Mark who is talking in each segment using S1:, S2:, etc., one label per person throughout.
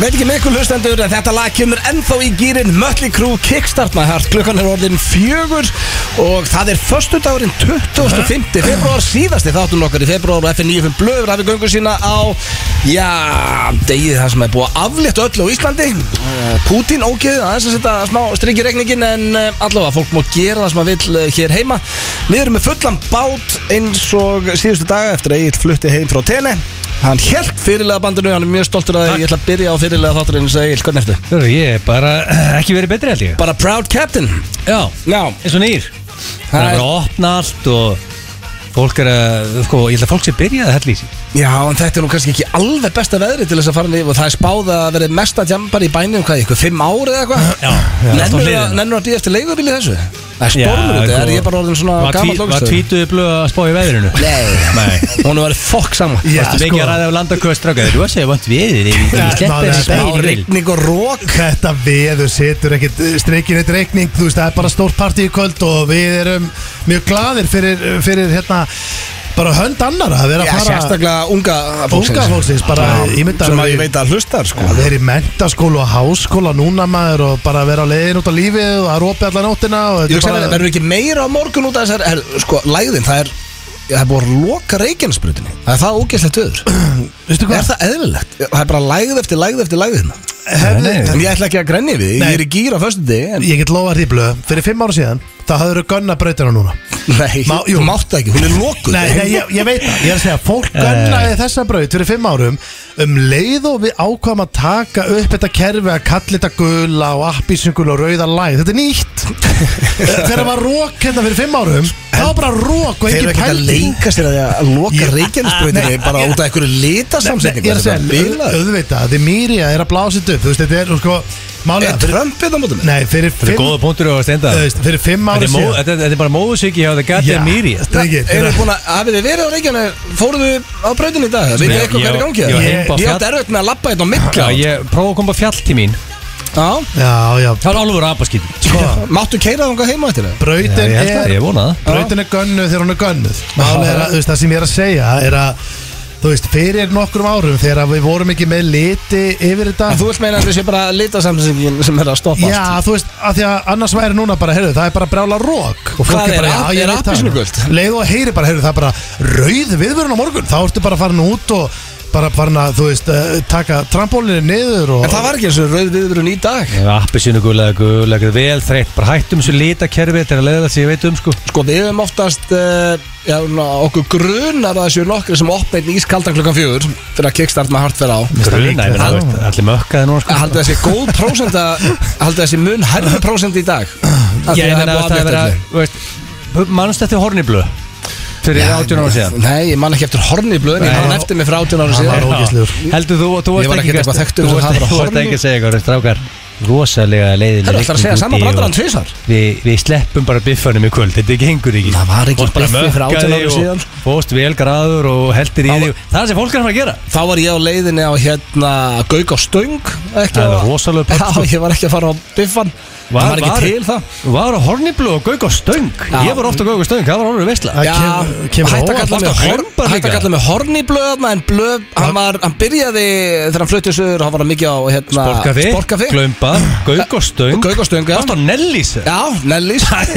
S1: veit ekki með ykkur hlustendur en þetta lag kemur ennþá í gýrin Mötli Krú Kickstart My Heart klukkan er orðin fjögur og það er förstudagurinn 25. februar síðasti þáttun okkar í februar og FN95 blöður hafi göngu sína á já, degið það sem er búið að aflétt öllu á Íslandi Eh, Pútín ógeðið aðeins að setja smá strikki regningin en eh, allavega fólk má gera það sem að vil hér heima við erum með fullan bát eins og síðustu daga eftir að Egil flutti heim frá Tene hann held fyrirlega bandinu, hann er mjög stoltur að ég ætla að byrja á fyrirlega þátturinn og Egil, hvernig ertu?
S2: Hörru, ég er bara ekki verið betri held ég
S1: Bara proud captain
S2: Já,
S1: Já,
S2: eins og nýr Það
S1: Hæ.
S2: er bara að opna allt og fólk er að, sko, ég held að fólk sé byrjað að hella í sig
S1: já, en þetta er nú kannski ekki alveg besta veðri til þess að fara nýf og það er spáð að vera mesta jambar í bænum hvað, í ykkur fimm ári eða eitthvað
S2: Já, já.
S1: Nennirðu
S2: Allt á hliðina.
S1: að- Nennirðu að díja eftir leigubíli þessu? Það er spórmur
S2: Já,
S1: þetta, er
S2: sko,
S1: ég bara orðin svona
S2: var tví-
S1: gammal
S2: Var tvítuðu blöð að spá í veðrinu?
S1: Nei,
S2: Nei
S1: hún var fokk saman
S3: Já,
S2: Þú veist
S3: sko.
S2: ekki að ræða af landakvöð stráka Þú veist að ég vant veðrið Ég
S3: Já,
S2: slepp
S3: maður
S2: þessi
S3: er smá
S2: spáir í grill
S1: Rigning og rók
S3: Þetta veður setur ekkit streikin eitt reikning, þú veist, það er bara stórt partí í kvöld og við erum mjög gladir fyrir, fyrir hérna bara hönd annara að vera
S1: Já,
S3: að fara
S1: sérstaklega unga fólksins
S3: Unga fólksins, bara
S1: Já,
S3: ég myndi
S1: Sem
S3: alveg-
S1: að ég veit að hlustar sko
S3: að vera í mentaskólu og háskóla núna maður og bara vera á leiðin út á lífið og að rópa allan nóttina og
S1: Ég hugsa
S3: bara-
S1: að verður ekki meira á morgun út af þessar er, Sko, lægðin, það er Það er búið að loka reikjansbrutinni Það er það ógeðslegt öður
S3: Veistu
S1: Er
S3: hvað?
S1: það eðlilegt? Það er bara lægð eftir lægð eftir lægð hérna
S3: Hefði,
S1: En ég ætla ekki að grenja við, því,
S3: Nei.
S1: ég er í gýr á föstundi en...
S3: ég get lofað því blöð Fyrir fimm ára síðan, það hafður gönna brautina núna
S1: Nei,
S3: Má- jú.
S1: þú mátt ekki, hún er lokuð
S3: Nei, nei ég, ég veit það, ég er að segja Fólk gönnaði þessa braut fyrir fimm árum Um leið og við ákvæm að taka upp þetta kerfi Að kalla þetta gula og appísungul og rauða læð Þetta er nýtt Eh, Þegar var rók hérna fyrir fimm árum Það var bara rók og
S1: Þeir eru
S3: engin
S1: ekki að
S3: pæling
S1: leika sér að því að loka
S3: Ég-
S1: reikjansbrutinni Bara út af einhverju litasamsetningu
S3: Ég er að segja, auð- auðvitað, þið mýrja er að blása þetta upp Þú veist, þetta er, sko, málega
S1: Er Trumpið á mótum?
S3: Nei, fyrir
S2: Þetta er
S3: fimm,
S2: góða punktur og stenda
S3: þú veist, fyrir fimm
S2: Þetta er
S3: árum
S2: mó- þetta er- þetta er bara móðusíki hjá það gæti að mýri
S3: strengir
S1: Eru þið búin að, hafið þið verið á Reykjana, fóruð þið á brautin í dag? Vitið
S2: Ég-
S1: þið eitthvað
S2: ég-
S1: hvað er í gangi?
S2: ég var
S3: heim
S1: Ég
S2: bara
S1: ég átti erfitt með að lappa hérna á mikla
S2: Já, ég prófa að koma á fjall til mín
S1: Já,
S3: Já, já,
S2: Það er alveg rapaskýt
S3: sko
S1: máttu keira þangað heima eftir það?
S2: Já,
S3: Brautin
S2: ég held það,
S3: er
S2: ég vona það
S3: Brautin er gönnuð þegar hún er gönnuð Málega er að, þú veist, það sem ég er að segja er að Þú veist, fyrir nokkrum árum þegar að við vorum ekki með liti yfir þetta
S1: Þú vilt meina að þetta sé bara litasamsingin sem er að stoppast
S3: Já, þú veist, af því að annars væri núna bara, heyrðu, það er bara brjála rók Og
S1: Hvað
S3: fólk
S1: er
S3: er bara,
S1: app-
S3: já,
S1: er
S3: ég veit
S1: appelsínugult?
S3: það Leið og heyri bara, heyrðu, það er bara rauð viðvörun á morgun Þá ertu bara farin út og bara farin að, þú veist, eh, taka trampólinni niður og
S1: En það var ekki eins og rauð viðurinn í dag
S2: Appisinu gulega, gulega, vel þreytt Bara hættum þessu litakerfi, þetta er að leiða það sem ég veit um sko
S1: Sko við höfum oftast uh, já, ná, okkur grunar að þessu nokkri sem opna einn ískaldan klukkan fjögur fyrir að kickstart með hartferð á
S2: Gruna, ég
S3: líklegt.
S2: menna, þú veist, allir mökkaði núna sko
S1: Haldið þessi góð prósent að haldið þessi mun hærri prósent í dag Af því
S2: Ég
S1: að
S2: menna,
S1: búið
S2: það er
S1: aflétta
S2: verið
S1: öllu.
S2: að, þú veist Mannst eftir horniblu Fyrir 18 ára síðan
S1: Nei, ég man ekki eftir horni í blöðin Ég
S2: Nei.
S1: man eftir mig frá 18 ára
S3: Hann var
S1: síðan
S3: ógeðslegur.
S2: Heldur þú, þú
S1: Ég
S2: varst
S1: var
S2: ekki
S1: ekkert eitthvað þekktur
S2: Þú
S1: fyrir það að
S2: varst
S1: vera
S2: þú varst
S1: horny.
S2: ekki að segja eitthvað strákar Rosalega leiðileg
S1: Það er alltaf að
S2: rigning
S1: segja
S2: úti
S1: sama
S2: og
S1: brandarann tvisar
S2: Við, við sleppum bara biffanum í kvöld, þetta gengur ekki
S1: Það var engin
S2: Fórst bara
S1: biffi fyrir 18
S2: mökkaði
S1: árum
S2: og
S1: síðan.
S2: Fórst vel graður og heldir í
S1: Það
S2: því Það er sem fólk er að fara að gera
S1: Þá var ég á leiðinni á hérna Gauk á stöng ekki
S2: Það er
S1: á-
S2: rosalega pönt, sko.
S1: Já, ég var ekki að fara á biffan Það var ekki til það
S2: Var á horniblu og gauk á stöng
S1: Já.
S2: Ég var ofta gauk á stöng, það var horniblu veistla
S3: Það
S1: Já,
S3: kem- kemur
S1: hætt að
S3: óvart.
S1: kalla mig
S2: Alltaf
S1: horn
S2: hlaupar
S1: Hætt að
S2: líka.
S1: kalla mig horn í blöð En blöð, hann, var, hann byrjaði Þegar hann flutti sögur, hann var hann mikið á hérna,
S2: Sporkafi,
S1: Sporkafi
S2: glömba, gauk á stöng
S1: Gauk á Stöng, já.
S2: Varst á Nellis
S1: Já, Nellis Það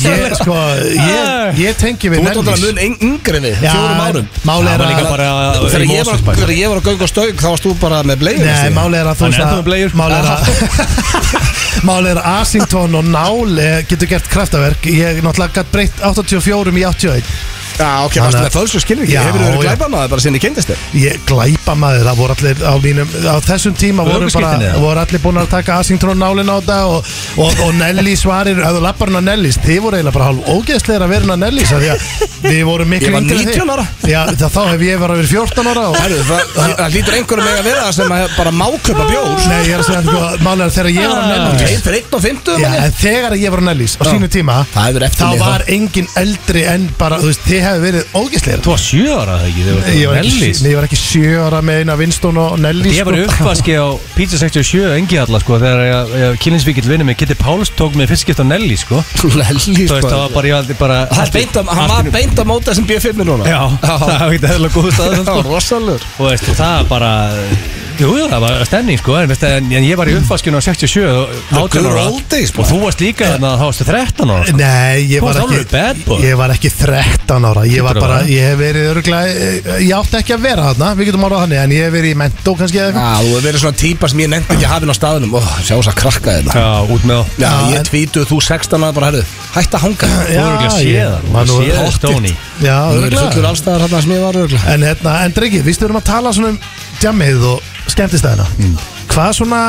S3: Ég, sko, ég, ég tengi
S1: Þú
S3: við
S1: ert
S3: Nennís.
S1: alltaf mun yng- yngri en við,
S3: Já,
S1: fjórum árum
S3: Máli
S2: Það
S3: er
S2: var líka
S3: að
S2: bara
S1: Þegar
S2: í
S1: ég var-
S2: Mosfellsbæ.
S1: þegar ég var á Gauk og Stöng Þá varst þú bara með bleiðum
S3: Nei, máli er að þú
S2: Hann
S3: veist
S2: er ennþá með bleiur.
S3: að Máli er að Máli er að Asington og Nál eh, getur gert kraftaverk Ég náttúrulega gætt breytt 84 í 81
S1: Já, ok, varstu
S3: Þannig-
S1: með fölsku skilviki
S3: Já,
S1: Hefur þú verið
S3: já.
S1: glæpa maður bara sinni kynntist þér
S3: Ég glæpa maður, það voru allir á mínum Á þessum tíma voru
S2: Ökuskírteini,
S3: bara
S2: eða?
S3: Voru allir búin að taka Asington og Nálin á það Og, og, og Nellis varir Ef þú lappar hún á Nellis, þið voru eiginlega bara hálf ógeðsleir að vera hún á Nellis af Því að við
S1: Ég
S3: vorum miklu
S1: var
S3: yngri en þið.
S1: 19 ára.
S3: Já, það, þá hef ég verið 14 ára og
S1: Herru, það, það, það lítur einhverjum með að vera sem að bara máköpa bjór
S3: Nei, ég er að segja, sko, máli er að þegar ég var á Nellis
S1: Tveir fyrir einn og fimmtum
S3: Já, en þegar ég var á Nellis á sínu tíma
S1: Það hefur eftir
S3: þá
S1: mig þá.
S3: var engin eldri en bara, þú veist, þið hefði verið ógæsleira
S2: Þú var sjö ára það ekki, þegar
S3: Ég
S2: þú
S3: var
S2: var á
S3: ekki,
S2: Nellis
S3: nei, ég var ekki sjö ára með eina Vinstón og Nellis sko.
S2: Ég var
S1: sko.
S2: í uppvaski á Pizza 67 engi alla sko þegar ég, ég kynlinsvíkill vinnu mig Kitty Páls tók mig fyrst skipt á Nelly sko
S1: Lelli,
S2: Þú veist það
S1: sko.
S2: var bara ég aldrei bara
S1: Það er beint að- Hann var beint að móta þessum B5 núna
S2: Já, það var ekki eðla góð sko. stað
S1: Það var sko rosalegur
S2: Og veist það var bara Jú, jú, það var stemning sko En, veist, en, en ég var í uppvaskinu á 67 og,
S1: The
S2: 18
S1: good
S2: ára.
S1: old days,
S2: Og þú varst líka þarna að þá varstu 13 ára sko.
S3: Nei, ég
S2: Þú
S3: var
S2: varst
S3: ekki
S2: alveg bad boy.
S3: Ég var ekki 13 ára Ég var
S2: Hlýtur að
S3: bara,
S2: vera.
S3: ég hef verið örgulega Ég átti ekki að vera þarna, við getum orðað þannig En ég hef verið í mentó kannski eða eitthvað
S1: Já, þú hefur verið svona típa sem ég nefndi ekki að hafin á staðunum Ó, sjá þess að krakka þetta
S2: Já, út með þá
S1: Já,
S3: Já,
S1: ég
S3: en-
S1: tvítuð, þú 16 ára bara, herðu, hætt að hanga
S2: Þú eru ekki að sé
S3: ég-
S2: það
S3: Man
S2: Þú
S3: nú
S2: sé það
S3: hottit.
S2: stóni
S3: Já,
S1: Þú verið
S3: örgulega
S1: fullur allstaðar hérna sem ég var örgla
S3: En hérna, en drengi, við stöðum að tala svona um djamið og skemmtistæðina
S1: Mm.
S3: Hvað svona,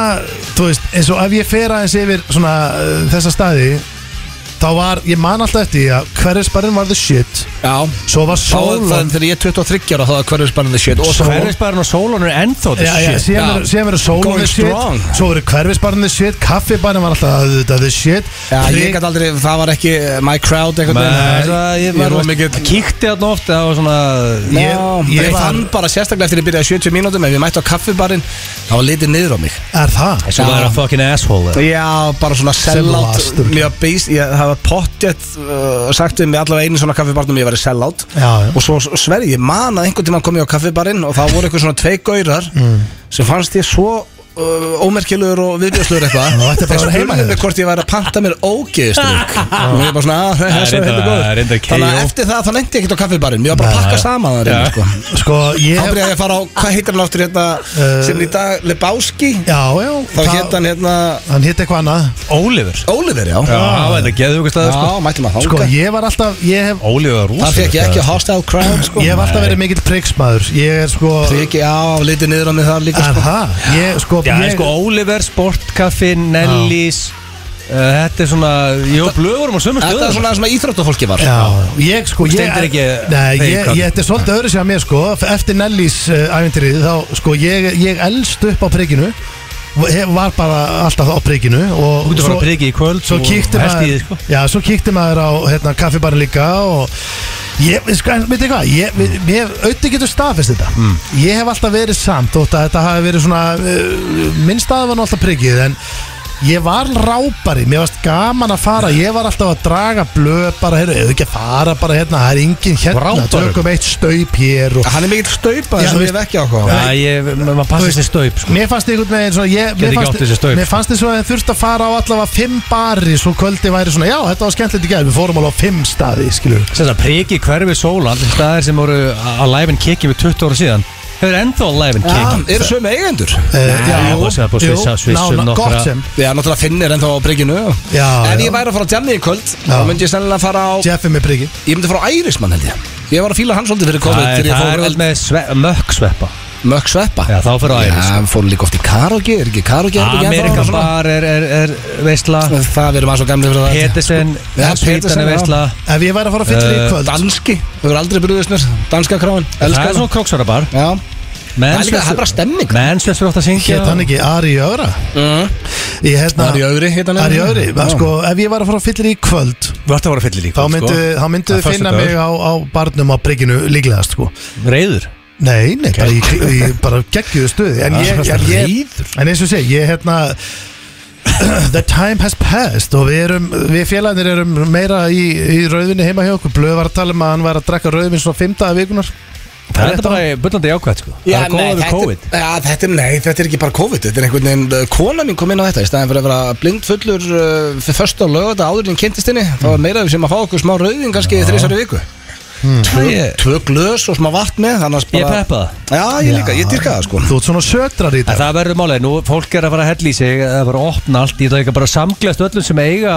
S3: þú veist, eins og ef ég fer aðeins yfir svona uh, þessa staði Þá var, ég man alltaf eftir því að hverjusbarinn var the shit
S1: Já,
S3: Svo var
S1: þá er það
S3: sólan
S1: þegar ég er 23 ára þá er hverjur spennandi shit og svo
S2: Hverfisbæðurinn og sólun er ennþá
S3: Já, já,
S2: þessi shit
S3: síðan
S1: já.
S3: verður- síðan verður sólan
S1: Going
S3: the
S1: strong.
S3: shit Svo verður hverfisbarinn the shit, kaffibarinn var alltaf auðvitað the shit
S1: Já, ég gæti aldrei, það var ekki uh, my crowd einhvern
S2: Men, það,
S1: ég
S2: ég
S1: var
S2: var
S1: of mikill
S2: Kíkti þarna oft Það var svona
S1: Já,
S3: Ég-
S1: ég,
S3: ég var-
S1: fann bara sérstaklega eftir að ég byrjaði 70 mínútum ef ég mætti á kaffibarinn, þá var litið niður á mig
S3: Er það?
S2: Svo
S1: Já.
S2: það er að fucking asshole eða?
S1: Já, bara svona sellout
S3: lastur.
S1: Mér beist, ég hafa pottjett uh, sagt við mig allavega einu svona kaffibarnum ég verið sellout
S3: Já, já.
S1: og svo s- sver ég man að einhvern tímann kom ég á kaffibarinn og það voru eitthvað svona tvei gaurar sem fannst ég svo uh, ómerkilegur og viðbjörslugur eitthvað
S3: Já, þetta er bara að vera heima hjá
S1: spurðu
S3: þér.
S1: mig hvort ég væri að panta mér ógeðstrykk og ég bara svona, að það
S2: Það
S1: er
S2: er
S1: svo
S2: reyndar-
S1: hérna
S2: það er
S1: góður
S2: reyndar
S1: þannig að
S2: KO.
S1: eftir það þá nefndi ég ekkert á kaffibarinn ég var bara að pakka saman það
S2: Já.
S1: reyna sko
S3: Sko, ég
S1: þá byrjaði ég að fara á, hvað heitir hann áttur hérna
S3: Uh,
S1: sem er í dag, Lebowski
S3: Já, já
S1: þá hétt hann hérna
S3: Hann hétt eitthvað annað
S2: Oliver
S1: Oliver, já
S2: Já, þetta geðu ykkur staður sko
S1: Já, mætti maður
S3: Sko,
S1: þáka
S3: ég var alltaf, ég hef
S2: Oliver var
S1: Það
S2: rosalegt
S1: fekk ég ekki
S2: staður, sko.
S1: hostile crowd, sko
S3: Ég hef alltaf verið mikill priggsmaður Ég er sko
S1: Það ekki, já, litið niður á mig það líka,
S3: Er
S1: sko
S3: það? Ég sko,
S2: Já,
S3: ég,
S2: sko Oliver, Sportcafé, Nellis uh, Þetta er svona Jó, blöðurum á sömu
S1: Þetta er
S2: stöðum
S1: svona það sem að íþróttafólki var
S3: já, ég sko ég,
S2: Stendur ekki-
S3: Nei,
S2: Nei,
S3: ég,
S2: hvað?
S3: ég þetta er svolítið öðru sem að mér sko Eftir Nellys uh, æfintrið Þá sko, ég, ég elst upp á prigginu Ég Var bara alltaf á prigginu
S2: Þú
S3: Og
S2: getur fara að priki í kvöld
S3: Svo
S2: og
S3: kíkti
S2: hest í
S3: maður
S2: þig, sko.
S3: Já, svo kíkti maður á hérna, kaffibarinn líka Og ég, sko, en veitir hvað Ég, við- mér, auðvitað getur staðfest þetta Ég hef alltaf verið samt Þótt að þetta hafi verið svona uh, Minn staði var nú alltaf priggið En ég var rápari Mér varst gaman að fara Ég var alltaf að draga blöð Bara, heyrðu, eða ekki að fara bara hérna Það er engin hérna
S2: Rápari?
S3: Tökum eitt staup hér og
S1: Hann er mikill staupa
S3: Já,
S1: sem
S3: veist-
S1: við ekki ákváðum
S2: Já, ég, maður passast í staup sko.
S3: Mér fannst einhvern veginn svona ég,
S2: Gæti
S3: mér,
S2: ekki
S3: fannst,
S2: átt þessi staup.
S3: mér fannst þess að þeim þurft að fara á allavega fimm bari Svo kvöldi væri svona, já þetta var skemmtilegt í gæð Við fórum alveg á fimm staði, skilur
S2: Sem sagt, priki hverfi sólan Staðir sem voru alive and kicking við 20 ára síðan Þau eru ennþá alive and
S1: Já,
S2: kicking
S1: eru sömu eigendur
S3: Eh, já,
S2: það var sem að búið að svissa- svissa um nokkra-
S3: gott sem
S1: Já, náttúrulega finnir ennþá á brygginu
S3: Já,
S1: Ef
S3: já.
S1: ég væri að fara á djammi í kvöld
S3: Já.
S1: þá myndi ég sennilega fara á
S3: Jeffi með priggi
S1: Ég myndi fara á Ærismann held ég Ég var að fíla hann svolítið fyrir COVID
S2: Það er-
S1: þegar
S2: það er
S1: ég
S2: vel
S1: fór
S2: með sve, mökksveppa
S1: mökk sveppa
S2: Já, þá fyrir á Æris,
S1: Já, fór líka oft í karaoke, er ekki karaoke herbergi ennþá
S2: Amerikan
S1: svona?
S2: bar er, er, er veistla
S1: Það verðum að svo gamli fyrir það
S2: Petersen,
S1: Já, Petersen,
S2: Petersen er
S1: já.
S2: veistla
S3: Ef ég væri að fara að fylla í
S2: Eh,
S3: kvöld
S1: Sko, Danski, þú verður aldrei brúðist mér Danska kráin,
S2: Það
S1: elskar
S2: er svona króksvara bar
S1: það Já, það er líka, það er bara stemming sko.
S2: Mansfield fyrir oft að syngja
S3: Hétt hann ekki Ari í öðra
S1: Mhm.
S3: Ég hérna
S1: Ari Ögri heit hann
S3: Ari í öðri Sko, ef ég væri að fara að fylla í kvöld
S2: Þú ert að voru fyllir
S3: Þá myndu, þá myndu
S2: Það er
S3: finna mig
S2: föstudagur.
S3: á, á barnum á prigginu líklegast sko
S2: Reyður
S3: Nei, nei, bara, ég, ég bara geggjuðu stuði En, ég, en, ég, en eins og sé, ég hérna The time has passed og við erum, við félagarnir erum meira í, í rauðvinni heima hjá okkur Blöð var að tala um að hann var að drekka rauðvinn svona fimmtaða vikunar
S2: Það er þetta bara bullandi jákvæmt sko
S1: Já,
S2: Það er
S1: nei,
S2: góða við COVID
S1: þetta, ja, þetta, er- nei, þetta er ekki bara COVID Þetta er einhvern veginn, uh, kona mín kom inn á þetta Í staðin fyrir að vera blind fullur uh, Fyrir först á lög þetta áður en ég kynntist henni Þá var meira við sem að fá okkur smá rauðin kannski ja. þrísari viku tvö,
S2: Ég-
S1: tvö glös og smá vatn með annars
S2: Hmm. Ég
S1: bara-
S2: peppa það
S1: Já, ég líka, ég dyrka það sko
S3: Þú ert svona sötrar í
S2: En
S3: dag
S2: Það verður málega, nú fólk er að fara að hella í sig Það er bara að opna allt, ég ætla ekki bara að samglast öllum sem eiga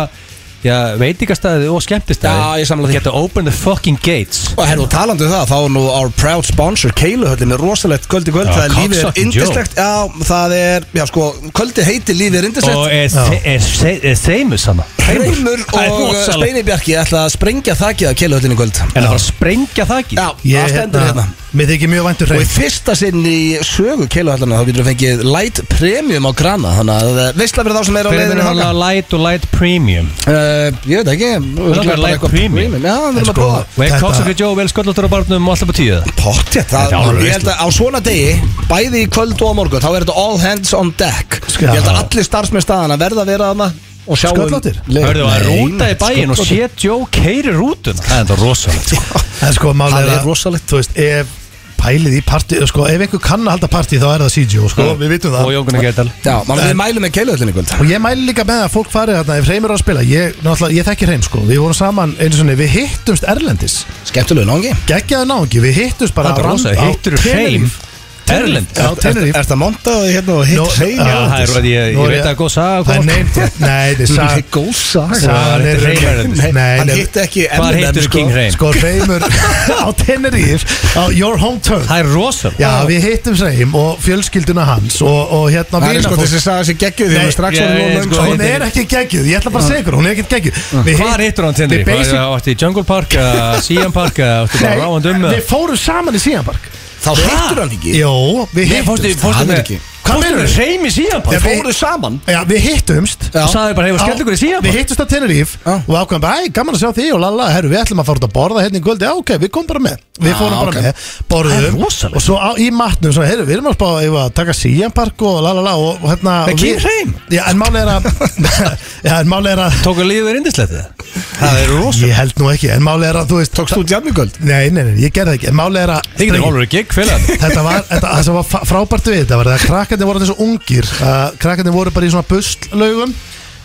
S2: Já, veitingastæði og skemmtistæði
S1: Já, ég samla því.
S2: Get to open the fucking gates
S1: Og herru, talandi um það, þá er nú our proud sponsor Keiluhöllin er rosalegt kvöld í kvöld
S2: Já,
S1: Það er lífið er
S2: cocksucking joke.
S1: indislegt Já, það er, já sko, kvöldi heiti lífið er indislegt
S2: Og er,
S3: Já.
S2: þe- er, þe- er þeimur sama
S1: Heimur
S2: Það er
S1: og uh,
S2: rosalegt.
S1: Steini Bjarki ætla að sprengja þakið af keiluhöllinni í kvöld
S2: En það var að sprengja það ekki
S1: Já, það stendur hérna
S3: Mér þykir mjög um væntur
S1: Og í
S3: hrein
S1: fyrsta sinn í sögu keiluhöllana þá getur við fengið light premium á grana Þannig að eh, veistla fyrir þá sem er á
S2: Fyrir
S1: leiðinni
S2: minna
S1: þanga
S2: alveg light og light premium
S1: uh, Ég veit ekki örugglega
S2: bara
S1: bara
S2: light
S1: eitthvað Já,
S2: premium.
S1: við
S3: En
S1: erum að
S3: sko,
S1: prófa
S2: Og er
S3: Þetta-
S2: Coxsackie Joe vel sköllóttur á barnum og alltaf på tíu
S1: Pottjætt,
S2: Þetta er
S1: það,
S2: alveg
S1: ég held að á svona degi Bæði í kvöld og á morgun, þá er þetta all hands on deck
S2: Sko,
S3: Ska-
S1: Ég held að allir starfsmenn staðana verða að vera þarna Og sjá um-
S3: Sköllóttir?
S1: Leif-
S2: Hörðu
S1: Nei,
S2: að rúta í bæin og
S1: sköllóttir.
S2: sé Joe keiri rútuna Það er þetta rosalegt sko.
S3: En sko, mál
S1: Það
S3: er
S1: er
S3: að
S1: rosalegt.
S3: Þú veist, ef pælið í partí sko, Ef einhver kann að halda partí þá er það CGO sko, Við vitum það
S2: Og Jón Gunnar Gerdal
S1: Já, mann, við mælum með keiluhöllin í kvöld
S3: Og ég mæli líka með að fólk farið þarna ef Hreim er að spila, ég, náttúrulega, ég þekki Hreim sko Við vorum saman einu svona, við hittumst Erlendis
S1: Skemmtilegu náðungi
S3: Geggjaðu náðungi, við hittumst bara
S2: Það er
S3: á-
S2: rosa,
S3: á
S2: hittur hreim
S3: Tenerife.
S2: Erlend
S3: Já, Tenerife.
S1: Erst að montaðu hérna og
S3: Nú-
S1: hitt hrein
S3: Já,
S2: Það er
S3: Erlendis.
S2: ræði, ég,
S3: Nú
S2: ég veit
S3: er
S2: að
S3: ég-
S2: það er góð saga
S3: Það er
S2: sko.
S3: neitt, nei, þetta er
S1: Það
S3: sag
S1: er góð saga
S2: Sagan
S3: Sagan
S2: er
S3: er
S2: Hreim
S3: Hreim
S2: Erlendis.
S3: Nei,
S1: Hann
S3: nei,
S1: hitti ekki
S2: Hvar
S1: Eminem,
S2: hittirðu
S1: sko.
S2: King Hreim?
S3: sko Hreimur á Tenerife á Your Hometown
S2: Það er rosa
S3: Já, við hittum Hreim og fjölskylduna hans og, og hérna
S1: Það er sko
S3: vinafólk-
S1: þessi saga sem geggjuð
S3: Nei,
S1: því hún strax
S2: ég-
S1: orðin
S2: ég-
S1: of löng,
S2: sko,
S1: sko.
S3: Hún er ekki geggjuð, ég ætla bara að segja ykkur, hún er ekki geggjuð Við
S2: Hvar
S3: hitt-
S2: hittur hann
S3: við
S2: tindir?
S3: basic-
S2: Það átti í Jungle Park, eða Sian Park eða átti bara ráðan um
S3: Nei,
S2: eða?
S3: við fórum saman í Síðanbark
S1: Þá hittur hann ekki
S3: Jó, við
S2: Nei, fórstu,
S3: hittumst
S2: fórstu
S1: hann er
S2: með
S1: ekki.
S3: Hvað
S2: Fórstu
S3: meinarðu?
S2: með hreim í Sian
S1: Þeir
S2: Park
S3: við-
S1: fóru saman
S3: Já, við hittumst
S1: Já.
S2: Og sagði bara, hefur
S3: Á-
S2: skellt ykkur í Sian
S3: Við
S2: Park
S3: hittumst á Tenerife
S1: Já.
S3: og ákvæmum bara, æ, gaman að sjá því og lalla, herru, við ætlum að fara út að borða hérna í kvöldi, já, ok, við komum bara með Við
S1: Já,
S3: fórum bara
S1: ok.
S3: með, borðum
S2: Það er rosalegt.
S3: og svo á, í matnum, svo, herru, við erum að spá eigum við að taka Sian Park og lalala og, og hérna
S2: Með
S3: og við-
S2: Kim Hreim?
S3: Já, en máli er að Já, en máli er að
S2: Tóku lífið er indislegt eða? Það er rosa
S3: Ég held nú ekki, en máli er að, þú veist
S1: Tókst þú djarnigöld?
S3: Nei, nei, nei, ég gerði það ekki, en máli er að
S2: Þið getur hólfur í gig, félag
S3: þetta var, þetta, það sem var fa- frábært við þetta var það að krakkarnir voru þessu ungir að krakkarnir voru bara í svona buslaugum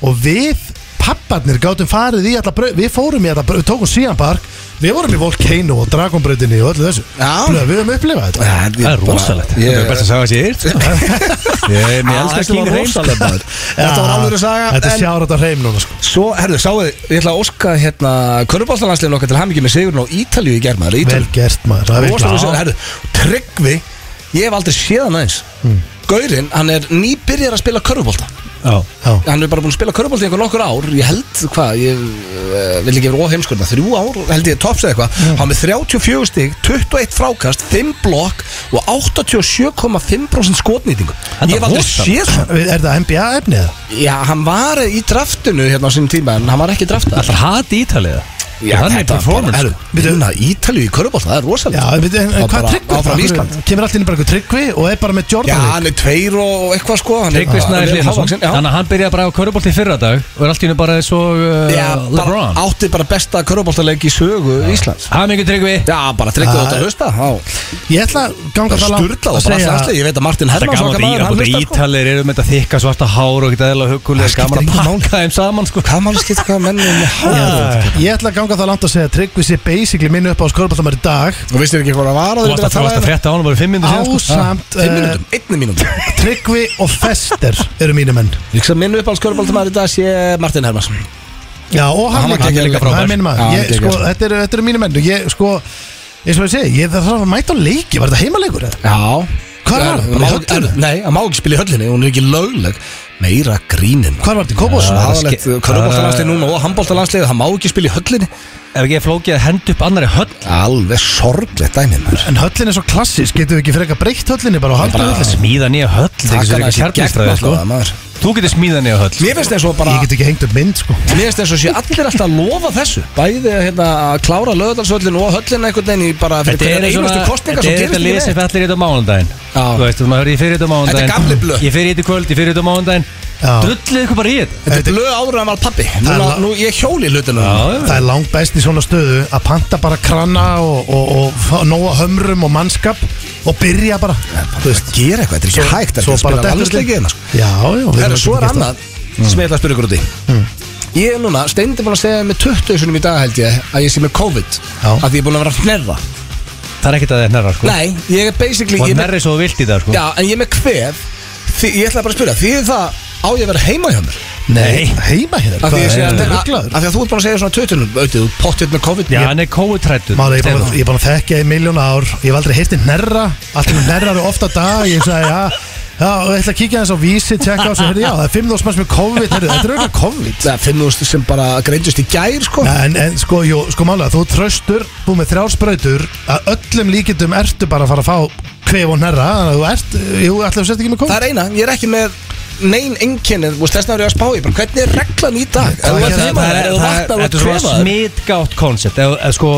S3: og við papparnir gátum farið í alla brau, við fórum í alla brau, við tókum síðan park, við vorum í Volcano og Dragonbrautinni og öllu þessu
S1: Já.
S3: Blöð, við höfum upplifað þetta
S2: Það er rosalegt Það er best að sagja sér Ég ég elskar
S1: Þetta
S2: King
S1: var
S2: Hreim
S1: rosalegt maður. Þetta var alveg að
S3: Þetta
S1: saga
S3: er
S1: en
S3: sjárat á hreim núna sko
S1: Svo, herðu, sáu þið, ég ætla að óska hérna Körnubállalandslegin okkar til hamingi með sigurinn á Ítalíu í gerð maður
S3: Vel
S1: Ítalíu
S3: gert maður, það er
S1: Rosalega
S3: virkilega-
S1: sigur, herðu, Tryggvi Ég hef aldrei séð hann aðeins
S3: Hmm.
S1: Gaurinn, hann er nýbyrjar að spila körfubólta
S2: Já
S3: Já,
S1: Hann er bara búin að spila körfubólta í einhver nokkur ár Ég held, hvað, ég uh, vil ekki vera óheimskurna Þrjú ár, held ég, topps eða eitthvað
S3: Hmm.
S1: Hann er með 34 stig, 21 frákast 5 blokk og 87,5% skotnýtingu
S2: Þetta
S1: Ég hef aldrei
S2: rosalegt.
S1: séð svona
S3: Er það NBA efnið? eða?
S1: Já, hann var í draftinu hérna á sínum tíma En hann var ekki draftað
S2: Það er hati ítaliða Hann er performance sko.
S1: Við erum að Ítalíu í körfubólta, það er
S3: Já,
S1: rosalega
S3: en, en,
S1: Það
S3: en hvað
S1: bara
S3: tryggvi?
S1: áfram Ísland.
S3: Kemur allir inn bara eitthvað tryggvi og er bara með
S1: Já,
S3: Jordan
S1: hann er tveir og eitthvað sko hann er-
S2: Tryggvi
S1: hann
S2: Snæður
S1: er
S2: Hlíðarsson
S1: hávaxinn, já.
S2: Þannig að hann byrjaði bara á körubolt í fyrra dag og er allt í hennu bara eins og uh,
S1: Já, bara
S2: LeBron
S1: átti bara besta körubóltaleik í sögu Íslands
S2: Hamingu Tryggvi
S1: Já, bara tryggðu
S3: Já,
S1: þetta að hausta
S3: Ég ætla að ganga það langt
S1: Sturla og
S3: að
S1: bara
S3: segja-
S1: alltaf Ég veit að Martin
S2: Þetta
S1: Hermanns
S2: er gaman
S1: okkar
S2: að
S1: maður,
S2: íra
S1: hann
S2: búin
S1: hlustar sko
S2: ítalir eru með þetta þykka svarta hár og ekkert eðla
S1: Það
S2: hugulega
S1: skiptir
S2: gaman að
S1: engu máli.
S2: pakka þeim saman sko
S1: Hvað mann skilt hvað menn um hár
S3: Ég ætla að ganga það langt að segja að Tryggvi sé basically minn upp á skorballamar í dag
S1: Þú vissir ekki hvað það var
S2: Þú varst að, þú varst að frétta á hann bara fimm minnum síðan sko
S3: Ásamt
S1: Fimm
S3: eh,
S1: mínútum, einni mínútum
S3: Tryggvi og Fester eru mínu menn
S1: Ég hugsa að minn uppáhalds körubóltamæður í dag sé Martin Hermanns
S3: Já og hann
S1: Hann var líka
S3: líka Hann er
S1: frábær.
S3: minn
S1: Já,
S3: maður
S1: hann
S3: Ég,
S1: geggjör.
S3: sko, Þetta eru þetta eru mínu menn og ég sko eins og ég segi, ég þarf að mæta á leiki, var þetta heimaleikur eða?
S1: Já
S3: Hvar var hann? Bara í
S1: Má-
S3: höllinni?
S1: Nei, hann má ekki spila í höllinni Hún er ekki lögleg Meira grínin maður.
S3: Hvar var þetta í Kópos?
S1: Svona
S2: það
S1: aðalegt
S2: ske-
S1: Körubóltalandslið núna og handbóltalandslið Það má ekki spila í höllinni
S2: Ef ekki er flókið að henda upp annari höll
S1: Alveg sorglegt dæmið maður
S3: En höllin er svo klassisk, getum við ekki frekar breytt höllinni bara og halda
S2: Þú
S3: höllin?
S2: getur smíða nýja höll þetta
S1: Takk
S2: er
S1: hann
S2: eitthvað
S1: að sér gegn
S2: kjarnistræði, sko.
S1: alltaf maður
S2: Þú getur smíða nýja höll
S1: Mér finnst eins og bara
S3: Ég get ekki hengt upp mynd sko
S1: Mér finnst eins og sé allir alltaf að lofa þessu Bæði hérna, að klára löðalsvöllin og höllin einhvern veginn í bara fyrir
S2: Þetta er
S1: hvernig
S2: svona,
S1: einustu kostninga
S2: þetta
S1: sem gerist
S2: er þetta
S1: ekki
S2: lið sem
S1: neitt
S2: allir í þetta á mánundaginn
S1: Já.
S2: Þú veist, þú maður í fyrir þetta á mánundaginn
S1: Þetta er gamli blöð.
S2: Ég fyrir þetta í kvöld, ég fyrir þetta á mánundaginn
S3: Já.
S2: Drullið ykkur bara í þetta
S1: Þetta er blöð ára en var pappi
S3: er
S1: Núna,
S3: la-
S1: Nú ég hjóli hlutinu
S3: Það er langt best í svona stöðu að panta bara kranna og, og, og fá- nóga hömrum og mannskap og byrja bara Þú veist,
S1: Gera eitthvað, þetta er ekki hægt
S3: svo
S1: Þetta er
S3: bara
S1: spila
S3: dettur
S1: landsleiki
S3: þetta.
S1: hérna sko.
S3: Já, já við
S1: Herra,
S3: erum
S1: Svo
S3: ekki
S1: er
S3: gert það.
S1: annað sem ég ætla að spyrja ykkur út í
S2: Hmm.
S1: Ég er núna, steindi búin að segja með 20 sunum í dag held ég að ég sé með COVID
S3: Já.
S1: að ég er búin að vera að hnerra
S2: Hm. Það er ekkert að það er nærra sko
S1: Nei, ég er basically ég
S2: Og
S1: er
S2: það
S1: með-
S2: nærri svo þú vilt í það sko
S1: Já, en ég er með kvef Því, Ég ætla bara að spyrja, því það á ég að vera heima hjá mér
S3: Nei, heima hérna
S1: Af því, ég sé að, að, að,
S3: rugglaður?
S1: af því að þú ert búin að segja svona tautunum auðvitað, þú pottir með COVID
S2: Já, hann er kóutrættur
S3: Mára, ég er búin- ég er búin að þekkja í miljón ár Ég hef aldrei heyrti nærra Allt um nærra eru ofta dag Ég sagði, já, já, og ég ætla að kíkja þess á vísi Tjekka á sig, heyrðu, já, það er 5.000 manns með COVID heyrðu, Þetta er auðvitað COVID
S1: Það er fimm úrst sem bara greindust í gær sko
S3: Ja, En, en sko, jú, sko málega, þú tröstur Búið með þrjár sprautur Að öllum líkindum ertu bara að fara að fá Kvef og nærra, þannig að þú ert Jú, ætla að setja ekki með
S1: Það
S3: COVID
S1: er eina, ég er ekki með nein enginnir, þú veist þessna er ég að spá í bara, hvernig er reglan í dag? Ef
S3: Það
S1: þú
S3: er-
S1: ert
S2: Það
S1: heima,
S2: er-
S1: ef þú
S2: það er
S1: vaknar og
S2: þetta er svona
S1: kvefaður.
S2: smitgátt koncept Ef ef sko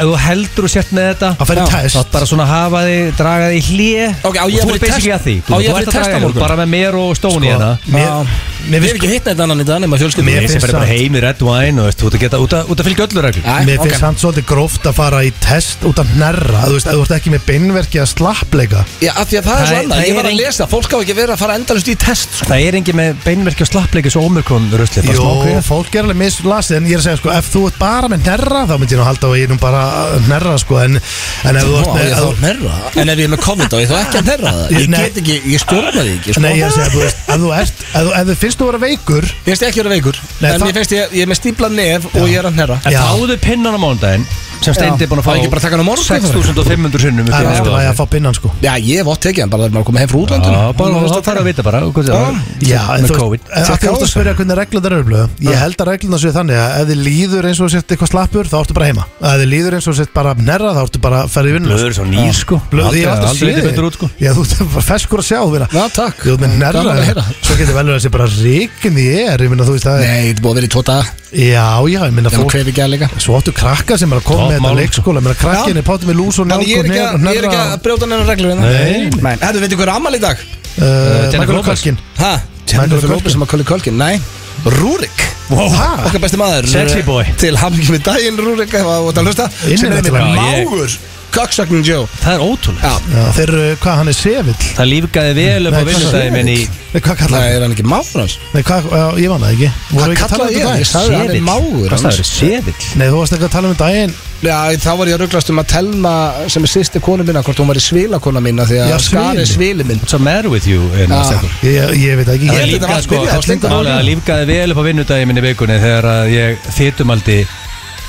S2: ef þú heldur og sért með þetta
S3: Að fara í
S2: Já.
S3: test.
S2: þá bara svona hafa þig, draga þig í hlje
S1: Ok, á ég að
S2: og þú
S1: fara í
S2: er basically
S1: test?
S2: að
S1: Á
S2: því þú,
S1: ég að
S2: þú
S1: fara í
S2: ert að
S1: test á
S2: draga þig
S1: morgun? Sko,
S2: bara með mér og Stóni hérna
S1: Já.
S3: Mér, mér
S1: Ég hef
S3: finnst, sko-
S1: ekki hitt neitt annan í dag nema fjölskyldum
S3: Mér
S2: Ég sem
S3: finnst
S2: bara bara
S3: það.
S2: heim í red wine og veist, þú ert að geta út að, út að fylgja öllu reglum
S1: Æ,
S3: mér
S1: ok.
S3: finnst samt svolítið gróft að fara í test út af nærra Þú veist, ef þú ert ekki með beinverki að slappleika
S1: Já, af því að það er svo
S2: Það-
S1: annað,
S2: það
S1: ég var
S2: er
S1: að
S2: ein-
S1: lesa Fólk á ekki verið að fara endalust í test sko.
S2: Það er engin með beinverki og slappleikis og ómörkun rusli, bara
S3: Jó,
S2: smá kveð
S3: fólk er alveg mislasið En ég er að segja, sko, ef þú ert bara með nærra Þá myndi ég nú halda á að ég er nú bara að hnerra, sko En, en ef þú
S1: Nú,
S3: ert
S1: á
S3: með
S1: ég
S3: ef
S1: þá
S3: þú-
S1: að hnerra það? En ef ég er með COVID á ég þá ekki að hnerra það
S3: Ég-
S1: Ég
S3: nei.
S1: get ekki, ég stjórna því ekki sko.
S3: Nei, ég er að segja, þú veist, ef þú ert Ef þú- ef þú finnst þú vera veikur
S1: Ég veist ekki að vera veikur
S3: Nei,
S1: En
S3: það-
S1: ég finnst ég, ég er með stíplað nef og ég er að hnerra
S2: En
S3: Já.
S2: þáðu pinnan á mándaginn sem Steindi er búin að fá
S1: Á ekki bara að taka hann á morgun,
S2: 6500 sinnum upp í
S3: Það er alltaf
S2: mánudag.
S3: að ég að fá pinnan, sko
S1: Já, ég hef oft tekið hann bara þegar maður komið heim frá
S2: Já,
S1: útlöndunum
S2: bara það þarf að vita bara hvað það
S1: Ah,
S2: var.
S3: Já, en
S2: með
S3: þú
S2: COVID
S3: veist, að þú ert að spyrja hvernig reglum það eru blöð Ég held að reglum það séu þannig að ef þið líður eins og þú sért eitthvað slappur, þá ertu bara heima Ef þið líður eins og þú sért bara nærra, þá ertu bara að fara í vinnu
S2: Blöður svo nýr sko
S3: Blöð, ég
S2: Aldrei-
S3: hef alltaf
S2: aldrei
S3: séð
S2: litið
S3: þig.
S2: betur út sko
S3: Já, þú ert bara feskur að sjá þú vera
S1: Já, takk.
S3: Þú ert með
S1: Gaman að heyra.
S3: nærra Svo getur vel verið að sé bara ríkin í er Ég minna þú veist það er-
S1: Nei, þetta er búið að vera í tóta
S3: Já, já, ég
S1: Þegar
S3: minna
S1: hún
S3: fólk
S1: kvefi ekki að líka
S3: Svo áttu krakka sem er að koma
S2: Topp
S3: með þetta
S2: mál,
S3: leikskóla Mér að krakkin er pátið með lús og njálg
S1: Þannig sko. ég
S3: og
S1: er ekki
S3: nefn
S1: að- ég er ekki að brjóta neina reglur hérna.
S2: Nei.
S1: Nei. Herðu, veitir hver er afmæli í dag? Eh,
S2: Jennifer
S3: Eh, Michael
S2: Lopez.
S3: Kalkin
S1: Ha? Jennifer
S3: Culkin.
S1: Lopez sem að Kölli Kölkin, nei Rúrik
S2: Wow
S3: Ha?
S1: Okkar besti maður eh,
S2: Sexy boy.
S1: Til hamingju með daginn Rúrik ef að voru að hlusta
S3: Innir
S1: Sem er
S3: þetta
S1: með
S3: lag.
S1: mágur Cocksucking Joe
S2: Það er ótrúlega
S1: Já
S3: Já, þeir eru, hvað hann er sevill
S2: Það lífgæði vel upp á
S3: Nei,
S2: vinnustæði minn í
S3: Nei, hvað
S1: Það
S3: kallaði
S1: er hann ekki mágur hans
S3: Nei, hvað, já, ég man það ekki Vorum
S1: Hvað
S3: við ekki að tala um
S1: kallaði ég?
S3: þetta
S1: Ég
S3: daginn?
S1: sagði hann er
S2: Seðill.
S1: mágur
S2: Hvað það
S1: hans
S2: er seðill?
S3: Nei, þú varst ekki að tala um þetta daginn
S1: Já, þá var ég að rugglast um að telma sem er sýsti konu minna hvort hún var í svilakona minna því að
S3: Já,
S1: skari svili minn
S2: What's the matter with you? eh,
S1: Já.
S2: strákur?
S3: Ég, ég veit ekki
S1: Ég
S2: Það er
S1: held
S3: ég,
S1: þetta var
S2: lífgæði
S1: að
S2: sko
S1: spyrja,
S2: Það
S1: það var slengt að
S2: máli
S1: máli.
S2: að lífgæði vel upp á vinnustæði minn í vikunni Þegar að ég þýtumaldi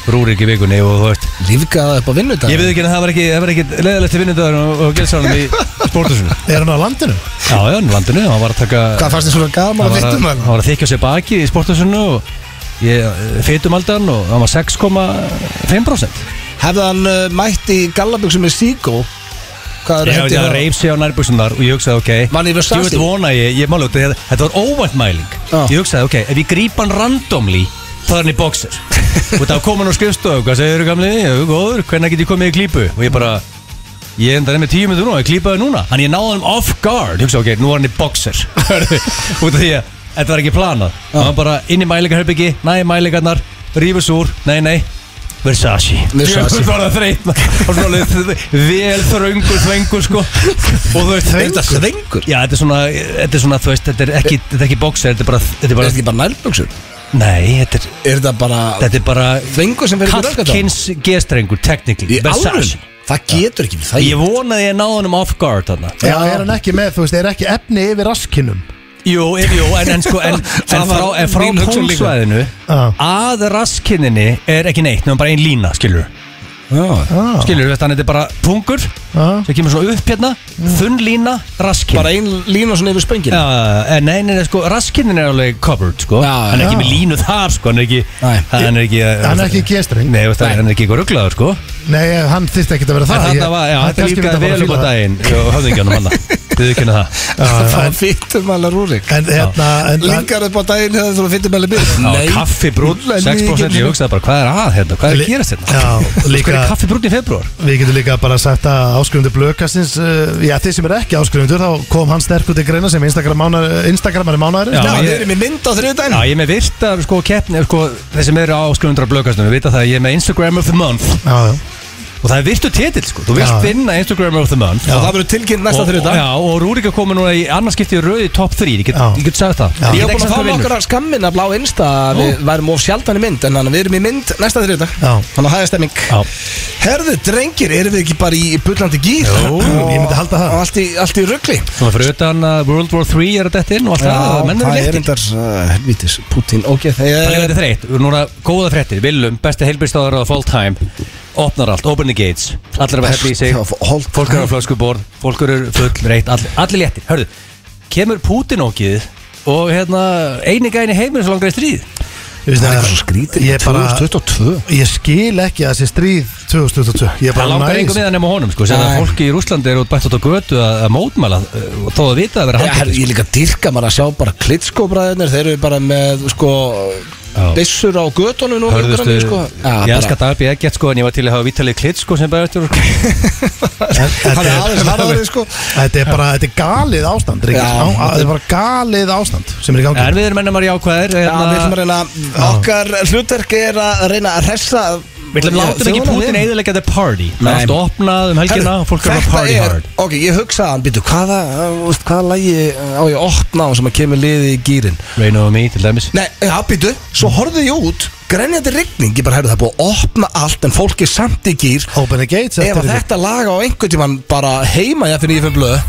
S2: Rúrik í vikunni og þú veist
S1: Lífgaða upp á vinnudag
S2: Ég veit ekki að það var ekki, það var ekki leðalegt til vinnundaður og, og gilsarunum í sportusunum
S3: Er hann á landinu?
S2: Já, já, hann landinu, hann var að taka
S1: Hvað fannst þið svona gaman
S2: hann
S1: að
S2: var að,
S1: vittum
S2: hann
S1: hann?
S2: var að þykja sér baki í sportusunum og ég fytum aldan og hann var 6,5%
S1: Hefði hann uh, mætt í gallabuxum með Seago Hvað er
S2: Ég hefði að reyf sig á nærbúsunar og ég hugsaði, ok
S1: Mann yfir
S2: Ég veit
S1: sassi.
S2: vona ég, ég mála út þetta Þetta var óvænt mæling
S1: Já.
S2: Ég hugsaði, ok, ef ég grýp hann randomly þá er hann í boxer Og það kom hann á skrifstofu, hvað segir þú gamli? Ég er góður, hvernig get ég komið í klípu? Og ég bara, ég enda nefnir tíu myndur núna, ég klípaði núna Þannig ég náði hann off guard, ég hugsaði, ok, nú var hann í boxer Út af því að þetta var ekki planað Það var bara inn í mælingarherbyggi, næ mælingarnar, rífus úr, nei, nei Versace
S1: Versace.
S2: Ég var að þreytna Og svona alveg vel þröngur þvengur sko Og þú veist
S1: Er þetta svengur?
S2: Já, þetta er svona, þetta er svona, þú veist, þetta er ekki, þetta er ekki bóksar, þetta er bara, þetta er
S1: Er
S2: bara,
S1: þetta ekki bara nærbuxur?
S2: nei, þetta er,
S1: Er þetta bara
S2: þetta er bara
S1: þengur sem verður í röggat á?
S2: Kallkins gestrengur,
S1: Í
S2: technically, Versace.
S1: alveg? Það getur ekki það
S2: Ég vonaði að ég náði honum off guard þarna
S3: Já, er hann ekki með, þú veist, er ekki efni yfir raskinum
S2: Jú, ef, jú, en, en sko, en, en
S1: Það var
S2: frá, en frá
S1: mín hugsun líka.
S2: pólsvæðinu
S3: Já.
S2: að raskinninni er ekki neitt, nefnum bara ein lína, skilur
S1: Já.
S3: ah,
S2: Skilur, veist, þannig þetta er bara pungur,
S3: ah.
S2: sem kemur svona upp hérna,
S3: Mm.
S2: þunn lína, raskinn
S1: Bara ein lína svona yfir spöngin
S2: Já, en nei, nei, nei, sko, raskinin er alveg covered, sko
S1: Já,
S2: Hann er ekki
S3: já.
S2: með línu þar, sko, hann er ekki
S1: Nei.
S2: Hann er ekki
S3: Hann er ekki í G-streng.
S2: Nei, veist það, hann er ekki eitthvað rugglaður, sko
S3: Nei, eh, hann þyrst ekki að vera
S2: En
S3: það
S2: þarna
S3: Ég-
S2: var, já,
S3: hann
S2: þetta
S3: kannski
S2: líkaði
S3: myndi bara
S2: vel upp á
S3: fíla það.
S2: daginn Og höfðingjanum hann, þau ekki henni það
S1: Það var fytum alveg rúrik
S3: En hérna, en
S1: Lingar upp á daginn hefði þú fytum alveg byrð
S2: Já, kaffi brún, 6% Ég hugsaði bara, hvað er að hérna, hvað er að gerast hérna
S3: Já,
S2: Hvað er
S3: líka,
S2: kaffi brún í februar?
S3: við getum líka bara sagt að áskrifundur blökastins uh, Já, þið sem er ekki áskrifundur Þá kom hann sterk út í greina sem Instagram mánar, Instagramari
S2: Já.
S3: mánaðurinn
S1: Já,
S2: ég-
S1: þeir eru með mynd á þriðdæn
S2: Já, ég er með virtar, sko, keppni, sko Þeir sem eru á skrundra blökastunum, vita það að Ég er með Instagram of the month
S3: Já, já
S2: Og það er virtu titill, sko Þú vilt
S3: Já.
S2: vinna Instagram of the month
S1: Og það verður tilkynnt næsta
S2: Og-
S1: þriðdæn
S2: Já, og Rúrik er komin núna í annarskipti rauði top 3 Ég get,
S3: Já.
S2: ég get sagt það
S3: Já.
S1: Ég
S2: get
S1: hef
S2: ekki
S1: búin að
S2: sagt hvað
S1: fá
S2: vinnur.
S1: nokkar af skammin að blá einsta að Við værum of sjaldan í mynd En þannig að við erum í mynd næsta þriðdag
S3: Já.
S1: Þannig að það er stemming
S2: Já.
S1: Herðu, drengir, erum við ekki bara í bullandi gýr?
S3: Jú, ég myndi halda það.
S1: Og allt í, allt í ruggli
S2: Svona fyrir utan að World War 3 er að detta inn og allt það, það menn
S1: það
S2: eru
S1: er
S2: léttir
S1: endar Helvítis, Putin, ok
S2: Þannig að
S1: Þegar
S2: þetta er þreytt, við erum núna góða fréttir Villum, besti heilbyrstaður á full time Opnar allt, open the gates Allir er að hefði í sig,
S1: Já, hold
S2: fólk eru á flöskuborð Fólk eru full, reitt, all, allir léttir Hörðu, kemur Putin okkið Og hérna, eini gæni heimur svo langar í stríð
S3: Ég
S1: Það
S3: veist
S1: er
S3: að-
S1: eitthvað svo skrítið
S3: Ég bara,
S1: 2022
S3: ég skil ekki að þessi stríð 2022 Ég
S2: Það
S3: bara
S2: langar
S3: næs-
S2: einhver meðan nema honum, sko Sér að
S1: Nei.
S2: fólki í Rúslandi eru út bætt út á götu að, að mótmæla uh, og Þó að vita að vera
S1: Já, herru,
S2: handteknir,
S1: ég líka dyrka maður að sjá bara klitskóbræðinir Þeir eru bara með sko
S2: Já.
S1: Bissur á götunum nú
S2: Hörðustu
S1: Hörðustu sko. Já,
S2: Ég
S1: bara-
S2: elskar Darby Eggert sko En ég var til að hafa Vítalið Klitt sko Sem bara eftir
S1: Hann er aðeins harðari, sko.
S3: Þetta er bara, þetta er galið ástand Ríkis.
S1: Já.
S3: Á- á- Þetta er bara galið ástand sem er í gangi
S2: En við erum ennum að jákvæðir hérna,
S1: Já, Hérna, við ætlum að reyna Okkar hlutverk er að reyna að hressa
S2: Við ætlum látum ekki
S1: þjóðina
S2: Putin
S1: við.
S2: eðilegja the party Það
S1: Nei.
S2: er allt opnað um helgina
S1: Herru,
S2: og Fólk er að
S1: þetta
S2: party
S1: er-
S2: hard
S1: Ok, ég hugsaði hann, býtu, hvaða, uh, veist, hvaða lægi á ég að opna á sem að kemur liði í gýrin
S2: Rain over me til dæmis
S1: Nei, eh, já, býtu, svo horfði ég út, grenjandi rigning, ég bara herðu það er búið að opna allt en fólk er samt í gýr
S3: Open the gates
S1: Ef að
S3: eftir
S1: þetta lag á einhvern tímann bara heima ég fyrir nýjum blöð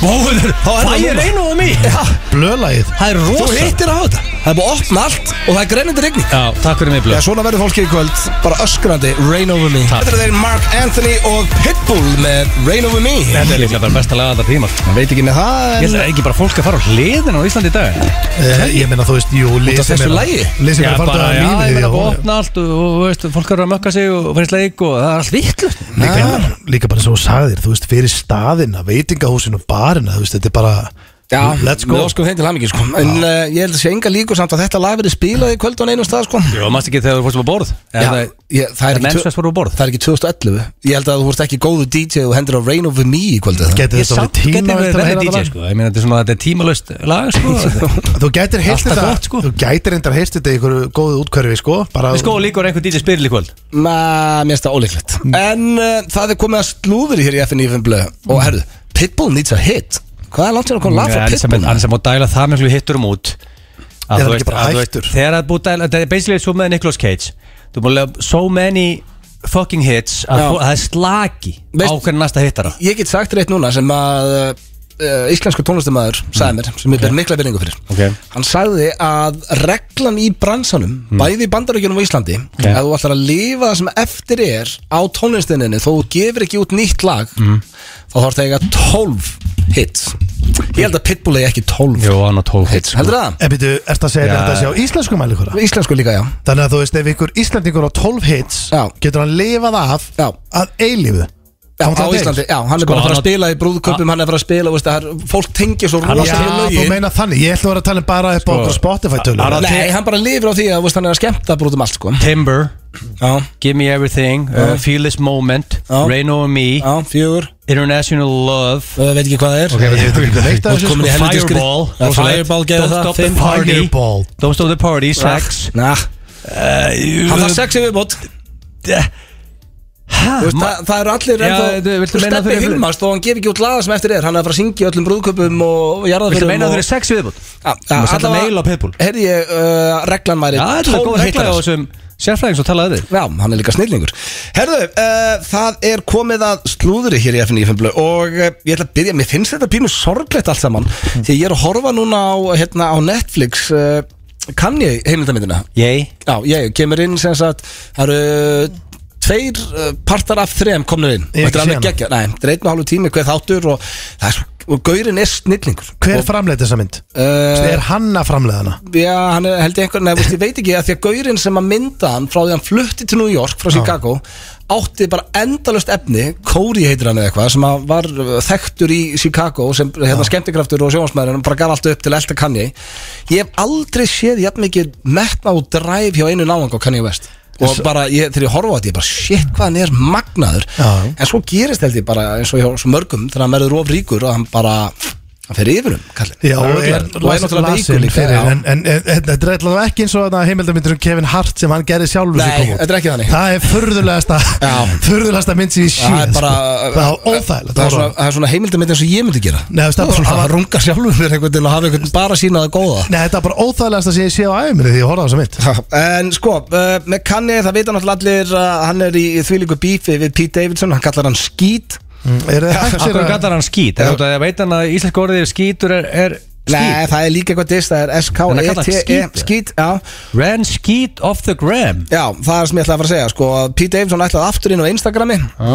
S1: Þá er það
S2: Það
S1: núna.
S2: er rain over me
S1: Já,
S3: blöðlagið
S2: Það er
S1: þú
S2: rosa
S1: hittir á þetta, það er búið að opna allt og það er grenjandi rigning
S2: Já, takk fyrir mig
S1: Já,
S2: blöð
S1: svona verður fólki í kvöld, bara öskrandi, Rain Over Me
S2: Takk.
S1: Þetta er þeir Mark Anthony og Pitbull með Rain Over Me
S2: Þetta er líklega bara besta laga allar tíma
S1: Ég veit ekki með það,
S2: Ég
S1: en
S2: ætla ekki bara fólk að fara á hliðin á Íslandi í dag
S3: Eh, Ég meina þú veist, jú, lið
S1: af
S3: sem
S1: þessu
S3: er að-
S1: lagi?
S3: Lið sem er að fara
S2: bara,
S3: það
S2: já, ég
S3: lífið
S2: meina bara
S3: já, já.
S2: opna allt og, og veist, fólk er að mökka sig og fara í sleik og það er allt vittlust
S3: líka, líka bara svo sagðir, þú veist, fyrir staðina veitingahúsin og barina, þú veist, þetta er bara
S1: Já,
S3: let's go
S1: Við óskum þeim til hamingi, sko En uh, ég held að sé enga líkur samt að þetta lag verið spilað í kvöld á einum stað, sko
S2: Jó, maður ekki þegar þú fórstum á borð
S1: Já, ég, það, er
S2: En
S1: ekki tvö-
S2: mensvest voru á borð
S1: það er ekki 2011 Ég held að þú vorst ekki góðu DJ og hendur á Rain Over Me í kvöld eða?
S3: Gæti
S2: Ég
S3: þetta
S2: samt
S3: orðið
S2: geti
S3: tíma
S2: verið
S3: eftir að
S2: verið
S3: heyra
S2: DJ
S3: þetta
S2: sko Ég meina þetta er svona þetta er tímalöst lag sko
S3: lag? Þú gætir heyrst
S2: Alltaf
S3: þetta
S2: gott, sko.
S3: Þú gætir endar heyrst þetta í einhverju góðu útkverfi sko, bara
S2: Við sko líkur einhver DJ spyrir líkvöld
S1: Ma, Mér finnst það ólíklegt
S2: Mm.
S1: En uh, það er komið að slúður hér í FNF blöð
S2: Mm.
S1: Og herðu, Pitbull needs a hit Hvað er langt sér að koma lag
S2: Nei,
S1: frá
S2: hann sem-
S1: Pitbull?
S2: Hann sem má dæla það miklu hitturum út að
S3: Er hann
S2: þú
S3: ekki
S2: veist-
S3: bara
S2: að þú veist,
S3: hættur?
S2: Þegar það er búið að dæla Þetta er basically svo með Nicolas Cage Þú búið að lega so many fucking hits að
S1: Já.
S2: þú- að það er slagi á
S1: Veist-
S2: hvernig næsta hittara
S1: Ég get sagt rétt núna sem að uh, íslensku tónlistamæður sagði mér sem ég ber mikla verðingu fyrir
S2: Mm. Ok.
S1: hann sagði að reglan í bransanum bæði í bandaríkjunum og Íslandi
S2: Mm. Ok.
S1: að þú ætlar að lifa það sem eftir er á tónlistinni þó þú gefur ekki út nýtt lag mm. þá þarf það eiga 12 hits ég held að Pitbull eigi ekki 12
S2: Jó, hann á 12 hits
S1: hits heldur það?
S3: En byrju, ert Eh, að segja
S2: Já.
S3: þetta að sjá íslensku mæli hvora?
S1: Íslensku líka já
S3: Þannig að þú veist, ef ykkur íslendingur á 12 hits
S1: Já.
S3: getur hann lifað af
S1: Já.
S3: að eilífu
S1: Já, á
S3: Þá það
S1: Íslandi,
S3: til.
S1: já, hann er
S2: Sko,
S1: bara að fara að
S2: hann á-
S1: spila í brúðköpum, hann er að fara að spila, veist, það er, fólk tengir svo
S2: Hann á-
S1: rosa til
S3: Já, þú
S1: lögin
S3: meina þannig, ég ætla að vera að tala um bara upp
S2: Sko,
S3: á okkur Spotify
S2: hann á-
S3: tölur
S1: Nei, hann bara lifir á því að veist, hann er að skemmta brúðum allt, sko
S2: Timber,
S1: Já,
S2: Give Me Everything uh, Feel This Moment
S1: Já.
S2: Rain Over Me
S1: já, fjögur
S2: International Love
S1: uh, Veit ekki hvað það er
S3: Ok, veit- veit- veit- veit-
S1: Þú ert komin í helviti skrið
S2: Fireball
S1: Fireball gerði
S2: Don't
S1: það
S2: Stop the
S1: fimm-
S2: Party
S3: Fireball.
S2: Don't Stop the Party Sex
S1: Na,
S2: Hann
S1: hann þarf sex í viðbót
S2: Eh,
S1: Þú veist, það, það eru allir
S2: Já,
S1: ennþá
S2: þú- viltu
S1: Þú
S2: meina
S1: steppi
S2: fyrir-
S1: hilmast og hann gefur ekki út laga sem eftir er Hann er að fara að syngja í öllum brúðköpum og jarðaförum
S2: Viltu meina að þau eru sex viðbútt? Þú maður senda mail á Pitbull.
S1: Herði ég, uh, reglan væri
S2: Já, þetta er
S1: 12
S2: góð regla á
S1: heitarar.
S2: þessum sérfræðing sem talaði við
S1: Já, hann er líka snillingur Herðu, uh, það er komið að slúðri hér í FNF og uh, ég ætla að byrja, mér finnst þetta pínu sorglegt allt saman
S3: Mm.
S1: því ég er að horfa núna á, hérna, á Netflix uh, kann ég heimildamindina
S2: Yay
S1: Já, ég kemur inn sem sagt það eru tveir eh, partar af þrem komnir inn
S3: Ég hef
S1: Þetta er alveg
S3: ekki séð
S1: geggja, nei, þetta er einn og hálfu tími hver þáttur og, það er, svo- og gaurin er snillingur
S3: Hver framleiði þessa mynd?
S1: uh,
S3: Er hann að framleiða hana?
S1: Já, hann er, held ég einhvern veginn, ég veit ekki að því að gaurinn sem að mynda hann frá því að hann flutti til New York frá Chicago átti bara endalust efni, Corey heitir hann eða eitthvað sem að var uh, þekktur í Chicago sem hérna skemmtikraftur og sjónsmaðurinn bara gaf allt upp til elda Kanye Ég hef aldrei séð jafn mikið metna og dræf hjá einu náðang á Kanye West og bara ég, þegar ég horfa á þetta, ég bara shit hvað hann er magnaður
S3: Já.
S1: en svo gerist held ég bara eins og hjá svo mörgum þegar hann verður of ríkur og hann bara hann fer yfir um, kallinn
S3: Já, og er,
S1: og er náttúrulega
S3: lasin
S1: veikur líka
S3: fyrir,
S1: já.
S3: en, en, en þetta er allavega ekki eins og þarna heimildarmyndir um Kevin Hart sem hann gerði sjálfur
S1: Nei,
S3: sem kom út.
S1: þetta er ekki þannig.
S3: Það er furðulegasta
S1: Já.
S3: furðulegasta mynd sem ég sé
S1: Það er bara
S3: Það er óþægilegt
S1: Það er svona, það er svona heimildamitt eins og ég myndi gera
S3: Nei, það er bara svona-
S1: Það runga sjálfur fyrir einhvern til að hafa einhvern bara sína það góða
S3: Nei, þetta er bara óþægilegasta sem ég sé á æfuminni því ég horfði á þessa mynd
S1: En sko, uh, með Kanye það vita náttúrulega allir að hann er í þvílíku bífi við Pete Davidson, hann kallar hann skít
S3: mm, Er það hægt sér
S2: Akkur
S3: að
S2: kallar hann skít Er þetta að veit hann að íslensk orðið er skítur er, er
S1: Nei,
S2: skít
S1: það er líka eitthvað dist, það er
S2: Hann er kallað
S1: S-K-E-T-E
S2: skít, ja.
S1: E, Skít, já
S2: Ran skít off the gram
S1: Já, það er sem ég ætlaði að fara að segja sko, að Pete Davidson ætlaði aftur inn á Instagrami uh,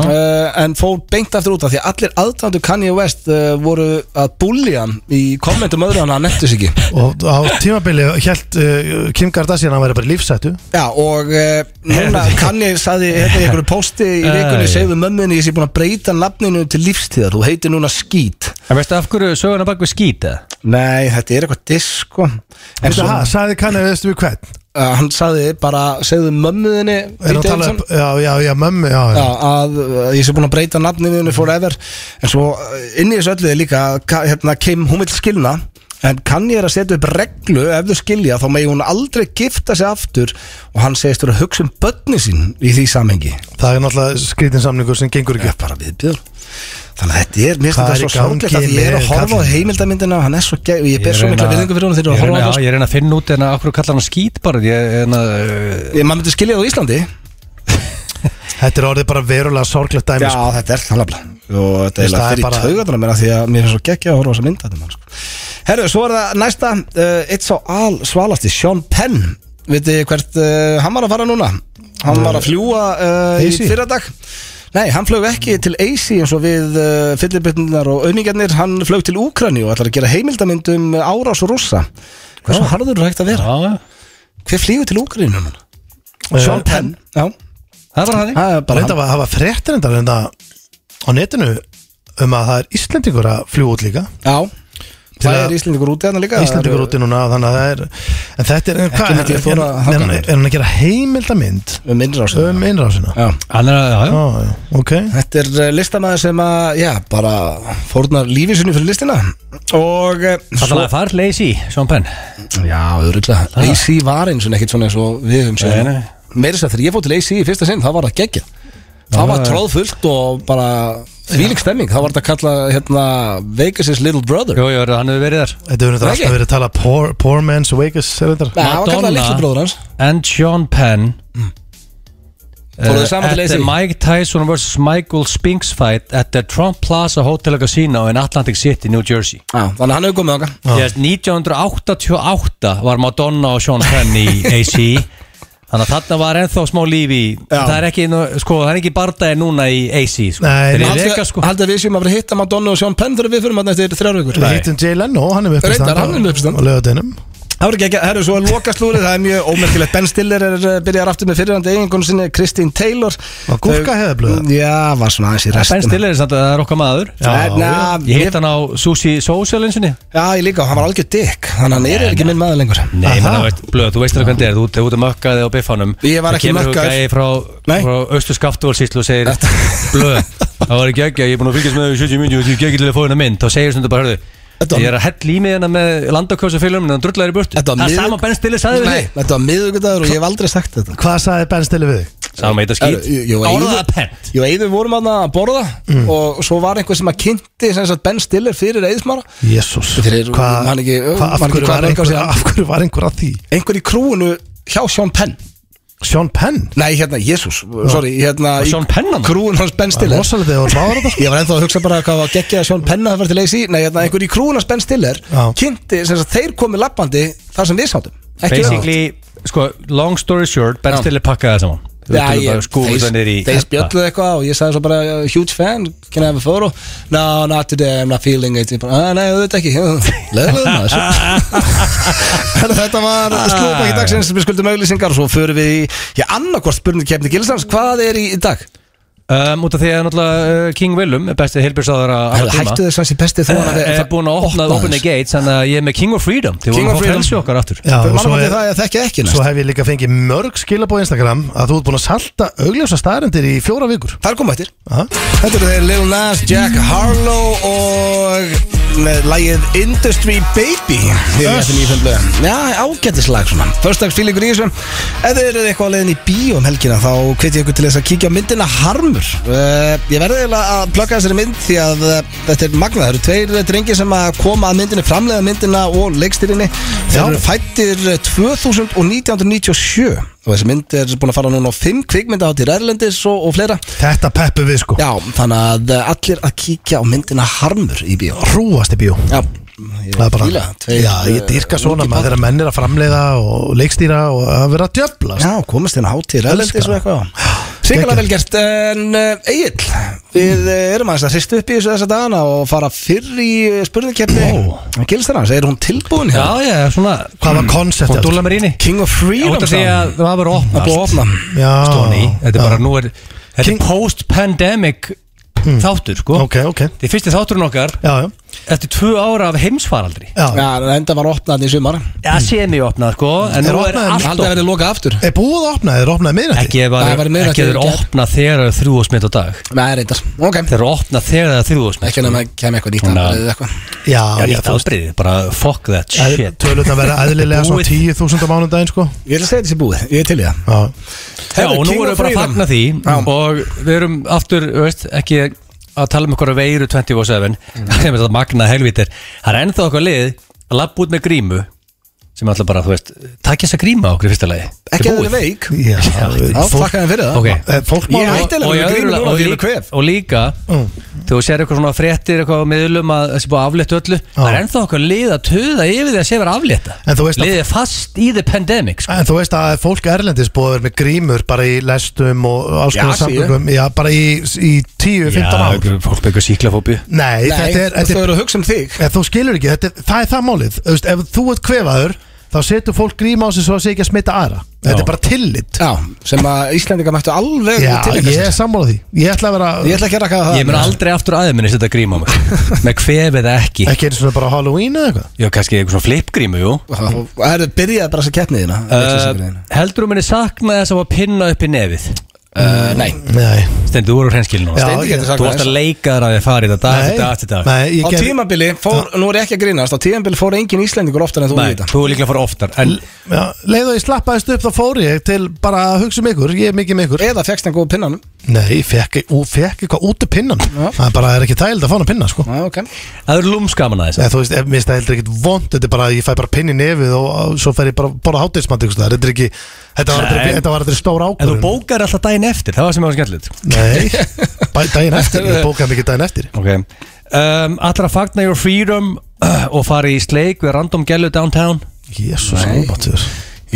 S1: en fór beint aftur út af því að allir aðtandu Kanye West uh, voru að búli hann í kommentum öðru hann að hann nettus ekki
S3: Og á tímabili held uh, Kim Kardashian að hann væri bara í lífsættu
S1: Já og uh, núna Kanye sagði hérna í einhverju pósti í vikunni
S2: Æ.
S1: segðu mömmunni ég sé búin að breyta nafninu til lífstíðar þú heitir núna Skít
S2: En veistu af hverju söguna bak við skít eða?
S1: Nei, þetta er eitthvað sko. disko En
S3: Svo,
S1: svo,
S3: ha, sagði kanni, veistu við hvern
S1: uh, hann sagði bara Segðu mömmuðinni
S3: Er að tala upp, já, já, já, mömmu, já,
S1: Já,
S3: já.
S1: að uh, ég sé búin að breyta nafninu henni forever En svo uh, inn í þessu öllu er líka að Ka- hérna, Kim, hún vil skilna En kann ég er að setja upp reglu ef þau skilja þá megi hún aldrei gifta sig aftur og hann segist vera að hugsa um börni sín í því samhengi.
S3: Það er náttúrulega skrítinsamningur sem gengur ekki
S1: Ég er
S3: upp
S1: bara viðbjör. Þannig að þetta er, mér
S3: Hvað
S1: finnst þetta
S3: er
S1: svo
S3: í gangi
S1: sorglegt að ég er að
S3: með
S1: horfa á
S3: kallinn?
S1: heimildamyndina og hann er svo gæð og ég ber svo mikla viðingu fyrir sko. hún þegar ég er að
S2: ég
S1: horfa á
S2: reyna, já,
S1: þessu.
S2: ég reyna að finna út en að okkur kallar hann skít bara ég, en að, uh,
S1: Ég- Maður myndi skilja það á Íslandi.
S3: Þetta er orðið bara verulega sorglegt dæmi
S1: Já,
S3: sko.
S1: þetta er þannig að og þetta er
S3: Veist, það
S1: eiginlega
S3: er
S1: fyrir
S3: bara-
S1: taugatana mér af því að mér finnst svo geggja að horfa á þessa mynd þetta mann sko. Herru, svo er það næsta uh, eitt sá al svalasti, Sean Penn veitu hvert uh, hann var að fara núna hann var
S3: Eh,
S1: að fljúa uh, í
S3: AC?
S1: fyrradag Nei, hann flög ekki til AC eins og við uh, fyllirbytnar og auðningarnir hann flög til Úkrani og ætlar að gera heimildamynd um árás og rússa Hversu harður er hægt að vera?
S2: já,
S1: Hver flýgur til Úkrani núna?
S3: Eh,
S1: Sean Penn, já
S2: það er bara þannig
S1: Það er bara hann.
S3: Reynda að hafa fréttir enda reynda á netinu um að það er Íslendingur að fljú út líka
S1: Já
S3: Til
S1: Það
S3: að-
S1: er Íslendingur úti hann líka
S3: Íslandingur
S1: Það eru-
S3: úti núna þannig að það er en þetta er, en hvað,
S1: myndi ég
S3: er,
S1: þora að haka
S3: er, er,
S1: mér.
S3: er hann að gera heimildamynd
S1: um innrásina
S3: um innrásina?
S1: já.
S2: hann er að, já, já,
S3: Já, já, ok
S1: Þetta er eh, listamaður sem að, já, bara fórnar lífið sinni fyrir listina og eh,
S2: það er að fara leysi, Sean Penn
S1: já, auðvitað, AC var eins og ekkert svona eins og við höfum séð
S2: Nei, nei.
S1: meira þess að þegar ég fór til AC í fyrsta sinn, það var að gegja það var tróðfullt og bara þvílik stemming, það var þetta að kalla hérna, Vegas' little brother
S2: jú, jú, hann hefur verið þar
S3: Þetta hefur þetta
S1: Ekki?
S3: alltaf verið að tala poor, poor man's Vegas er þetta?
S1: Nei, það var að kalla
S2: Madonna.
S1: little brother hans
S2: and Sean Penn
S1: Fóruðu
S2: uh,
S1: saman til
S2: at the
S1: AC?
S2: Mike Tyson vs. Michael Spinks fight at the Trump Plaza Hotel Casino in Atlantic City, New Jersey
S1: já, þannig að hann hefur komið okkar
S2: Yes, 1988 var Madonna og Sean Penn í AC Þannig að þarna var ennþá smá líf í
S1: Já.
S2: Það er ekki, nú- sko, það er ekki bardaði núna í AC sko.
S3: Nei,
S2: Þeir eru í
S1: Haldið
S2: Vegas, sko.
S1: haldið að við séum að vera að hitta Madonna og Sean Penn þegar við fyrir maður eftir þrjár vikur
S3: Við hittum Jay Leno, hann er með
S1: Reyndar, hann er með uppistand.
S3: á lögadeinum
S1: Það voru ekki, herru, svo er loka slúrið, það er mjög ómerkilegt Ben Stiller er, eh, byrjar aftur með fyrirhandi eiginkonu sinni, Kristín Taylor
S3: Var gúrka
S1: Þau-
S3: heiðablöð?
S1: Já, var svona aðeins í restina
S2: Ah, Ben Stiller er samt að það er okkar maður
S1: Já, na,
S2: Ég
S1: ég,
S2: hitt hann á Susi Social einsinni
S1: já, ég líka, hann var algjör dick Þannig að hann er ekki minn maður lengur
S2: Nei, menn,
S3: Aha.
S2: veist, blöð, þú veist alveg hvernig þetta er, þú ert út að mökkaði á biffanum
S1: Ég var ekki mökkaður.
S2: Það kemur hún
S1: Nei.
S2: gæði frá, frá Östu Skaftúarsýslu og segir Blöð, það var ekki ekki, ég er búin að fylgjast með þau í 70 minni og ég er ekki til að fá hérna mynd Þá segir stundum bara,
S1: Þetta
S2: hörðu,
S1: var-
S2: ég er að hella í mig hérna með landakjósafilum en það drullar í burtu
S1: Þetta var
S2: Það er
S1: miður-
S2: sama Ben Stiller sagði við
S1: Nei,
S2: þig
S1: þetta var miðugudagur og ég hef aldrei sagt þetta
S3: Hvað sagði Ben Stiller við þig?
S2: Sama eitthvað skýt,
S1: Herru, ég- ég var í-
S2: orðaða pent
S1: Ég og Eiður vorum aðna að borða Og svo var einhver sem að kynnti sem sagt, Ben Stiller fyrir Eiðsmara
S3: Jésús
S1: Þeir eru-
S3: Hvað,
S1: man ekki-
S3: hvað- af
S1: man ekki
S3: hverju
S1: hvað
S3: var
S1: mörg á
S3: einhver-
S1: síðan.
S3: af hverju var einhver að því?
S1: Einhver í krúinu hjá Sean Penn
S3: Sean Penn?
S1: Nei, hérna, Jesus, sorry hérna,
S2: Var
S1: í
S2: Sean Penn þarna?
S1: Krúin hans Ben Stiller
S3: Rosalega þegar hún báður þetta sko.
S1: Ég var ennþá að hugsa bara hvað var geggjað að Sjón Penna það var til leiðis í Nei, hérna, einhver í krúnas Ben Stiller
S3: Já.
S1: Kynnti, sem sagt, þeir komið lappandi þar sem við sátum Ekki
S2: Basically, sko, long story short, Ben
S1: Já.
S2: Stiller pakkaði það saman
S1: við. Já, ég,
S2: Skúðanir í
S1: þeir, þeir spjölluðu eitthvað og ég sagði svo bara uh, huge fan, can I have a photo? No, not today, I'm not feeling it Ég bara, "Ah, Nei, auðvitað ekki, leðilegum maður Þannig að Þetta var slúpa í dagsins, við skuldum auglýsingar og svo förum við í, já, annarkvort spurning kemni Gilsans, hvað er í, í dag?
S2: Um, út af því að náttúrulega uh, King Willum er bestið heilbjörnsáðara
S1: Hættu þess að þessi besti þú
S2: Það er Eh, búin að opna Open the Gates Þannig að ég er með King of Freedom Eh, Þið
S1: King
S2: vorum
S1: of
S2: að fá
S1: Freedom.
S2: frelsi okkar aftur
S3: Já,
S1: Fyrir
S3: og svo
S1: mannfandi
S3: er-
S1: það að þekkja ekki næst
S3: Svo hef ég líka fengið mörg skilabóð Instagram að þú ert búin að salta augljósa staðarendir í fjóra vikur
S1: Það er komað eftir
S3: Aha.
S1: Þetta eru þeir Lil Nas, Jack Harlow og með lægið Industry Baby Hér er nýjum blöðum Já, ágættislag svona Förstags fílingur í þessu Ef þeir eru eitthvað á leiðin í bíó um helgina þá hveti ég ykkur til þess að kíkja á myndina Harmur uh, Ég verði eiginlega að plugga þessari mynd því að uh, þetta er magnað Það eru tveir eh, drengir sem að koma að myndinni framlega myndina og leikstyrinni Þeir
S3: Já.
S1: eru eh, fættir 2097 og þessi mynd er búin að fara núna á fimm kvikmynda áttir Erlendis og, og fleira
S3: Þetta peppu við sko
S1: Já, þannig að eh, allir að kíkja á myndina Harmur í bíó
S3: Hrúast í bíó
S1: Já,
S3: Það er bara, já,
S1: eh,
S3: ég dyrka svona maður þegar menn er að framleiða og leikstýra og að vera að djöfla
S1: Já, komast þérna hátíð,
S3: Elska.
S1: ræðlendis og eitthvað Sigurlega
S3: Geggjað.
S1: vel gert, en uh, Egil, við uh, erum aðeins að hristu upp í þessu þessa dagana og fara fyrr í eh, spurningkeppni Gilstana, er hún tilbúin
S2: Já,
S1: hér?
S2: já, svona
S3: Hvað var konceptið?
S2: Hún dúla mér inni
S1: King of Freedom
S2: Út af því
S1: sagði
S2: að
S1: hann.
S2: það
S1: Það
S2: var
S1: er
S2: opnað
S1: búið að opna
S3: Já,
S2: Stóni Þetta er bara,
S3: Já.
S2: nú er Þetta er post-pandemic þáttur, sko
S3: Ok, ok
S2: Þið fyrsti þátturinn okkar
S3: Já, já
S2: eftir tvö ára af heimsfaraldri
S3: Já.
S1: Já, en enda var opnað í sumar
S2: Já, semi-opnað sko En
S3: Er
S2: nú er
S3: opnað
S1: Haldið
S2: allt
S3: en
S1: að
S2: opnað
S1: verið loka aftur
S3: Er búið að opna? Er opnað miðnætti?
S2: Ekki ef
S1: Það var
S2: að-
S1: meira
S2: ekki ef
S1: til
S2: þeir
S1: í gær.
S2: opnað þegar það er þrjúðsmitt á dag
S1: Nei, reyndar, ok
S2: Þeir eru opnað þegar það er þrjúðsmitt
S1: Ekki nema að kemja eitthvað nýtt
S2: Svona-
S1: afbrigði eða eitthvað.
S3: Já,
S2: Já,
S3: já,
S2: nýtt
S3: þú veist
S2: afbreyði, bara fuck that shit
S3: Tölut að vera eðlilega svo
S2: Búið.
S3: 10.000 á mánundaginn sko
S1: Ég ætla að segja þessi búið, ég er til í það
S3: Já,
S2: Já,
S1: Herðu,
S2: og nú
S1: King of
S2: erum við bara að
S1: Freedom.
S2: fagna því
S1: Já.
S2: Og við erum aftur, þú veist, ekki að tala um okkur veiru 24-7
S1: Mhm.
S2: sem er þetta magna helvítir Það er ennþá okkar lið að labba út með grímu sem alltaf bara, þú veist, takk þess að gríma okkur í fyrsta lagi
S1: Ekki að það er veik
S3: já,
S1: Já,
S3: fólk-
S1: þakka þeim fyrir það
S2: Ok.
S3: eh, Fólk má
S1: Ég
S3: alveg-
S1: hætti alveg
S2: Og í
S1: með
S2: öðru
S1: grímu
S2: lagi-
S1: núna
S2: og
S1: því ég
S2: lí-
S1: er kvef.
S2: Og líka,
S3: Mm.
S2: þú sér eitthvað svona fréttir eitthvað á miðlum að þessi búið að aflétta öllu Það er ennþá okkar lið að töða yfir því að sé verið að aflétta
S3: En þú veist að-
S2: Liðið er fast í the pandemic sko.
S3: En þú veist að fólk erlendis búið að vera með grímur bara í lestum og alls
S1: Já,
S3: konar
S1: síðu.
S3: samgöngum Já, bara í, í 10-15 ár
S2: Já, fólk byggur síklafóbíu
S3: Nei,
S1: Nei,
S3: þetta er,
S1: þú
S3: þetta er,
S1: eru að hugsa um þig
S3: er Þú skilur ekki, þetta er, það er það málið Þú veist, Ef þú ert kvefaður þá setur fólk gríma á sig svo að sé ekki að smita aðra Þetta er bara tillit
S1: Já, sem að Íslendinga mættu alveg
S3: Já,
S1: tileinka
S3: ég
S1: sér.
S3: er sammála því Ég ætla að vera
S1: Ég ætla ekki að raka það
S2: Ég mun aldrei aftur aðeiminnist þetta gríma á mig Með kvef eða ekki
S3: ekki eins og bara Halloween eða eitthvað
S2: Já, kannski eitthvað svona flipgrímu, jú
S1: Það er byrjaði bara þess að keppni þína
S2: uh,
S1: vitleysingurinn.
S2: Heldur þú minni sakna þess að var pinna upp í nefið?
S1: Uh, Nei,
S3: Nei,
S2: Stendur, þú eru hreinskilin núna
S3: Já,
S1: Steindi getur sagt
S2: Þú varst
S1: það
S2: að leika þar að þið farið þetta dag eftir dag eftir dag
S3: nei, ég
S1: Á
S3: ger
S1: tímabili, fór, nú er ég ekki að grínast Á tímabili fór engin Íslendingur oftar en þú
S2: Nei,
S1: veit
S2: þú er líklega að fara oftar En
S3: já, Leið og ég slappaðist upp þá fór ég til bara að hugsa um ykkur Ég er mikið með ykkur
S1: Eða fegst en góð pinnanum
S3: Nei, ég fekk, e- ú, fekk eitthvað út af pinnan Það er bara er ekki tæld að fá hana pinna sko.
S1: Já, ok
S2: það eru lúmskaman að þess
S3: Eða, Þú veist, ef- mér finnst það heldur ekkit vond Þetta er bara að ég fæ bara pinni í nefið og, og svo fer ég bara að borða hátíðismandi Þetta er ekki, þetta var aldrei-
S2: Nei.
S3: þetta var aldrei stór
S2: En þú
S3: ákvörðun
S2: bókar alltaf daginn eftir, það var sem ég var skemmtilegt
S3: Nei, bæ- daginn eftir, ég bókaði mikið daginn eftir
S2: Ok um, Allra fagna your freedom uh, og fara í sleik við random gælu downtown
S3: Jésús,
S1: Nei.
S3: óbáttur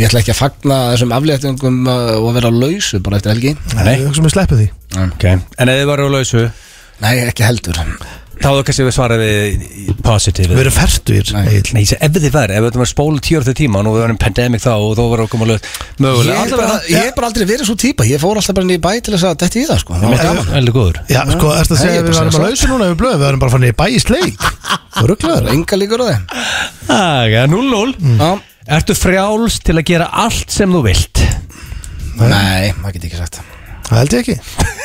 S1: Ég ætla ekki að fagna þessum afléttingum uh, og vera lausu bara eftir helgi
S2: Nei.
S3: Ég hugsa mér sleppið því
S2: Ok En ef þið varu á lausu
S1: Nei, ekki heldur
S2: þá þú kannski við svarað við positive
S3: Við erum ferstuðir
S1: Nei.
S2: Nei, ég segi ef þið var, ef við varum að spóla tíu ára til tíma og nú við varum pandemic þá og þá varum við komað lög
S1: Ég
S2: mögulega
S1: er,
S2: Allavega
S1: bara,
S2: það-
S1: ég er bara aldrei verið svo típa Ég fór alltaf bara niður í bæ til þess að detti í það sko. Það var
S2: Þetta
S1: gaman
S2: er Veldig góður
S3: Já, sko, ertu að
S1: Nei,
S3: segja
S1: ég
S3: að við
S1: bara
S3: varum
S1: segi
S3: að lausa núna við blöðum, við varum bara fannig í bæ í sleik Þú rugglaður
S1: Enga líkur á þeim
S2: Aga, 0-0
S1: Já.
S2: Ertu frjáls til að gera allt sem þú vilt
S1: Nei, maður get ekki sagt
S3: Það held ég ekki,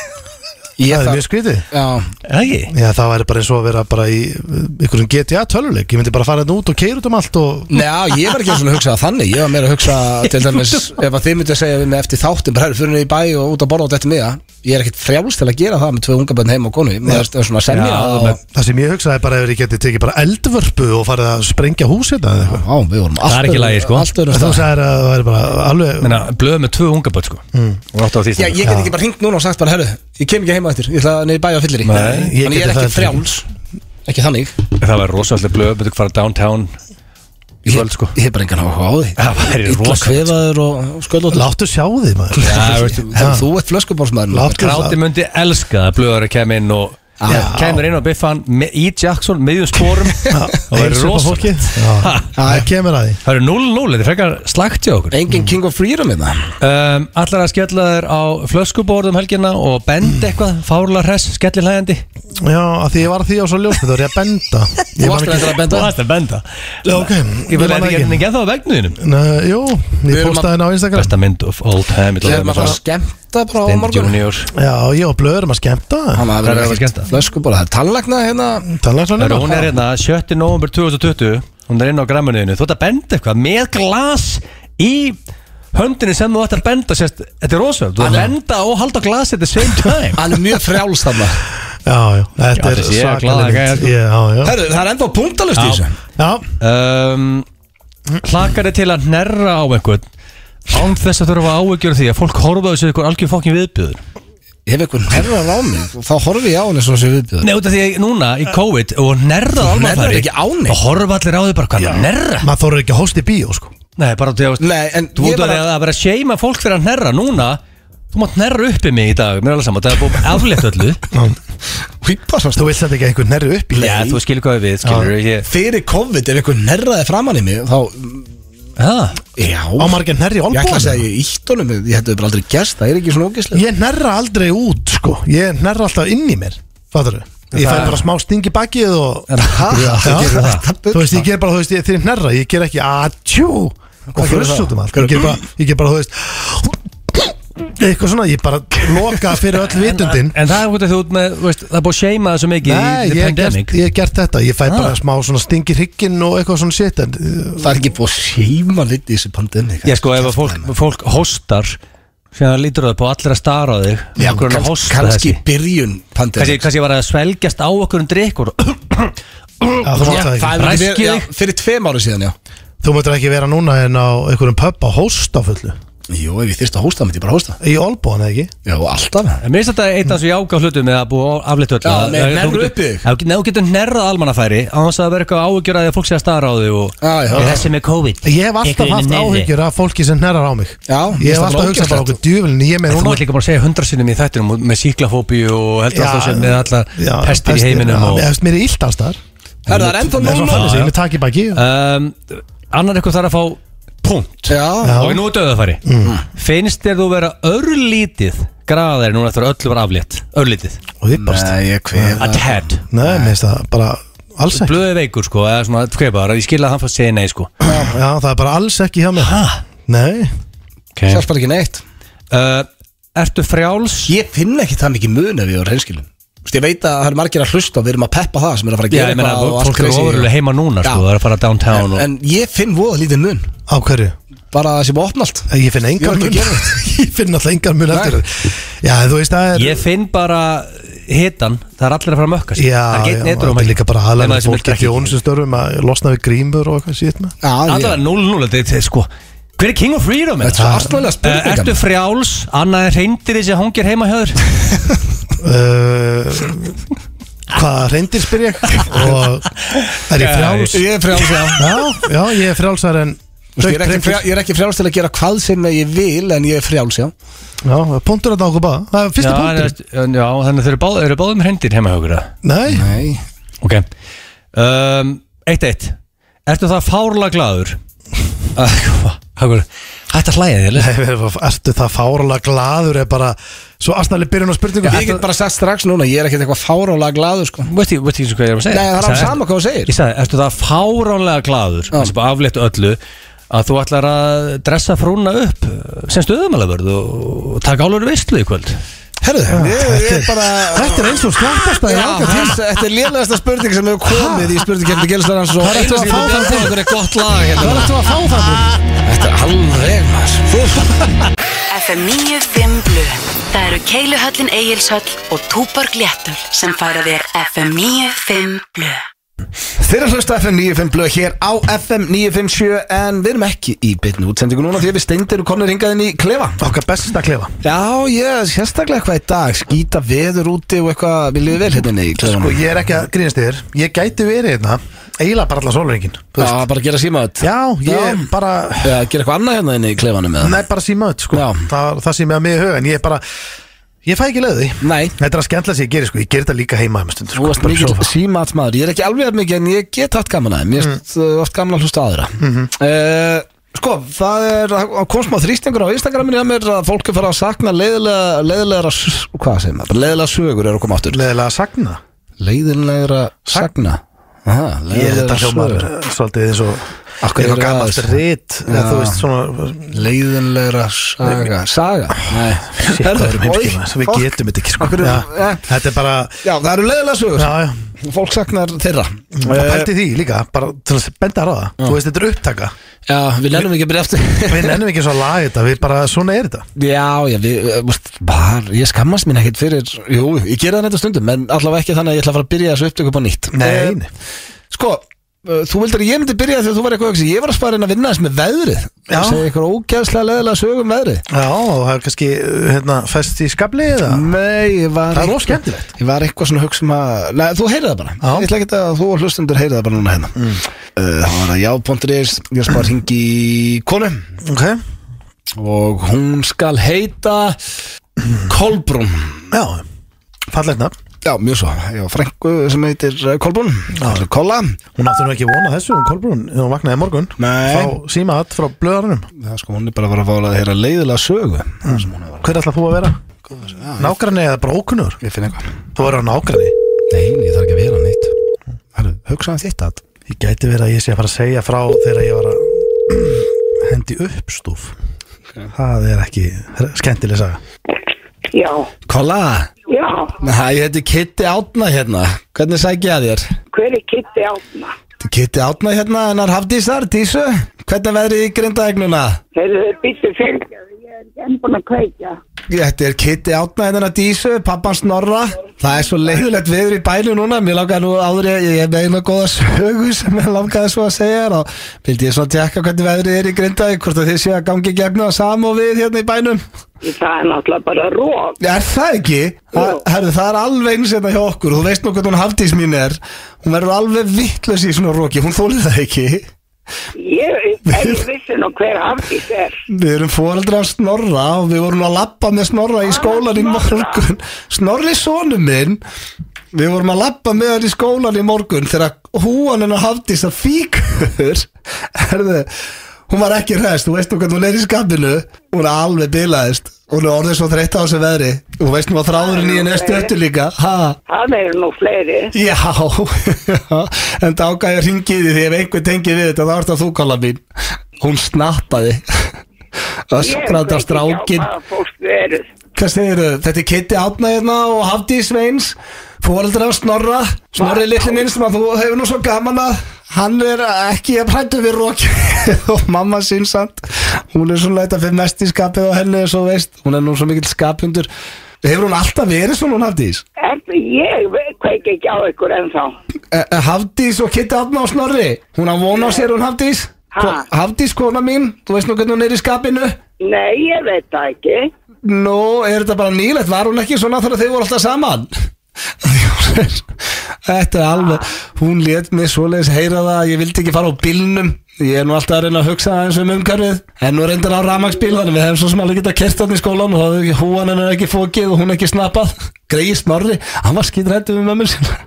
S1: Ég
S3: það er
S1: þarf-
S3: mjög skrítið
S1: Já,
S2: Er það ekki?
S3: Já, það væri bara eins og að vera bara í uh, einhverjum GTA töluleik, ég myndi bara fara þetta út og keira út um allt og
S1: Njá, ég var ekki svona að hugsa það þannig Ég var meira að hugsa til dæmis Ef að þið myndu að segja við mig eftir þáttum Bara herru, fyrir niður í bæ og út að borða út eftir miða Ég er ekkit frjáls til að gera það með tvö unga bönn heim og konu Maður er svona að semja
S2: Já,
S1: og-
S2: með-
S3: það sem ég hugsaði bara ef ég geti tekið bara eldvörpu og farið að sprengja hús hérna eða eitthvað.
S1: Já, við vorum
S2: Það er ekki
S1: öðru-
S2: lagi, sko.
S1: allt öðrum
S3: En Þú
S1: stað.
S3: sagðir að það væri bara alveg
S2: Meina, blöð með tvö unga börn sko og átt á því
S1: Mm. Já,
S2: stundum.
S1: ég get ekki bara hringt núna og sagt bara Herru, ég kem ekki heima eftir Ég ætla niður í bæ og fyllir í
S3: Nei,
S1: Þannig ég
S3: ég
S1: er
S3: geti
S1: ekki
S3: það heldur
S1: frjáls Ekki þannig
S2: Það væri rosalega blöð, betur fara downtown í
S1: Ég
S2: kvöld sko
S1: ég hef bara engan áhuga á því
S2: Það væri
S1: Ítla
S2: rosalegt.
S1: kvefaður og sköldótt
S3: Láttu sjá þig maður
S2: Já, veistu,
S1: Þú ert flöskubórsmaður
S3: Láttu
S2: Gráti myndi elska það að blöðari kem inn og
S1: Já.
S2: kemur inn á biffan me- í Jackson, miðjum sporum og verður
S3: Heilsa upp á
S2: rosa
S3: fólki. Já. Það kemur að því
S2: Það eru 0-0, þetta er frekar slagt hjá okkur
S1: Engin King of Freedom hérna. í það
S2: um, Allar að skella þér á flöskuborðum helgina og bend eitthvað, fárla hress, skellilhæðandi
S3: Já, að því ég var að því á svo ljósmið, þá er ég að benda
S1: Þú
S3: Ég man
S1: varst
S3: ekki
S1: reyndar að benda
S2: Þú varst að benda
S3: Já, ok,
S2: Ég
S3: ég
S2: vil
S3: man
S2: ekki
S3: ekki
S2: hérna ekki að það á vegnuðinum
S3: Nei, Jú,
S1: Við
S3: ég
S1: erum
S3: postaði henni á Instagram
S2: Besta mynd of all time
S1: Ég er maður að fara að skemmta bara á
S2: Stendi
S1: morgun
S2: Junior
S3: Já, ég og Blöð erum að skemmta
S1: Hann að
S2: Það er
S1: vera
S2: alveg skemmta.
S1: ekkert flöskubóra Það er tannlagna hérna
S3: Tannlæknarnir
S2: Herru, Hún er hérna 7. november 2020 Hún er inn á grammunuðinu Þú ætti að benda eitthvað með glas í höndinu sem þú ætti að benda sérst, Þetta er rosalega Þú ætti að benda og halda glas at the same time
S1: Hann er mjög frjáls þarna
S3: Já, já, þetta er
S2: þessi ég er glaður
S3: svakalega
S2: gæjar,
S3: mynd.
S2: sko.
S3: Já, já
S1: Herru, það er ennþá punktalust í
S2: Já.
S1: þessu
S3: Já,
S2: um, Hlakar þið til að nerra á einhvern Án þess að þurfa áhyggjur af því að fólk horfa á þessu eitthvað algjör fokkin viðbjöður
S1: Ég hef einhvern herrar á mig og Þá horfi ég á henni svona sem viðbjöður
S2: Nei, út af því að núna í COVID og nerrað
S1: Þú nerrar
S2: almannfæri
S1: ekki á neitt.
S2: Og horfa allir á því bara hvað er að nerra
S3: maður þóru ekki að hósti í bíó sko
S2: Nei, bara því að
S1: Nei, en
S2: Þú
S1: ég
S2: út af því
S1: bara
S2: að að vera að seima fólk fyrir að nerra núna Þú mátt nerra uppi mig í dag, mér er alveg saman Það er búið aflétt öllu
S1: Hýpa svo
S3: Þú vilt þetta ekki að einhvern herri upp í
S2: Já, þú skilur hvað við, skilur ég
S1: Fyrir COVID ef einhvern herraði framann í mig Þá,
S2: Ha,
S1: já
S3: Á margir herri
S1: Ég ætla að segja
S3: olbóðan
S1: ég ítt honum Ég hættu bara aldrei gerst Það er ekki svona ógislega
S3: Ég nerra aldrei út sko Ég nerra alltaf inn í mér Fattur þau? Ég fæ bara smá sting í bakið og Já,
S1: gerir
S3: já.
S1: það.
S3: Þú veist, ég ger bara, þú veist, ég þeir hnerra Ég ger ekki "Ah, atjú og
S1: Hvað gerir
S3: fruss
S1: það?
S3: út um allt Ég ger bara, ég ger bara, þú veist Eitthvað svona, ég bara loka fyrir öll vitundin
S2: En það er út af því út með, þú veist, það er búið að seima það svo mikið í
S3: Nei, ég
S2: the
S3: hef gert,
S2: pandemic
S3: ég hef gert þetta Ég fæ bara
S2: Ah.
S3: smá svona sting í hrygginn og eitthvað svona shit en, uh,
S1: Það er ekki búið að seima lítið í þessu pandemik
S2: Ég sko, ef að fólk, fólk hostar sem það lítur það på allir að stara á þig
S1: Já,
S2: okkur en að
S1: kann-
S2: hosta
S1: kannski
S2: þessi
S1: byrjun
S2: Kannski,
S1: pandemik
S2: kannski var að svelgjast á okkur um drikk og
S3: já, Þú mátt það ekki
S2: Ræskið
S4: verið-
S2: þig.
S4: já, fyrir tveim ári síðan, já
S3: Þú máttur ekki vera núna en á einhverjum pub á hósta fullu
S1: Jú, ef ég þyrst að hósta, myndi ég bara hósta
S3: Í Olbóan, eða ekki?
S1: Já, alltaf
S2: En Mér finnst þetta eitt af þessu jáka hlutum með að búa aflitt öll
S4: Já,
S2: Að-
S4: með
S2: að-
S4: nerru
S2: þú getur-
S4: upp í þig.
S2: Já, Ef þú getur nerrað almannafæri á hans að vera eitthvað áhugjur að því að fólk sé að stara á þig og
S4: Já, já.
S2: Ég, þessi með COVID
S3: Ég hef alltaf haft áhyggjur af fólki sem hnerrar á mig
S4: Já,
S3: Ég hef
S4: það var
S3: alltaf hugsað bara
S4: ógeðslegt.
S3: okkur djúvelin Ég er með
S2: Þú
S3: núna
S2: ert líka bara að segja hundra sinnum í þættinum og- með síklafóbíu og heldur alltaf sem með alla
S3: já,
S2: pestir í
S3: pestir,
S2: heiminum
S3: já,
S2: og
S3: mér- Mér er illt allstaðar
S4: Herra, það er ennþá
S3: Það er svona
S4: núna
S3: þannig sem ég er með takk í baki
S2: um, Annar eitthvað þarf að fá punkt
S4: Já,
S3: Já.
S2: Og nú döðafæri Finnst þér þú vera örlítið graðar núna eftir að öllu var aflétt Örlítið
S3: Og vippast
S1: Nei, ég kveð
S2: A tad
S3: Nei, mér finnst það bara alls ekki
S2: Blöði veikur sko eða svona skreipaðar Ég skil að hann fór að segja nei sko
S3: Já, það er bara alls ekki hjá mér Nei
S2: okay.
S4: hjálpar ekki neitt
S2: uh, Ertu frjáls?
S1: Ég finn ekki það mikið mun ef ég var reynskilin Ég veit að það er margir að hlusta og við erum að peppa það sem er að fara að
S2: Já,
S1: gera
S2: ég meina
S1: og allt
S2: fólk eru
S1: crazy.
S2: ofurlega heima núna sko
S1: Já.
S2: Það er að fara downtown
S1: en,
S2: og,
S1: en ég finn voða lítið mun
S3: Á hverju?
S1: Bara það sem opna allt
S3: Ég finn
S1: Ég
S3: engar
S1: var
S3: mun
S1: ekki að gera
S3: Ég finn alltaf engar mun eftir Já, en þú veist það er
S2: Ég finn bara hitan Það er allir að fara að mökka sig
S3: Já,
S2: Það er
S3: já,
S2: geitt netur
S3: þetta
S2: og
S3: er líka bara aðlega
S2: sem vil
S3: fólk ekki
S2: drekka
S3: ónsum störfum að losna við grímur og eitthvað síðan með
S1: Já,
S2: Allavega 0-0 Þetta er sko Hver er King of Freedom?
S1: Þetta er svo arsnalega
S2: Uh,
S1: spurningar
S2: ertu frjáls, annað er reyndir þessi hangir heima hjá þér
S3: Uh, Hvað reyndir spyr ég og er ég frjáls
S1: Ég er frjáls, já
S3: Já, já, ég er frjálsar en
S1: Þú veist, Ég er, ekki frjá, ég er ekki frjáls til að gera hvað sem ég vil En ég er frjáls, já
S3: Já, punktur að okkur báða Það er
S2: Já,
S3: fyrsti
S2: en,
S3: punktur
S2: veist, já, þannig að þeir eru báð, eru báðum reyndir heima hjá okkur
S3: Nei,
S1: Nei
S2: Ok um, Eitt eitt Ertu það fárlega glaður? Hætt að hlæja þig
S3: Nei, við- ertu það fáralega glaður er bara svo aðstæðlega byrjun á spurningu
S1: Ég get bara sagt strax núna, ég er ekkert eitthvað fárálega glaður sko.
S2: Veist ekki veist ekki eins og hvað ég er að segja
S1: Nei, það er
S2: Ég
S1: alveg
S2: sagði,
S1: sama hvað þú segir
S2: Ég sagði, ertu það fáránlega glaður Það sem bara aflétt öllu að þú ætlar að dressa frúna upp sem stöðumalavörð og, og taka álur veistlu í kvöld
S1: Herðu, ég, ég er bara
S3: Þetta er eins og slappast að
S1: Já,
S3: ég ákveð til
S1: þetta þetta er lélegasta spurning sem hefur komið í spurningkjöfni Gilsar Hansson
S3: Hvað ertu að fá það til?
S1: Þetta er gott lag
S3: Það
S1: hérna.
S3: er eftir að fá það til.
S1: Þetta er alveg maður
S5: FM 95 Blu Það eru Keiluhöllin Egilshöll og Túborg Léttul sem færa þér FM 95 Blu
S1: Þeir eru að hlusta á FM 95 blöð hér á FM 957 en við erum ekki í byrnu útsendingu núna því að við steindir og komnir hingað inn í klefa
S3: Okkar besta klefa
S1: Já, ég er sérstaklega eitthvað í dag skýta veður úti og eitthvað viljum við vel hérna inni í
S3: Sko,
S1: klefanum
S3: ég er ekki að grínast yfir Ég gæti verið hérna Eila bara allar sólringin
S1: Sko, Já, bara gera símaðut
S3: Já, ég
S1: Já.
S3: bara
S1: Já, gera eitthvað annað hérna inni í klefanum eða
S3: Nei, bara síma öll, sko
S1: Já.
S3: Það, það síma að mig í huga En ég er bara Ég fæ ekki leiði
S1: Nei.
S3: Þetta er að skemmtla sem ég gerir, sko Ég gerir þetta líka heima um stund,
S1: Þú
S3: sko
S1: varst
S3: bara í
S1: mikill
S3: sófa.
S1: símatsmaður Ég er ekki alveg að mikið en ég get hatt gaman að Mér erst mm. oft gaman að hlusta á aðra
S3: Mhm.
S1: mm Sko, það er það kom smá þrýstingur á Instagraminu hjá mér að fólk er fara að sakna leiðilega leiðilega, hvað segir maður, leiðilega sögur er að koma áttur
S3: Leiðilega að sagna
S1: leiðilega sagna Aha,
S3: Ég er
S1: leiðilegra
S3: þetta hljómar
S1: sögur.
S3: uh, svolítið eins og
S1: Af hverju
S3: eitthvað
S1: eru að
S3: gammalt
S1: þessu?
S3: rít eða
S1: Já.
S3: þú veist svona
S1: leiðinlegra saga saga, nei
S3: shit, það
S1: Herðu,
S3: eru heimskima
S1: oj,
S3: sem við
S1: fólk-
S3: getum þetta ekki sko
S1: Af hverju-
S3: Já.
S1: eh.
S3: Þetta er bara
S1: já, það eru leiðilega sögur
S3: Já, Mm. já
S1: fólk saknar þeirra
S3: Og
S1: Eh,
S3: pælti í því líka, bara til að benda að ráða Þú veist, þetta er upptaka
S1: já, við lennum ekki að byrja eftir
S3: Við nennum ekki svo að laga þetta, við bara, svona er þetta
S1: Já, já, við, eh, veist, bar, ég skammast mín ekkert fyrir, jú, ég gera það þetta stundum, en allavega ekki þannig að ég ætla að fara að byrja þessu upptöku upp á nýtt. Eh,
S3: Nei, nei.
S1: Sko, eh, þú vildir að ég myndi byrja þegar þú var eitthvað, öxi. ég var að spara inn að vinna þess með veðrið.
S3: Já.
S1: Það segja ykkur ógæðslega leðilega sögum um veðrið.
S3: Já, og það er kannski uh, hérna, fest í skabli eða
S1: Ah. Nei, ég var...
S3: Það er
S1: eitthvað-
S3: of skemmtilegt.
S1: Ég var eitthvað svona hugsa um að, nei, þú heyrið það bara.
S3: Já.
S1: Ég ætla ekki að þú og hlustundur heyrið það bara núna hérna. Mm. það var að já.is, ég var að spara hringi í konu
S3: Ok,
S1: og hún skal heita Kolbrún.
S3: já, fallegt nafn
S1: Já, mjög svo. Ég á frængu sem heitir eh, Kolbrún, allir Kolla.
S3: Hún átti nú ekki vona þessu, hún Kolbrún, þegar hún vaknaði í morgun
S1: Nei.
S3: Fá símaðat frá blöðarunum
S1: Já, sko, hún er bara að vera að fála að heyra leiðilega sögu. Mm.
S3: Hver ætlar þú að vera? Nágranni eða bara ókunnur?
S1: Ég finn eitthvað.
S3: Þú verður á nágranni
S2: Nei, ég þarf ekki að vera nýtt Hæru, hugsaði þitt að
S3: Ég gæti verið að ég sé að fara að segja frá þegar ég var að hendi uppstúf Það er ekki skemmtileg saga
S6: Já,
S2: Kolla,
S6: já,
S2: hæ, ég heiti Kitty Átna hérna Hvernig sækja ég að þér?
S6: hver er kitti átna?
S2: Þetta er Kitty Átna hérna, hennar Hafdísar, Tísu Hvernig er veðrið í grindægnuna?
S6: Þeir eru býttu fyrir, ég er ekki enn búin að kveikja.
S2: Þetta er Kitty Átna hérna, Dísu, pappans Norra Það er svo leiðulegt veður í bænu núna Mér langaði nú áður ég, ég er með einu góða sögu sem ég langaði svo að segja þér og vildi ég svo að tekka hvernig veðrið er í grindæg hvort að þið séu að gangi gegna sam og við hérna í bænum
S6: Það er náttúrulega bara rók.
S2: Er það ekki?
S6: Jú.
S2: Herðu, það er alveg eins hérna hjá okkur Þú veist nú hvernig hún hafdís mín er Hún verður alveg vittlös í svona roki Hún þólið það ekki
S6: Ég er ég vissi nú hver aftis er.
S2: Við erum fóreldra af Snorra og við vorum að labba með Snorra í skólan í morgun Snorri sonu minn Við vorum að labba með hann í skólan í morgun þegar húan hennar hafdís að fíkur Herðu, hún var ekki hræst, þú veist nú hvernig hún er í skapinu Hún er alveg bilaðist Hún er orðið svo þreytt á þessu veðri Þú veist nú að þráðurinn í henni er stöttu líka Ha?
S6: Það eru nú fleiri.
S2: Já, en þá gæði ég ringið í því ef einhver tengið við þetta þá ert það þú kalla mín Hún snappaði Öskranda strákin
S6: Ég veit ekki á hvað fólk þið eruð.
S2: Hvað segir þau? Þetta er Kitty Átnaðina og Hafdís Sveins Fóreldra af Snorra Snorri litli minn sem að þú hefur nú svo gaman að Hann er ekki að prættu við rók og mamma sínsand Hún er svona leita fyrir mest í skapið á henni svo veist, hún er nú svo mikill skapundur Hefur hún alltaf verið svona hún Hafdís?
S6: Ertu ég ve- kveik ekki á ykkur ennþá?
S2: Eh, eh, Hafdís og Kitty Átna og Snorri Hún á vona á sér hún Hafdís
S6: Ha?
S2: Ko- Hafdís kona mín, þú veist nú hvernig hún er í skapinu
S6: Nei, ég veit það ekki.
S2: Nú, er þetta bara nýlegt, var hún ekki svona þegar þau voru alltaf saman? þetta er alveg Hún let mig svoleiðis heyra það að Ég vildi ekki fara á bílnum Ég er nú alltaf að reyna að hugsa aðeins um umhverfið En nú reyndar á ramagsbílan Við hefum svo sem alveg getað kert hann í skólan Og þá hefði ekki húan hennar ekki fókið og hún ekki snappað Greið snorri, hann var skítrættu við mömmu sinna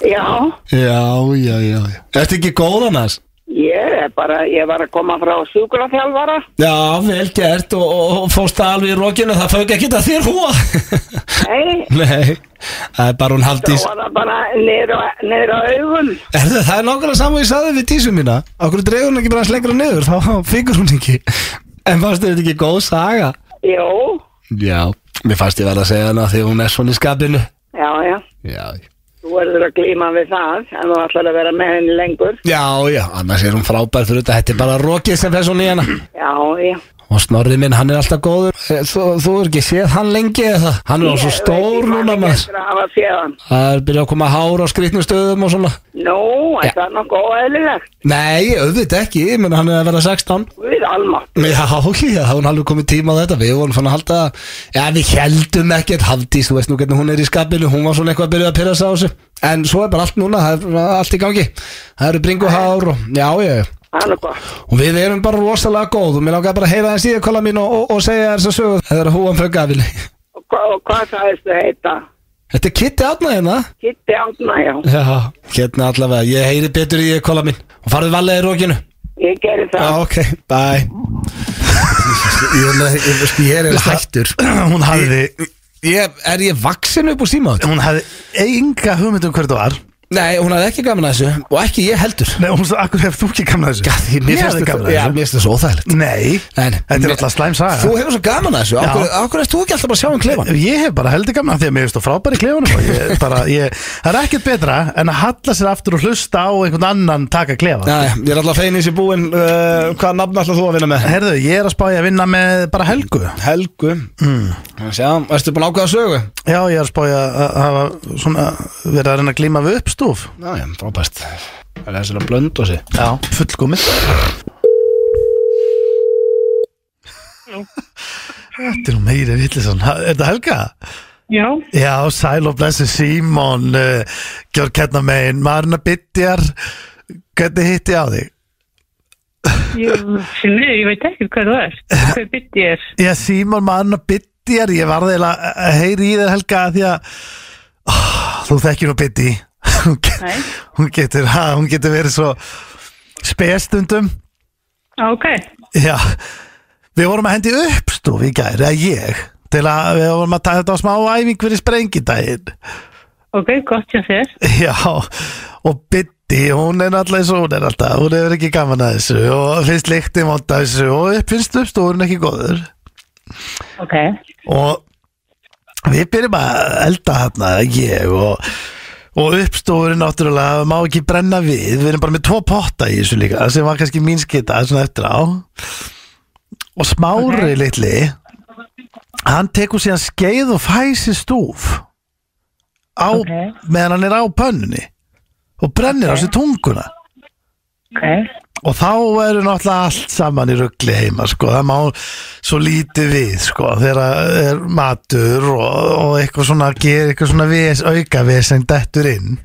S6: Já,
S2: Já, já, já, já. Ertu ekki góð annars?
S6: ég er bara, ég var að koma frá sjúkurafjálfara.
S2: Já, vel gert og, og, og fórst það alveg í rókinu, það fauk ekki þetta þér húa
S6: Nei,
S2: Nei, það er bara hún
S6: þá
S2: haldís
S6: var það bara niður á, niður á augum.
S2: Erðu, það er nákvæmlega saman ég sagði við tísu mína Okkur dreigur hún ekki bara hans lengra niður, þá fíkur hún ekki En fannst þér þetta ekki góð saga?
S6: Jó,
S2: Já, mér fannst ég verða að segja hana því hún er svona í skapinu
S6: já, já.
S2: Já,
S6: Þú verður að glíma við það en þú ætlar að vera með henni lengur.
S2: já, já, annars er hún frábær fyrir þetta, þetta er bara rókið sem fess hún í hana
S6: Já, já.
S2: Og snorrið minn, hann er alltaf góður Eh, Þú, þú er ekki séð hann lengi eða Hann er á svo stór núna maður
S6: Það hafa fjöðan.
S2: Það er byrjað að koma hár á skrýtnum stöðum og svona
S6: Nú, er það nokkuð óæðilegt.
S2: Nei, auðvitað ekki, ég menn hann er að vera 16
S6: Við alma.
S2: Já, já, hún er alveg komið tíma á þetta Við vorum fann að halda Já, við heldum ekkert Hafdís, þú veist nú hvernig hún er í skapinu Hún var svona eitthvað að byrja að pyrra sig á þessu En svo er bara allt núna, það er bara allt í gangi Það eru bringuhár og já, já, já
S6: Það er nú gott.
S2: Og við erum bara rosalega góð Og mér langar bara að heyra þess í að kolla mín og, og, og segja þess að sögu Það er að húan fögga af
S6: Og, hva, og hvað sagðist þau heita?
S2: Þetta er Kitty Átna hérna
S6: Kitti átna, já.
S2: Já, hérna allavega, ég heyri betur í ég kolla mín og farðu valega í rókinu
S6: Ég gerir
S2: Já,
S6: það.
S2: ok, bye Ég er með- ég- veistu, ég er eiginlega hættur
S3: Hún hafði,
S2: ég, Er ég vaksin upp úr símaður?
S3: hún hafði enga hugmynd um hver það var
S2: Nei, hún hafði ekki gaman að þessu og ekki ég heldur
S3: Nei, hún sagði, akkur hefur þú ekki gamla þessu?
S2: Því,
S3: Ég hafði
S2: þetta-
S3: gaman að
S2: Já,
S3: þessu
S2: mér finnst það svo óþægilegt
S3: Nei,
S2: Nei, nei.
S3: þetta er
S2: Mér-
S3: alltaf slæm saga
S2: Þú hefur svo gaman að þessu,
S3: Já.
S2: okkur, okkur erst þú ekki alltaf bara að sjá um klefan?
S3: Ég hef bara heldur gaman að því að mér finnst þú frábæri klefanum og ég, bara, ég, það er ekkert betra en að halla sér aftur og hlusta á einhvern annan taka klefa
S2: Nei, ég er alltaf feinis í búin uh, Hvaða nafn ætlar þú að vinna með?
S3: Herðu, ég er að spá ég að vinna með bara helgu
S2: Helgu mm. Sjá, erstu búin að ákveða sögu?
S3: Já, ég er að spá ég að að hafa svona verið að reyna að glíma við uppstúf
S2: Já, já, frábæst Það er þessir að blönda sig
S3: Já, fullkomið Þetta er nú meira villisann Er þetta helga?
S6: Já.
S3: Já, sæl og blessi Símon uh, Gjörg hérna megin Marna Bittjar Hvernig hitti ég á þig?
S7: Ég, sinni, ég veit ekki hvað þú ert, hvað bytt ég er.
S3: Já, Símon Marna Bittjar Ég varði eiginlega að heyri í þér helga af Því að oh, Þú þekkir nú Bitti hún, get,
S7: Nei.
S3: hún, getur, ha, hún getur verið svo Spestundum
S7: Á, Ok,
S3: Já Við vorum að hendi uppstúf í gær Eða ég Til að við vorum að taka þetta á smá æfing fyrir sprengidaginn
S6: ok, gott sem þér
S3: Já, og Biddi, hún er alltaf eins og hún er alltaf, hún hefur ekki gaman að þessu og finnst líktin vond að þessu og upp- finnst uppstofurinn ekki góður
S6: ok,
S3: og við byrjum að elda hérna, ég og og uppstofurinn náttúrulega má ekki brenna við, við erum bara með tvo potta í þessu líka, sem var kannski mín skita svona eftir á og smári litli hann tekur síðan skeið og fæsi stúf á,
S6: Ok.
S3: meðan hann er á pönnunni og brennir á sér tunguna
S6: ok
S3: og þá eru náttúrulega allt saman í ruggli heima sko, það má svo lítið við sko, þegar er matur og, og eitthvað svona gerir eitthvað svona ves, auka veseng dettur inn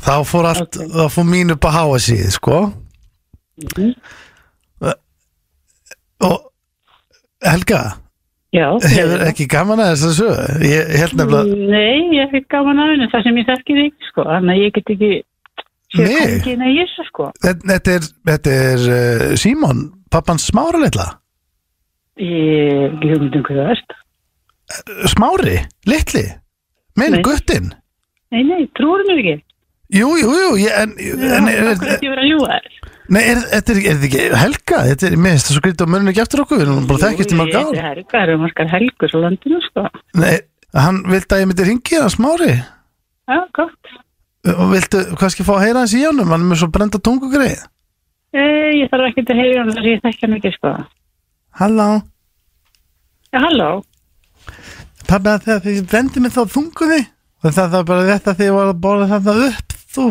S3: þá fór allt þá fór mín upp á háa síð sko
S6: Mhm.
S3: og Helga,
S6: já, Mm.
S3: hefur ekki gaman að þess að sögu ég held nefnilega,
S6: nei, ég fikk gaman af henni það sem ég þekki þig, sko þannig að ég get ekki séð
S3: Mig?
S6: kongin að Jésu, sko
S3: þetta- þetta er, þetta er uh, Símon, pappan Smári litla
S6: ég hef ekki hugmynd um hvað það er
S3: Smári, litli minn
S6: Nei.
S3: guttinn
S6: nei, nei, trúur mér ekki
S3: Jú, jú, jú, ég, en, eh, en er,
S6: það er
S3: er,
S6: ekki verið að ljúga þér
S3: nei, er, þetta er, er þetta ekki helga? Þetta er, mér finnst það svo grítið á muninu ekki eftir okkur, við erum bara þekkist í mörg
S6: Jú,
S3: ár.
S6: ég- Það eru margar helgur á landinu, sko.
S3: Nei, hann vildi að ég myndi ringi hann smári
S6: Já, gott.
S3: og viltu kannski fá að heyra hans í honum, hann er með svo brenda tungugreið.
S6: E, ég þarf ekki að heyra hann þar ég þekki hann ekki, sko.
S3: Halló,
S6: Já, halló.
S3: pabbi að þegar þið brendi mig þá tunguði og það það er bara rétt að þið var að bóla þetta upp, þú,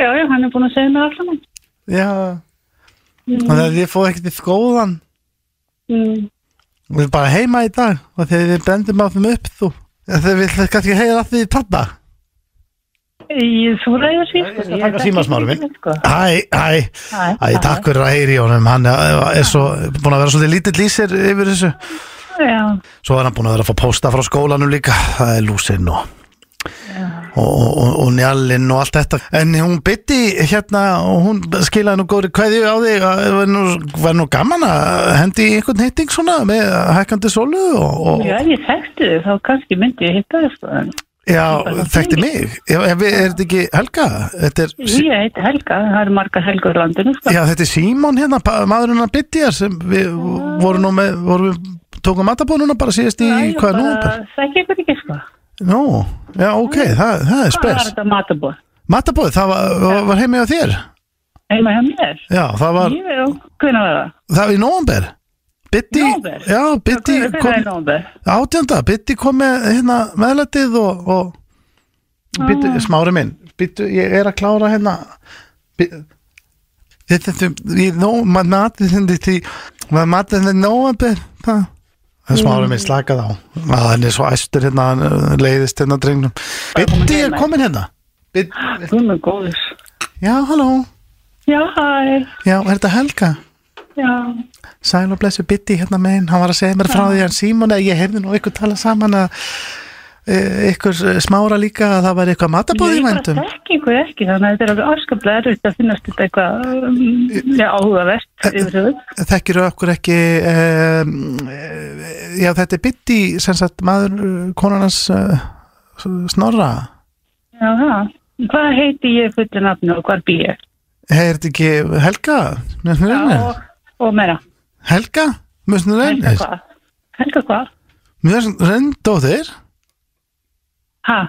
S6: Já, já, hann er búin að segja mér allt saman.
S3: já, og þegar þið fóð ekkert í skólan
S6: Mm.
S3: og við erum bara heima í dag og þegar þið brendi mig á þeim upp, þú, þegar við kannski heyra að því pabba.
S6: Ég, þú ræður því, sko.
S3: Ég er að síma smári minn.
S6: Sko.
S3: Hæ, hæ,
S6: Hæ,
S3: Æ,
S6: hæ.
S3: takk fyrir að heyri í honum, hann eh, er er svo, búin að vera svolítið lítill í sér yfir þessu
S6: Já,
S3: Svo er hann búin að vera að fá pósta frá skólanum líka, það er lúsinn og, og, og, og njallinn og allt þetta En hún bytti hérna og hún skilaði nú góðri kveðju á þig að það var nú, var nú gaman að hendi í einhvern hitting svona með hækkandi sólu og, og
S6: já,
S3: já,
S6: ég þekkti þig, þá kannski myndi ég hitta þig, sko. En
S3: þekkti mig já, Er er þetta ekki Helga? Þetta er,
S6: Ég heiti Helga, það eru margar helgur á landinu, sko.
S3: já, þetta er Símon hérna, pa- maðurinn að bytti sem við vorum nú með, vorum við tókum matabónuna bara síðast í,
S6: Já, ég
S3: hvað er nú?
S6: bara Þekki ykkur ekki, sko.
S3: Nú, já ok, það, það er
S6: Hvað var
S3: spes
S6: þetta matabóð?
S3: Matabóð, það var, var- var heimi á þér
S6: Heima hjá mér?
S3: Já, það var,
S6: Jú, hvernig var það?
S3: það var í nóvember Bitti,
S6: Nóvember?
S3: já, Bitti
S6: Hvernig er
S3: kom,
S6: nómber?
S3: átjönda, Bitti kom með hérna meðlætið og, og Bitti, smári minn Bitti, ég er að klára hérna Bi- Þetta, þetta, ég, nó, maður matið þindi því maður matið þindi nóvember það Það er smára minn slakað á að hann er svo æstur hérna hann leiðist hérna drengnum Bitti er komin hérna Bitti
S6: Þú með góðis.
S3: Já, halló,
S6: Já, hæ,
S3: já, er þetta Helga?
S6: já,
S3: Sæl og blessu Bitti hérna meginn, hann var að segja mér frá því hann Símon að ég heyrði nú ykkur tala saman að e, ykkur eh, smára líka að það var eitthvað matabóð í
S6: ég bara
S3: vendum.
S6: þekki ykkur ekki þannig að þetta er alveg afskaplega erfitt að finnast þetta eitthvað um, já, áhugavert yfir höfuð.
S3: Þekkir okkur ekki, e, já þetta er Bitti, sem sagt maður eh, konan hans e, snorra.
S6: Já, það. Hvað heiti ég fullu nafnu og hvar bý ég?
S3: Heyrði ekki Helga? Helga?
S6: Og, og meira.
S3: Helga?
S6: Helga
S3: Mjög
S6: hvað? Helga hvað?
S3: reyndóðir?
S6: Ha?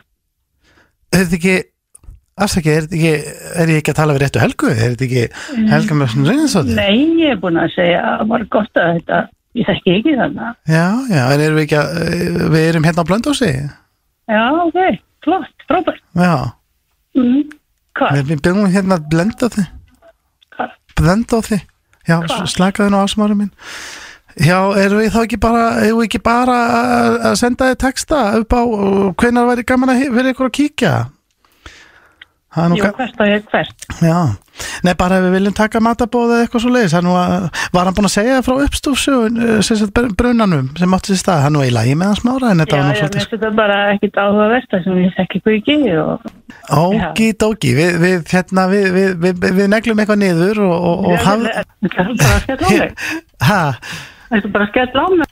S3: er þetta ekki afsakið, er þetta ekki, er ég ekki að tala við réttu helgu, er þetta ekki helga með svona reyninsóti?
S6: Mm. Nei, ég er búin að segja að var gott að þetta ég þekki ekki þannig.
S3: Já, já, en erum við ekki að, eh, við erum hérna á blöndósi?
S6: Já, ok, flott, frábært.
S3: Já,
S6: Mm. Hvað?
S3: við við byggum hérna að blenda þið,
S6: Hvað?
S3: blenda á þið, já, slakaði nú ásmári minn. Já, erum við þá ekki bara, erum við ekki bara að- að senda þið texta upp á hvenar væri gaman að he- fyrir ykkur að kíkja? Það er nú
S6: Jú,
S3: gaman.
S6: hvert á ég hvert?
S3: Já, nei bara ef við viljum taka matabóð eða eitthvað svo leiðis, hann var, var hann búinn að segja frá uppstúfsögun, sem sagt br- brunanum sem átti sér stað, hann var í lagi með hans mára en
S6: Já,
S3: þetta var
S6: já,
S3: nú
S6: mér
S3: svolítið
S6: finnst þetta bara ekkit áhugavert það sem ég þekki ykkur ekki og
S3: Ógi dógi, við, við, hérna, við, við, við, við, við neglum eitthvað niður og, og, og haf...
S6: Það er bara að skella á mig.
S3: Ha,
S6: Það er bara að skella á mig.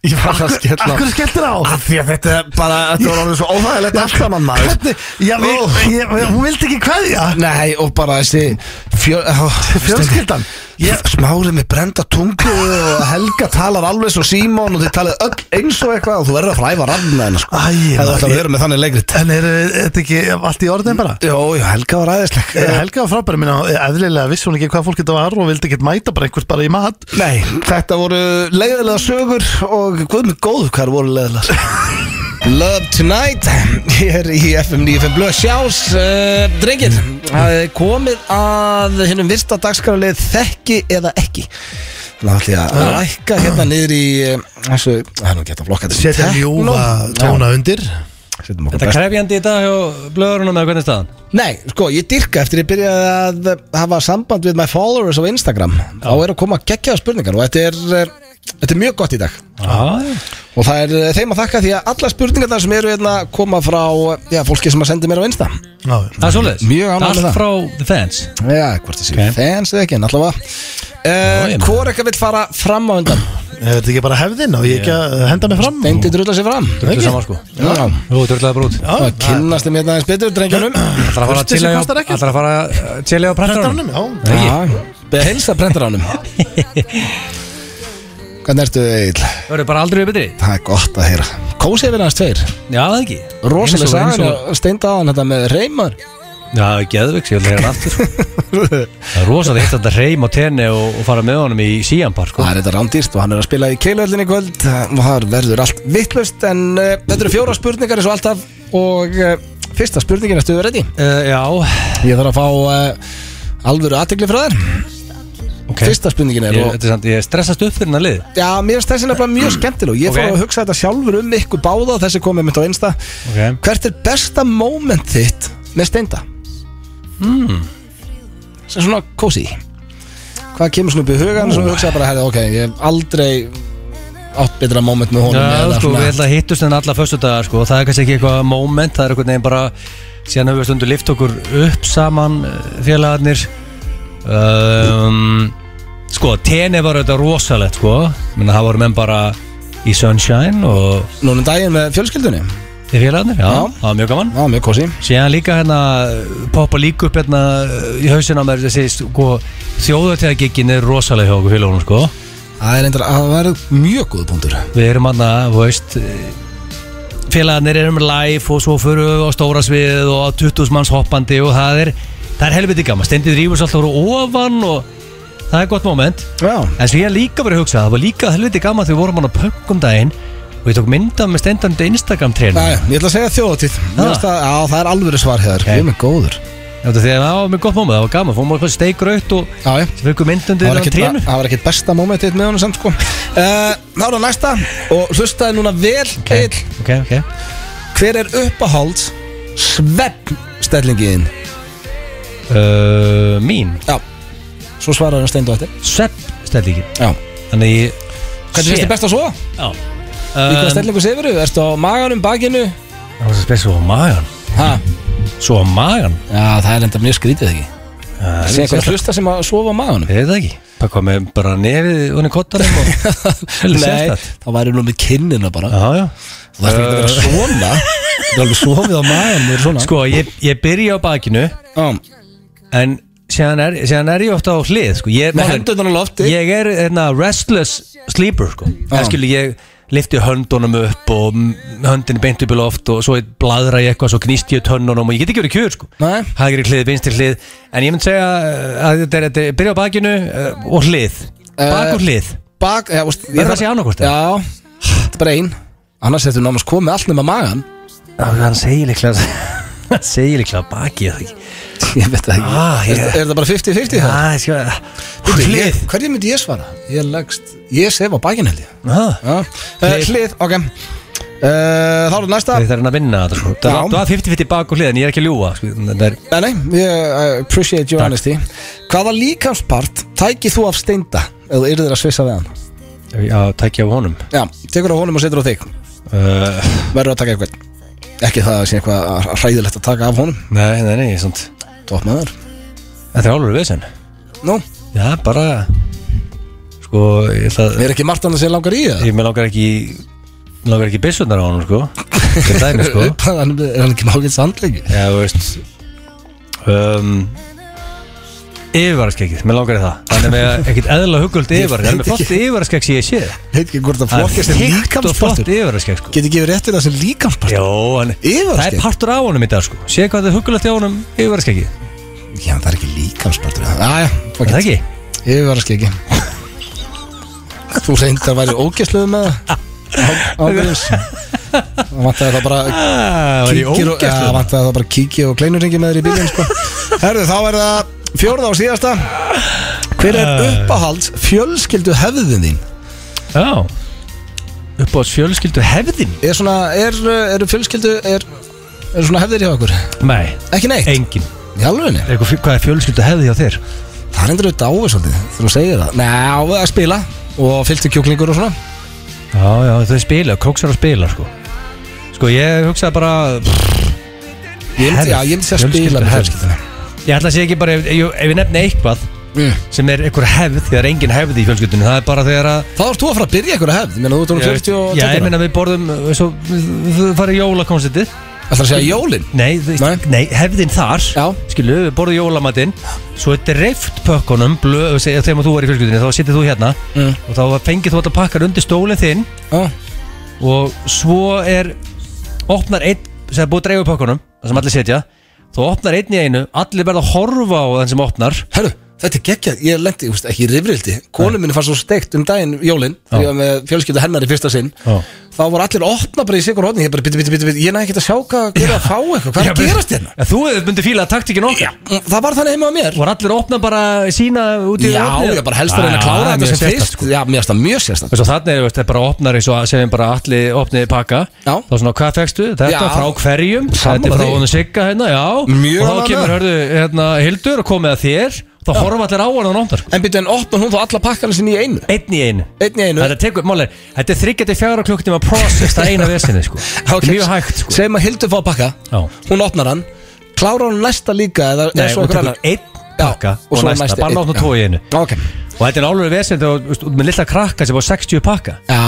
S1: Ég var að skella á
S3: Akkur skelltir á
S1: Af Því að þetta er bara, þetta var alveg svo óþægilegt allt saman maður
S3: Hvernig, já, við, ég, hún vildi ekki kveðja
S1: Nei, og bara þessi fjö, ó,
S3: Fjölskyldan.
S1: ég, Smári með brenda tungu og Helga talar alveg svo Símon og þið talið öll eins og eitthvað og þú verður að fræfa rafna hennar sko
S3: Æ, ég-
S1: Eða þú ætlar að vera með þannig leikrit
S3: En er er þetta ekki allt í orðin bara?
S1: Jó, jó, Helga var æðisleg
S3: Eh, Helga var frábæri minna, eðlilega vissi hún ekki hvað fólk þetta var og vildi ekki mæta bara einhvers bara í mat
S1: Nei, þetta voru leiðilega sögur og guð með góðu hvað þær voru leiðilega Love Tonight hér í FM 95 Blöð Sjás uh, drengir, það er komið að hinnum virsta dagskrálið þekki eða ekki Þannig ætlum ég að
S3: Ah.
S1: rækka hérna niður í eh, þessu, það er nú gett að flokka þetta sem
S3: Setja
S1: techno.
S3: ljúfa
S1: Já,
S3: tóna undir
S1: setjum okkur
S2: Þetta
S1: best.
S2: krefjandi í dag hjá blöðurunum eða hvernig staðan?
S1: Nei, sko, ég dyrka eftir ég byrjaði að eh, hafa samband við my followers á Instagram þá er að koma geggjaða spurningar og þetta er, eh, þetta er mjög gott í dag
S2: Já,
S1: Og það er eh, þeim að þakka því að alla spurningarnar sem eru hérna koma frá já, fólki sem að sendi mér á Insta
S3: Já,
S2: það er svoleiðis
S1: Mjög ánægð með
S2: Allt
S1: það.
S2: frá The Fans
S1: Já, hvort þessi
S2: Ok.
S1: okay. fans eða ekki, en allavega
S2: Já,
S1: uh,
S2: ég meina.
S1: Hvor eitthvað vill fara fram á undan
S3: Er þetta ekki bara hefðin og ég ekki að henda mig fram
S1: Deindi drulla sér fram
S2: Drulla saman, sko.
S1: Já,
S2: Þú dröglega brút
S1: það kynnast þeim hérna eins betur drengjunum
S2: Það er að fara að
S3: Þessi
S2: chilla á-
S3: kostar ekkert.
S2: ætlarðu að fara að chilla á prentarunum
S3: Prentarunum, já
S1: Já, beða helst að brenda ránum Hvernig ertu Egil?
S2: Það eru bara aldrei við betri
S1: Það er gott að heyra Kósið við hans tveir
S2: Já, það ekki
S1: Rosalega
S2: Eins og- eins
S1: sagan
S2: og-
S1: og steinda á hann þetta með reymar
S2: Já, geðveiks, ég vil heyra hann aftur sko. Það er rosalega hitt að þetta reym á tenni og, og fara með honum í síjanbar sko.
S1: Það er þetta rándýrt og hann er að spila í keilöldinni í kvöld eh, og það verður allt vittlust en uh, þetta eru fjóra spurningar eins og alltaf og uh, fyrsta spurningin ertu ready?
S2: uh, Já,
S1: Ég þarf að fá uh, alvöru aðtegli frá þér
S2: ok Fyrst,
S1: Fyrsta spurningin er
S2: ég,
S1: og,
S2: þetta er sant, ég stressast upp fyrir hennar lið
S1: Já, mér finnst þessi nefnilega mjög skemmtileg og ég
S2: Ok.
S1: fór að hugsa þetta sjálfur um ykkur báða þessi komið mitt á einsta
S2: Ok.
S1: Hvert er besta moment þitt með steinda? Mm. Hmm. Sem svona kósi Hvað kemur svona upp í hugan sem hugsaði bara, herri, ok, ég hef aldrei átt betra moment með honum
S2: Já,
S1: eða
S2: sko,
S1: svona-
S2: við ætla að hittust en alla föstudagar sko, og það er kannski ekki eitthvað moment það er eitthvað neginn bara síðan höfum við stundu lift okkur upp saman eh, félagarnir um, sko, tenni var auðvitað rosalegt sko, menn það voru menn bara í Sunshine og
S1: Núna um daginn með fjölskyldunni
S2: í félagarnir, já,
S1: Já.
S2: það var mjög gaman
S1: Já, mjög kósi
S2: síðan líka hérna poppa líka upp hérna í hausina mér þessi sko, þjóðatíðagiggin er rosaleg hjá okkur félagunum sko
S1: Það er eindir að vera mjög góð punktur
S2: við erum hann að, þú veist eh, félagarnir erum live og svo fyrir við á stóra svið og á 20 manns hoppandi og það er það er helviti gaman, stendið rýfus alltaf úr ofan og það er gott moment
S1: Já
S2: en svo ég hef líka verið að hugsa, það var líka helviti gaman þegar við vorum hann á pöngum daginn og ég tók mynda með stendandi Instagram
S1: Já,
S2: trenu
S1: já, ég ætla að segja þjóðatíð Mér
S2: Ha.
S1: finnst það- Já, það er alvöru svar hér
S2: Ok.
S1: Ég er með góður
S2: þegar það var með gott moment, það var gaman, fórum við steikraut og
S1: Já, já
S2: sem fyrir myndandi
S1: Það var,
S2: á
S1: ekkit,
S2: trenu
S1: það var ekkit besta momentið með honum samt sko uh, Þá er það næsta Og hlustaði núna vel okay.
S2: ok, ok
S1: Hver er uppahald Sveppstellingiðin
S2: uh, mín,
S1: Já Svo svaraði hann steindu eftir
S2: svepp stellingin
S1: Já
S2: þannig ég
S1: Hvernig finnst þið best að svo?
S2: Já
S1: Í hvaða
S2: um,
S1: stellingu sefuru? Ertu á maganum, bakinu?
S2: Það var svo spes svo á magan
S1: Ha?
S2: Svo á magan
S1: Já, það er enda mjög skrítið ekki Sér eitthvað
S2: Ég
S1: hlusta sem að sofa á maganum
S2: veit það ekki Það kom með bara nefið unni kottanum og Heldur
S1: Nei,
S2: sérstætt
S1: þá væri nú með kinnina bara
S2: Já, já
S1: Það er ekki að
S2: Uh,
S1: vera svona Það er alveg sofið á maður með svona
S2: Sko, ég, ég byrja á bakinu
S1: Já,
S2: En síðan er, síðan er ég ofta á hlið sko. ég,
S1: með
S2: málið-
S1: hendurnar á lofti
S2: Ég er hérna, restless sleeper sko. Það skilur ég lifti höndunum upp og mm, höndin er beint upp í loft og svo bladra ég eitthvað, svo gnýst ég tönnunum og ég get ekki verið kjör sko.
S1: Nei.
S2: Hægri hlið, vinstri hlið En ég myndi segja eh, að þetta er, þetta er byrja á bakinu eh, og hlið Bak og hlið
S1: Bak, já, veist
S2: Verður það sé annarkvort, eða?
S1: Já, þetta er bara ein Annars ertu námast komið allt nema magan
S2: Já, hann segir líklega Hann segir líklega baki eða ekki
S1: Ég veit það ekki
S2: Ah, ég-
S1: er, er það bara 50-50 það?
S2: Það er sko
S1: Bíddu,
S2: Hlið
S1: ég- Hverju myndi ég svara? Ég leggst Ég sef á bakinn held ég
S2: Ah,
S1: Já, Eh,
S2: Hlið.
S1: Hlið, ok Eh, Þá er næsta
S2: Það er hann að vinna þetta sko
S1: Já.
S2: Það var 50-50 bak og hlið en ég er ekki að ljúga sko. Það er
S1: Eh, Nei, nei, ég I appreciate your honesty Hvaða líkamspart tækið þú af steinda ef þú yrðir að svissa við hann?
S2: að tækja á honum
S1: Já, tekur á honum og setur á þig
S2: uh,
S1: verður að taka eitthvað ekki það að sé eitthvað hræðilegt að taka af honum
S2: Nei, nei, nei, svont
S1: topp maður
S2: Þetta er álur við sen
S1: nú,
S2: Já, bara sko, ég ætla að
S1: Er ekki margt annað sem langar í það?
S2: Ég með langar ekki mig langar ekki byssunar á honum sko Til dæmi sko
S1: hann, er hann ekki mágið sandleiki?
S2: Já, þú veist um, Yfirvaraskegið, mér langar í það Þannig með ekkert eðla hugöld yfirvar Það er með flott yfirvaraskegg sem ég sé
S1: Heit ekki hvort það
S2: Það er
S1: flokkast er
S2: þykkt og flott
S1: líkamspartur
S2: yfirvaraskegg sko
S1: Geti ekki verið réttir það sem líkamspartur
S2: Jó, en það
S1: Yfirvaraskegg?
S2: er partur af honum í dag sko Sé hvað það er hugulegt á honum yfirvaraskegið
S1: Já, það er ekki líkamspartur Æja,
S2: Er Það ekki?
S1: Yfirvaraskeggi Þú reyndar væri ógæsluð með það Ágæðis Það vantaði það bara
S2: Ah, var ég
S1: kíkir og, ja,
S2: ógæstur?
S1: vantaði það bara kíki og kleinurringi með þér í bílinn sko. Herðu, þá er það fjórða og síðasta Hver er uppáhalds fjölskyldu hefðin þín?
S2: Já Upp á fjölskyldu hefðin?
S1: Er svona, er, eru fjölskyldu, er, er svona hefðir hjá okkur?
S2: Nei,
S1: Ekki neitt?
S2: engin
S1: Í alveginni?
S2: Eitthvað, fjö- Hvað er fjölskyldu hefði hjá þér?
S1: Það er endur auðvitað áveg svolítið þegar þú segir það Nei, áveg að spila og fylgtu kjúklingur og svona
S2: Já, já, þau spila, króksar og spila sko Sko, ég hugsaði bara
S1: Ég myndi,
S2: Hefð,
S1: já, ég myndi segja að spila
S2: fjölskyldu
S1: með
S2: hefð.
S1: fjölskylduna
S2: Ég ætla að segja ekki bara, ef, ef, ef ég nefni eitthvað
S1: Mm.
S2: sem er einhver hefð, því það er engin hefð í fjölskyldunni það er bara þegar að
S1: Þá ert þú að fara að byrja ykkur að hefð Ég meina, þú ert um 40 og
S2: Já, ég
S1: 20
S2: meina við borðum svo, við farið jólakonsertið
S1: Það er að segja jólin
S2: Nei, þú veist-
S1: Nei.
S2: nei, hefðin þar
S1: Já.
S2: skilu, við borðum jólamatinn svo er dreift pökkunum blöð, seg- þegar þú er í fjölskyldunni, þá sittir þú hérna
S1: Mm.
S2: og þá fengir þú alltaf pakkar undir stólinn þinn
S1: Já.
S2: og svo er opnar einn sem er búið að dreifu pakkunum það sem allir setja þú opnar einn í einu, allir verða að horfa á þann sem opnar
S1: Herru, þetta er geggjað, ég lendi, ég veist, ekki í rifrildi Konu minni fann svo steikt um daginn jólin Þegar ég var með fjölskyldu hennar í fyrsta sinn
S2: Já.
S1: Þá voru allir að opna bara í sigur hodni Ég bara, bitu, bitu, bitu, bitu, ég næ ekki að sjá hvað Hvað er að fá eitthvað, hvað er að gerast hérna Mm,
S2: Ja, þú myndi fíla taktíkin okkar
S1: Það var þannig heima á mér
S2: Var allir að opna bara sína út í
S1: Já,
S2: opnið?
S1: ég bara helst að reyna að klára
S2: Já,
S1: þetta
S2: mjög
S1: sem
S2: sérstakt,
S1: fyrst
S2: sko.
S1: Já, mér finnst það mjög sérstakt
S2: Veist, og Þannig er veist, það er bara opnar eins og segjum bara allir opniði pakka
S1: Já.
S2: Þá svona hvað fegstu? Þetta
S1: Já.
S2: frá hverjum Þetta
S1: Sammála
S2: er frá
S1: því.
S2: honum Sigga hérna, já
S1: Mjög
S2: Og
S1: ánægður.
S2: þá kemur hörðu hérna, Hildur og komið að þér Þá horfa allir á hann og nóndar
S1: En byrju, en opna hún þá alla pakkana sinni í einu
S2: Einn í einu
S1: Einn í einu
S2: Þetta tekur, mál er, þetta er 34 klukkutíma process, það er eina vesinni sko Þetta er Mjög hægt sko
S1: Segjum að Hildur fá pakka,
S2: Já.
S1: hún opnar hann Klárar hann næsta líka eða
S2: Nei,
S1: er svo
S2: hún
S1: okkur
S2: tekur
S1: annar
S2: einn pakka
S1: Já, og
S2: og
S1: svo
S2: næsta,
S1: næsti,
S2: bara
S1: einn,
S2: náttúrulega
S1: já.
S2: tvo í einu
S1: Ok,
S2: Og þetta er alveg vesend og veist, út með lilla krakka sem á 60 pakka
S1: já, það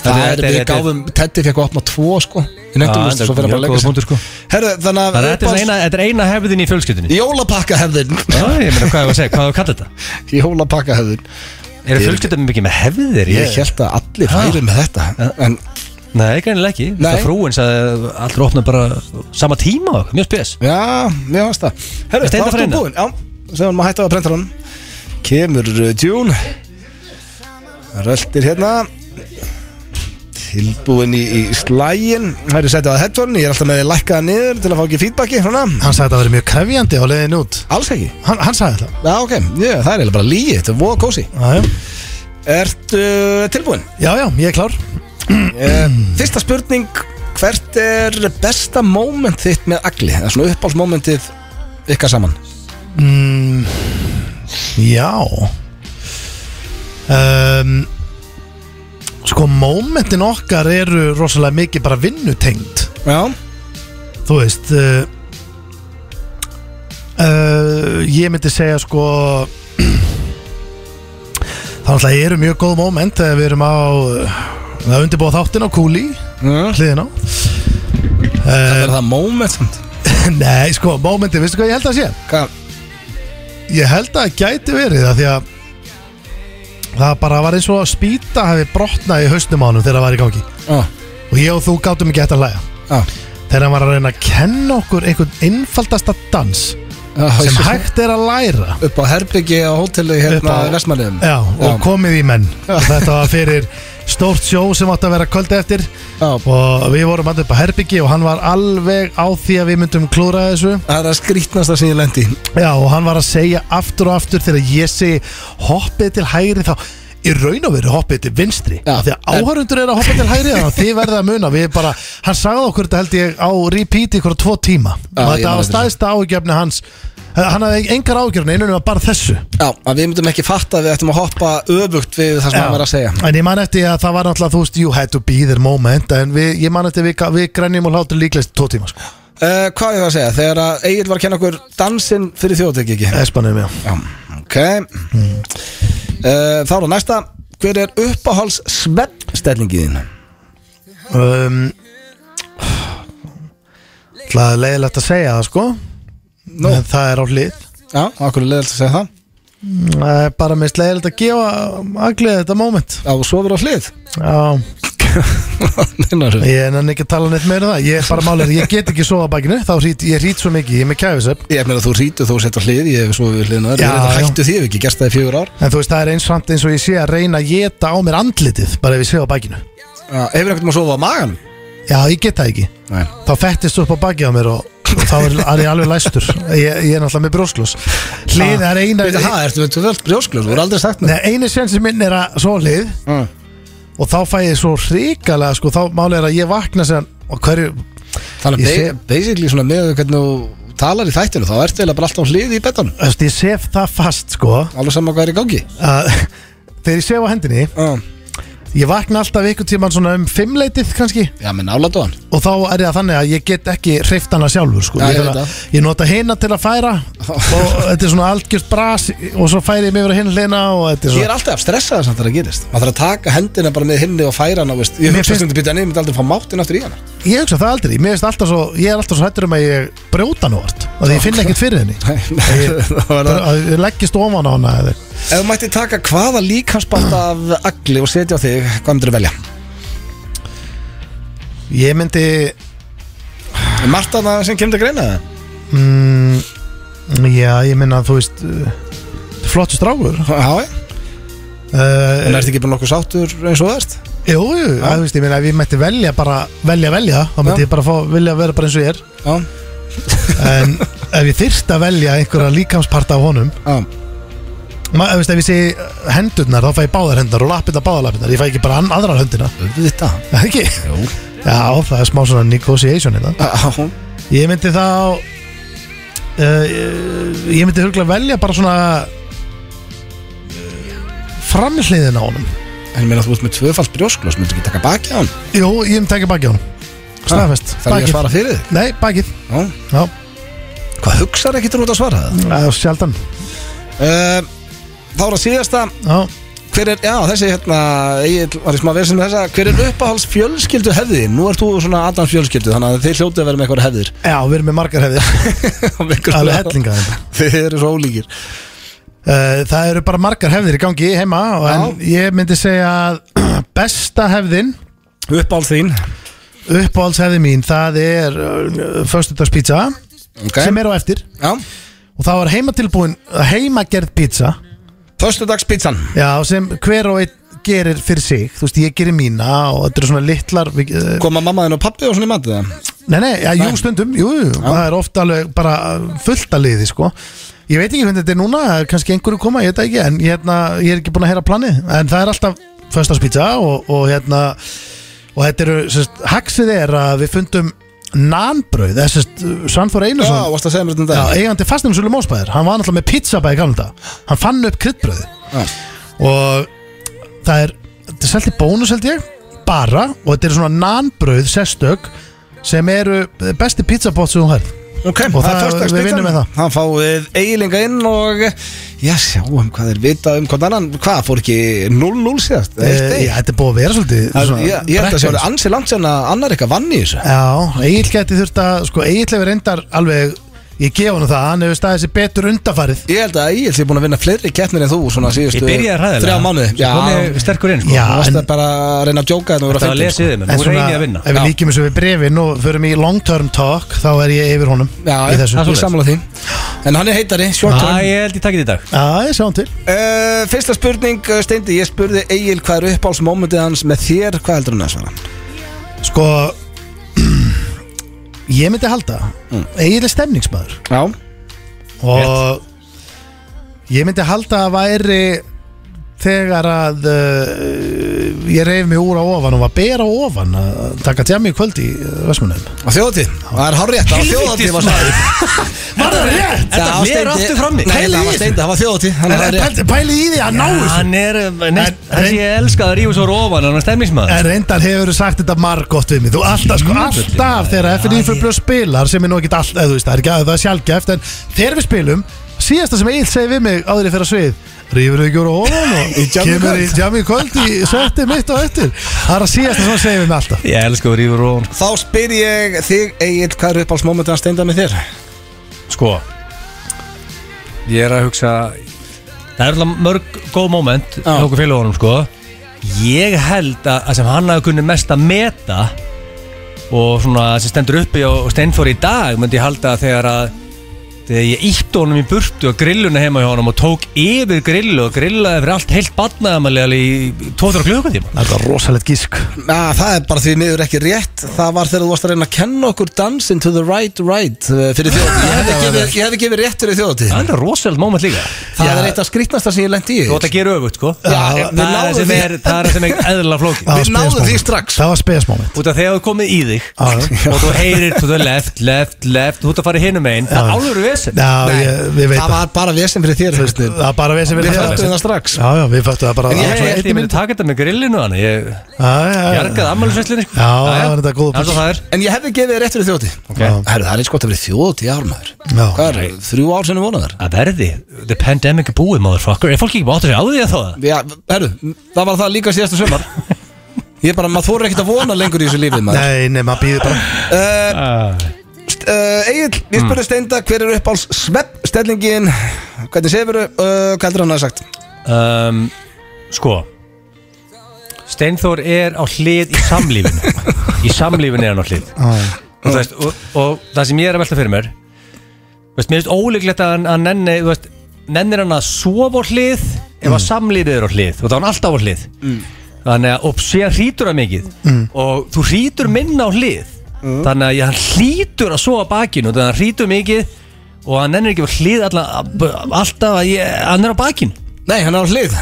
S2: Þetta
S1: er
S2: er- þetta er-
S1: við
S2: þetta er-
S1: gáfum Teddy fekk að opna tvo sko Ég nefndum þú
S2: Já,
S1: svo
S2: þetta er
S1: fyrir að bara
S2: mjög
S1: leggja
S2: góða punktur, sko.
S1: Herru, þannig
S2: Þannig
S1: að
S2: að þetta er svona eina, þetta er eina hefðin í fjölskyldunni
S1: Jólapakka hefðin
S2: Já, ég meina hvað er að segja, hvað er að kalla þetta?
S1: Jólapakka hefðin
S2: Eru fjölskyldunum mikið með hefðir?
S1: Ég held að allir færi með þetta En
S2: Nei, greinilega ekki
S1: Nei.
S2: Það frúin sagði að allir opna bara sama tíma og eitthvað, Mjög spes
S1: Já, mér fannst það Herru,
S2: Ertu
S1: þá
S2: enda að fara
S1: ertu
S2: inn,
S1: búinn Já, sem maður hætti á að prenta hann Kemur uh, Dune Röltir hérna Tilbúin í, í slægin Það er setjað að headphone Ég er alltaf með því lækkaða niður Til að fá ekki feedbacki svona.
S3: Hann sagði að það verið mjög krefjandi á leiðin út
S1: Alls ekki
S3: Hann, hann sagði það
S1: Já, ok yeah, Það er eiginlega bara lígi Þetta er voða kósi
S3: Já, já.
S1: Ertu eh, tilbúin?
S3: Já, já, ég er klár
S1: Mm. Fyrsta spurning Hvert er besta moment þitt með agli? Það er svona uppálsmomentið ykkar saman
S3: mm, Já um, Sko, momentin okkar eru rosalega mikið bara vinnutengt
S1: Já
S3: Þú veist uh, uh, Ég myndi segja sko Það alltaf eru mjög góð moment þegar við erum á uh, Það er undirbúið þáttin á kúli
S1: Mm.
S3: hliðina á
S1: Það
S3: uh,
S1: er það moment samt
S3: Nei sko, momentin, veistu hvað ég held að sé?
S1: Hvað?
S3: Ég held að það gæti verið það því að það bara var eins og að spýta hafi brotnað í hausnum ánum þegar það var í gangi
S1: Já,
S3: og ég og þú gátum ekki hægt að hlæja
S1: já
S3: þegar hann var að reyna að kenna okkur einhvern einfaldasta dans sem
S1: sem hægt
S3: hægt er að læra
S1: upp á herbyggi á hóteli
S3: Upp
S1: hérna
S3: á-
S1: í Vestmanniðum
S3: Já, og komið í menn og þetta var fyrir stórt sjó sem átti að vera kvöldi eftir
S1: Já.
S3: og við vorum alltaf upp á herbyggi og hann var alveg á því að við myndum klúra þessu
S1: það er að skrítnasta sem ég lendi í.
S3: Já, og hann var að segja aftur og aftur þegar ég segi hoppið til hægri þá í raun og veru hoppið til vinstri
S1: Já.
S3: af því að áhörundur er að hoppa til hægri þannig að þið verða að muna við bara, hann sagði okkur þetta held ég á repeat í ykkur tvo tíma
S1: Já,
S3: og
S1: ég man
S3: þetta var
S1: eftir þessu.
S3: staðista áhugjefni hans hann hafði engar áhugjefni einu nema bara þessu
S1: Já, að við myndum ekki fatta að við ættum að hoppa öfugt við það sem hann var að segja
S3: en ég man eftir að það var náttúrulega þú veist you had to be there moment en við, ég man eftir að við, við grænjum og hlátur líklegst tvo tíma sko.
S1: uh, Hvað er það að segja? Þegar að Egil var að kenna okkur dansinn fyrir þjóðtekki
S3: Espanum, já.
S1: Já, ok mm. Eh, Þá er það næsta hver er uppáhalds svefnstellingið þín?
S3: um, Það er leiðilegt að segja það sko En það er á hlið
S1: Já, okkur er leiðilegt að segja það
S3: Það er bara mest leiðilegt að gefa Aglið þetta moment
S1: Já, og svo verður á hlið
S3: Já,
S1: Meinarðu?
S3: ég nenni ekki að tala neitt meira um það Ég er bara málið, ég get ekki sofa á bakinu Þá rít, ég rít svo mikið, ég er með kæfisöp
S1: Ég meina þú rítur þú setur hlið, ég hef svo við hliðin aður
S3: Já,
S1: Ég er
S3: já.
S1: þetta hættu því, ég hef ekki gert það í fjögur ár
S3: En þú veist, það er eins samt eins og ég sé að reyna að geta á mér andlitið Bara ef ég sé á bakinu
S1: Já, Hefur einhvern veginn að sofa á maganum?
S3: Já, ég get það ekki
S1: Nei.
S3: Þá fettist upp á bakið á mér og og þá er, er ég alveg læstur Ég, ég er náttúrulega með brjósklós Hlið er eina
S1: Veitu, hæ, ertu með tvöld brjósklur, þú er aldrei sagt með
S3: Nei, einu sensi minn er að svo hlið
S1: Mm.
S3: Og þá fæ ég svo hrikalega sko, Þá máli er að ég vakna sér Og hverju,
S1: Þannig að
S3: Ég sé-
S1: ba- basically svona með hvernig þú talar í þættinu Þá ertu eiginlega bara alltaf á hlið í betanum
S3: eftir, ég sef það fast sko
S1: Alveg saman hvað er í gangi
S3: að, Þegar ég sef á hendinni
S1: Já,
S3: Ég vakna alltaf ykkur tíman svona um fimmleitið kannski
S1: já með nálatóðan
S3: Og þá er það þannig að ég get ekki hreift hana sjálfur sko.
S1: Já, ég
S3: ég,
S1: veit
S3: þarf
S1: það.
S3: að, ég nota hina til að færa Og þetta er svona algjört bras Og svo færi ég mig yfir að hinn hlina Og þetta er
S1: Ég
S3: svona
S1: er alltaf stressaður samt þegar það gerist Maður þarf að taka hendina bara með hinni og færa hana veist. Ég
S3: Mér
S1: hugsa
S3: finnst-
S1: stundum býta nefnir aldrei að fá máttin aftur í hana
S3: Ég hugsa það aldrei, Mér finnst alltaf svo, ég er alltaf svo hættur um að ég brjóta nú vart Og því ég finn ekkert fyrir henni
S1: Það var það.
S3: Bara að ég leggist ofan á hana eða-
S1: Ef þú mætti taka hvaða líkansband af agli og setja á þig, hvað myndir velja?
S3: Ég myndi
S1: Er Margt að það sem kemur til greina það?
S3: mm, Já, ég minna þú veist uh, Flottu strákur Eh, uh,
S1: Já, já. En ertu ekki bara nokkuð sáttur eins og það erst?
S3: Jú, jú, að, þú veist, ég minna Ef ég mætti velja bara, velja, velja Þá myndi
S1: Já.
S3: ég bara fá, vilja vera bara eins og ég er
S1: Já,
S3: En ef ég þyrst að velja einhverja líkamsparta af honum
S1: já.
S3: ma, ef, þú veist, ef ég sé uh, hendurnar, þá fæ ég báðar hendunar Og lappirnar, báðar lappirnar Ég fæ ekki bara an, aðra höndina
S1: Þetta?
S3: Er það Ekki?
S1: Jú.
S3: Já, það er smá svona negotiation hérna
S1: Já,
S3: Ég myndi þá uh, Ég myndi hugla velja bara svona eh, Framhliðin á honum
S1: en ég meina þú ert með tvöfalt brjósklos, myndir ekki taka baki á hann?
S3: Jú, ég myndi taka bakið á honum
S1: Það er
S3: Staðfest,
S1: ég að
S3: bakið.
S1: svara fyrir þig?
S3: Nei, bakið
S1: Já.
S3: Já,
S1: Hvað hugsar ekki þú út að svara það?
S3: það er sjaldan
S1: Uh, þá er að síðasta,
S3: Já,
S1: hver er, já þessi hérna, ég var í smá versin með þessa, hver er uppáhalds fjölskyldu hefði? Nú ert þú svona Adams fjölskyldu, þannig að þið hljótið að vera með eitthvað hefðir.
S3: Já við erum með margar hefðir
S1: Af einhverju-
S3: Alveg hellinga þeim
S1: Þið eru svo ólíkir.
S3: uh, Það eru bara margar hefðir í gangi heima og En ég myndi segja að Besta hefðin
S1: Uppáhalds þín.
S3: Uppáhaldshefði mín Það er uh, Föstudagspizza
S1: Ok.
S3: Sem er á eftir
S1: Já.
S3: Og það var heimatilbúin Heimagerð pizza
S1: Föstudagspizzan.
S3: Já, sem hver og einn gerir fyrir sig Þú veist, ég gerir mína og þetta eru svona litlar við- eh,
S1: Koma mamma þín og pappi og svona í matið það?
S3: Nei, nei, já, jú, stundum, jú, jú Það er ofta alveg bara fullt að liði, sko Ég veit ekki hvernig þetta er núna, það er kannski einhverju koma, ég veit það ekki En ég, hérna, ég er ekki búin að heyra planið En það er alltaf föstaspizza og, og hérna Og þetta eru, sérst, haxið er að við fundum nanbrauð Það er sérst, Svanfór
S1: Já,
S3: Einarsson
S1: varst að segja mér þetta um
S3: Já, e-
S1: dag.
S3: eigandi fastnum Sölu Mósbæðir Hann var náttúrulega með pizzabæði gamla þetta Hann fann upp kryddbröði
S1: Já.
S3: Og það er Þetta er seltið bónus held ég Bara Og þetta er svona nanbröð sérstök Sem eru besti pizzabótt sem hún hærð
S1: Ok,
S3: Og það-
S1: föstudags
S3: við
S1: pizzan.
S3: vinnum með það.
S1: Það fáið eiginlega inn og Já, sjáum hvað þeir vita um hvað annan Hvað, fór ekki 0-0 síðast? Eitt, eitt.
S3: Eh, Já, þetta er búið að vera svolítið
S1: Það-
S3: svona
S1: Ég ég held að
S3: brekka.
S1: sjá það ansi langt sérna annar eitthvað vann í þessu
S3: Já, Egil gæti þurft að Sko, Egil hefur reyndar alveg Ég gefa hann það Hann hefur staðið sér betur undarfarið
S1: Ég held að Egil sé búin að vinna fleiri keppnir en þú svona síðustu
S2: Ég byrjaði ræðilega
S1: Þrjá mánuði
S2: Svo kom ég sterkur inn sko.
S3: Já,
S1: þú varst
S3: en-
S1: að bara að reyna að djóka þetta og vera
S2: Það var
S1: fyndin,
S2: að lesa í
S1: sko.
S2: þeim en
S3: En
S2: Nú
S3: svona,
S2: reyni ég að vinna
S3: ef við
S1: Já.
S3: líkjum þessu við brefin og förum í long term talk þá er ég yfir honum í
S1: Já,
S3: þessu.
S1: það er sammála því En hann er heitari, short
S2: Það
S1: term
S2: ég held ég takkið í dag
S3: Já, ég sjáum til
S1: Uh, fyrsta spurning, uh, Steindi, ég spurði Egil hvað er uppáhaldsmomentið hans með þér, hvað heldur hann að svara?
S3: Sko Ég myndi halda Egil er stemningsmaður
S1: Já,
S3: Og Ég myndi halda að væri Þegar að uh, Ég reyf mig úr á ofan Og var bera á ofan að Taka tjami í kvöld í eh, Vestmannum
S1: á þjóðatíð, það er hár rétt, á þjóðatíð var svarið
S3: Var það rétt?
S2: Þetta
S1: Já,
S2: gler
S1: Steindi-
S2: aftur frammi.
S1: Nei,
S3: Pælið
S1: það
S3: í
S1: var
S3: þessu.
S1: steindi, það var þjóðatíð
S3: En
S1: Þannig að það er rétt
S3: pæli- Pælið í því að ná þessu
S2: Hann er
S3: En-
S2: Þessi ég elska það rífus og rófan Hann er stemmingsmaður
S3: En reyndar hefur sagt þetta margótt við mig Þú alltaf, sko, alltaf þegar FNÍ fyrir blöð spilar sem er nú ekkert alltaf, eða þú veist, það er ekki að það er sjálfgæft en þegar við spilum síðasta sem Egil segi við mig áður í fyrir svið Rífur þau ekki úr ofan
S1: Í
S3: og
S1: jammi
S3: kemur í
S1: kvöld.
S3: jammi í kvöld í setti mitt og eftir Það er að síðasta sem hann segir við mig alltaf
S2: Ég elsku að rífur og
S1: Þá spyr ég þig, Egil, hvað er upp á smómöndan steinda með þér?
S2: Sko Ég er að hugsa Það er alltaf mörg góð moment
S1: Já.
S2: hjá okkur félagunum sko Ég held að, að sem hann hafi kunnið mest að meta og svona sem stendur uppi og steinfór í dag myndi ég halda að þegar að þegar ég ítt honum í burtu og grilluna heima hjá honum og tók yfir grillu og grillaði fyrir allt heilt batnaðamæli í 2-3 klukkutíma
S3: Það er rosalegt gísk
S1: Na, það er bara því miður ekki rétt Það var þegar þú varst að reyna að kenna okkur dansinn to the right right eh, fyrir þjóðatíð Ég hefði gefið, ég hefði gefið rétt fyrir þjóðatíð
S2: Það er rosalega moment líka
S1: Það er eitt af skrýtnasta sem ég lendi í
S2: Þú átt að gera öfugt sko
S1: Já, við
S2: Það er það
S1: náðum
S2: sem
S1: því.
S2: er, það er, það sem er eðla flókið
S3: Það var
S1: Við náðum því
S3: spes moment.
S1: strax.
S3: Það var spesmoment
S2: Út af þegar þú komið í þig
S3: Já, já.
S2: og þú heyrir to the left, left, left þú ert að fara hinum einn, það er álfur vesen
S3: Já,
S1: Nei,
S3: ég, við veit
S1: Það var bara vesen fyrir þér Haustin.
S3: Það er bara við sem
S1: Við höfðum
S3: Já,
S1: það strax
S3: já, við fættum það bara
S2: Ég held
S3: Já,
S2: að ég myndi taka þetta með grillinu hann Ég
S3: já, já.
S2: jargaði ammælisveslinni sko.
S3: Já, það var þetta góð
S2: Það er svo það er
S1: En ég hefði gefið þér rétt fyrir þjóðatíð
S2: Ok.
S1: Herru, það er eins gott að vera þjóðatíð ármaður
S3: Já.
S1: Hvað er, þrjú ár sinni vonaðar?
S2: Að verði, the pandemic er búið motherfucker Er fólk ekki bátt að segja á því að það?
S1: Já, herru, það var það líka síðasta sumar Ég bara, maður þóra ekkert að vona lengur í þessu lífið maður
S3: Nei, nei, maður býður bara
S1: uh,
S2: Ah,
S1: uh, Egil, ég spurði Steinda hver er uppáls sveppstellingin hvernig sefur, uh, hvað heldur hann að sagt
S2: um, Sko Steinþór er á hlið í samlífinu Í samlífinu er hann á hlið og, þú veist, og, og það sem ég er að velta fyrir mér þú veist, mér finnst ólíklegt að hann að nenni, þú veist, nennir hann að sofa á hlið ef að samlífið er á hlið og þá er hann alltaf á hlið þannig að, og sé að hrýtur það mikið og þú hrýtur minna á hlið þannig að ég, hann hlýtur að sofa á bakinu þannig að hann hrýtur mikið og hann nennir ekki á hlið allan, alltaf að ég, hann er á bakinu
S1: nei, hann er á hlið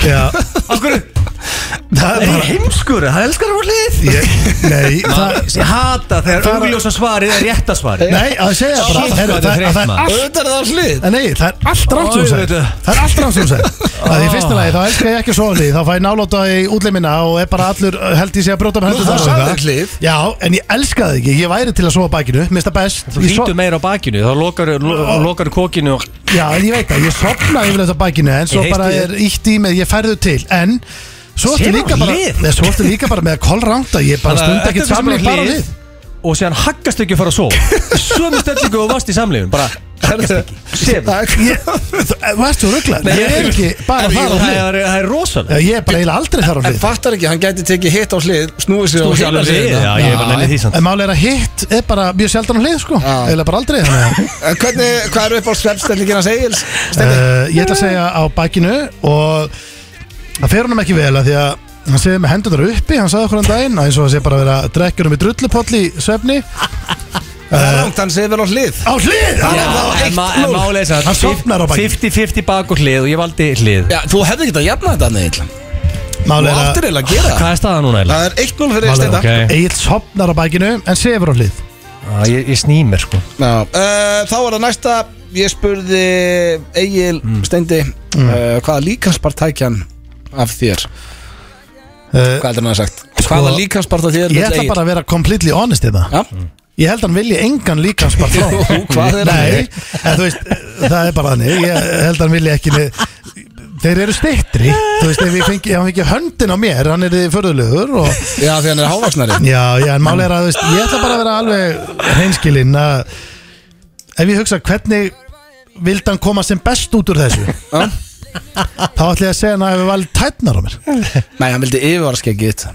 S3: Já,
S2: af hverju,
S3: það
S2: það
S3: er
S2: er
S3: bara
S2: heimskur hann elskar að á hlið
S3: ég, Nei, það
S2: ég hata þegar
S3: Það-
S2: augljósa svarið er rétta svarið
S3: Nei, að segja bara
S2: Shit,
S3: heyrðu,
S2: hvað þetta er
S3: það, það,
S2: þreytt,
S3: það
S1: auðvitað er það
S3: er allt
S1: á hlið
S3: Nei, það er allt rátt sem hún
S2: Oj, Ah.
S3: segir
S2: veitu.
S3: Það er allt rátt sem hún segir Það er í fyrsta lagi, þá elskar ég ekki að sofa því Þá fæ ég nálóta í útlimina og er bara allur uh, held í sig að bróta með hendur
S1: Nú,
S3: þar
S1: það
S3: og
S1: sagði
S3: eitthvað.
S1: Cliff.
S3: Já, en ég elska það ekki, ég væri til að sofa á bakinu Mér finnst það best
S2: Þú
S3: Ég so-
S2: hlýtur meira á bakinu, þá lokar þú kokinu og
S3: Já, en ég veit það, ég sopna yfirleitt á bakinu En svo
S2: Ég
S3: bara
S2: heysti
S3: er ítt í með, ég færðu til En svo ertu
S2: Sér á
S3: líka bara
S2: hlið.
S3: Nei, Svo ertu líka bara með að kolránta Ég bara
S2: Þannig að
S3: stund ekki
S2: ertu
S3: samlíf
S2: bara á
S3: bara
S2: hlið
S3: við
S2: Og séðan haggast ekki að fara að sofa Í Sömu stellingu og vast í samlífun Bara haggast ekki Sef
S3: Það- ég- Þú eh, varst þú ruggla
S2: Nei,
S3: Ég
S2: ég-
S3: er ekki bara
S2: Það
S3: þar á
S2: er-
S3: hlið
S2: það er- það er
S3: Já,
S2: rosalega
S3: Ég er bara eiginlega aldrei þar á
S1: en
S3: hlið
S1: fattar ekki, hann gæti tekið hitt á hlið snúið sér á
S2: Þú sjálfur
S1: hlið
S2: þig Já, ég er bara nefnir því samt
S3: En máli er að hitt er bara mjög sjaldan á hlið sko Eða bara aldrei þannig að-
S1: En hvernig, hvað er uppáls sveppstellingin hans Egils
S3: uh, Ég ætla að segja á bakinu Og það fer honum ekki vel að Því að hann segði með hendunar uppi Hann sagði okkur hann daginn að eins og það sé bara að vera Drekkjunum í drullupolli í svefni
S1: það er rangt, hann sefur á hlið
S3: Á hlið!
S1: Já, það var eitt núll.
S2: Málega þess
S3: Hann sofnar á
S2: að
S3: bakinu.
S2: 50-50 bak og hlið og ég valdi hlið
S1: já, þú hefði ekki að jafna þetta hann Egil
S3: Máli
S1: þú
S3: er
S1: áttir
S3: að
S1: eiginlega að gera það
S2: Hvað er staða núna eiginlega?
S1: það er 1-0 fyrir
S3: Máli er
S1: Steinda
S2: Ok.
S3: að Egil sopnar á bakinu En sefur á hlið
S2: Á, Ég ég sný mér sko
S1: Já, uh, þá var það næsta Ég spurði Egil Steindi mm. uh, Hvaða líkanspartækjan af þér?
S3: uh,
S1: Hvað heldur hann að hafa sagt? Hvaða líkansparta þér?
S3: Ég ætla bara að vera completely honest í það
S1: ja?
S3: Ég held hann vilji engan líkamspart frá
S1: Jú, hvað er hann?
S3: Nei, en þú veist, það er bara þannig Ég held hann vilji ekki nið, Þeir eru stittri Þú veist, ef ég fengi, ef hann fengi höndin á mér Hann er þið förðulegur og,
S1: Já, því hann er hávaksnari
S3: Já, já, en máli er að þú veist, Ég ætla bara að vera alveg hreinskilinn að Ef ég hugsa hvernig Vildi hann koma sem best út úr þessu
S1: Já.
S3: Þá ætla ég að segja hann að hefur valið tætnar á mér
S1: Nei, hann vildi yfirvaraskeggið þitt.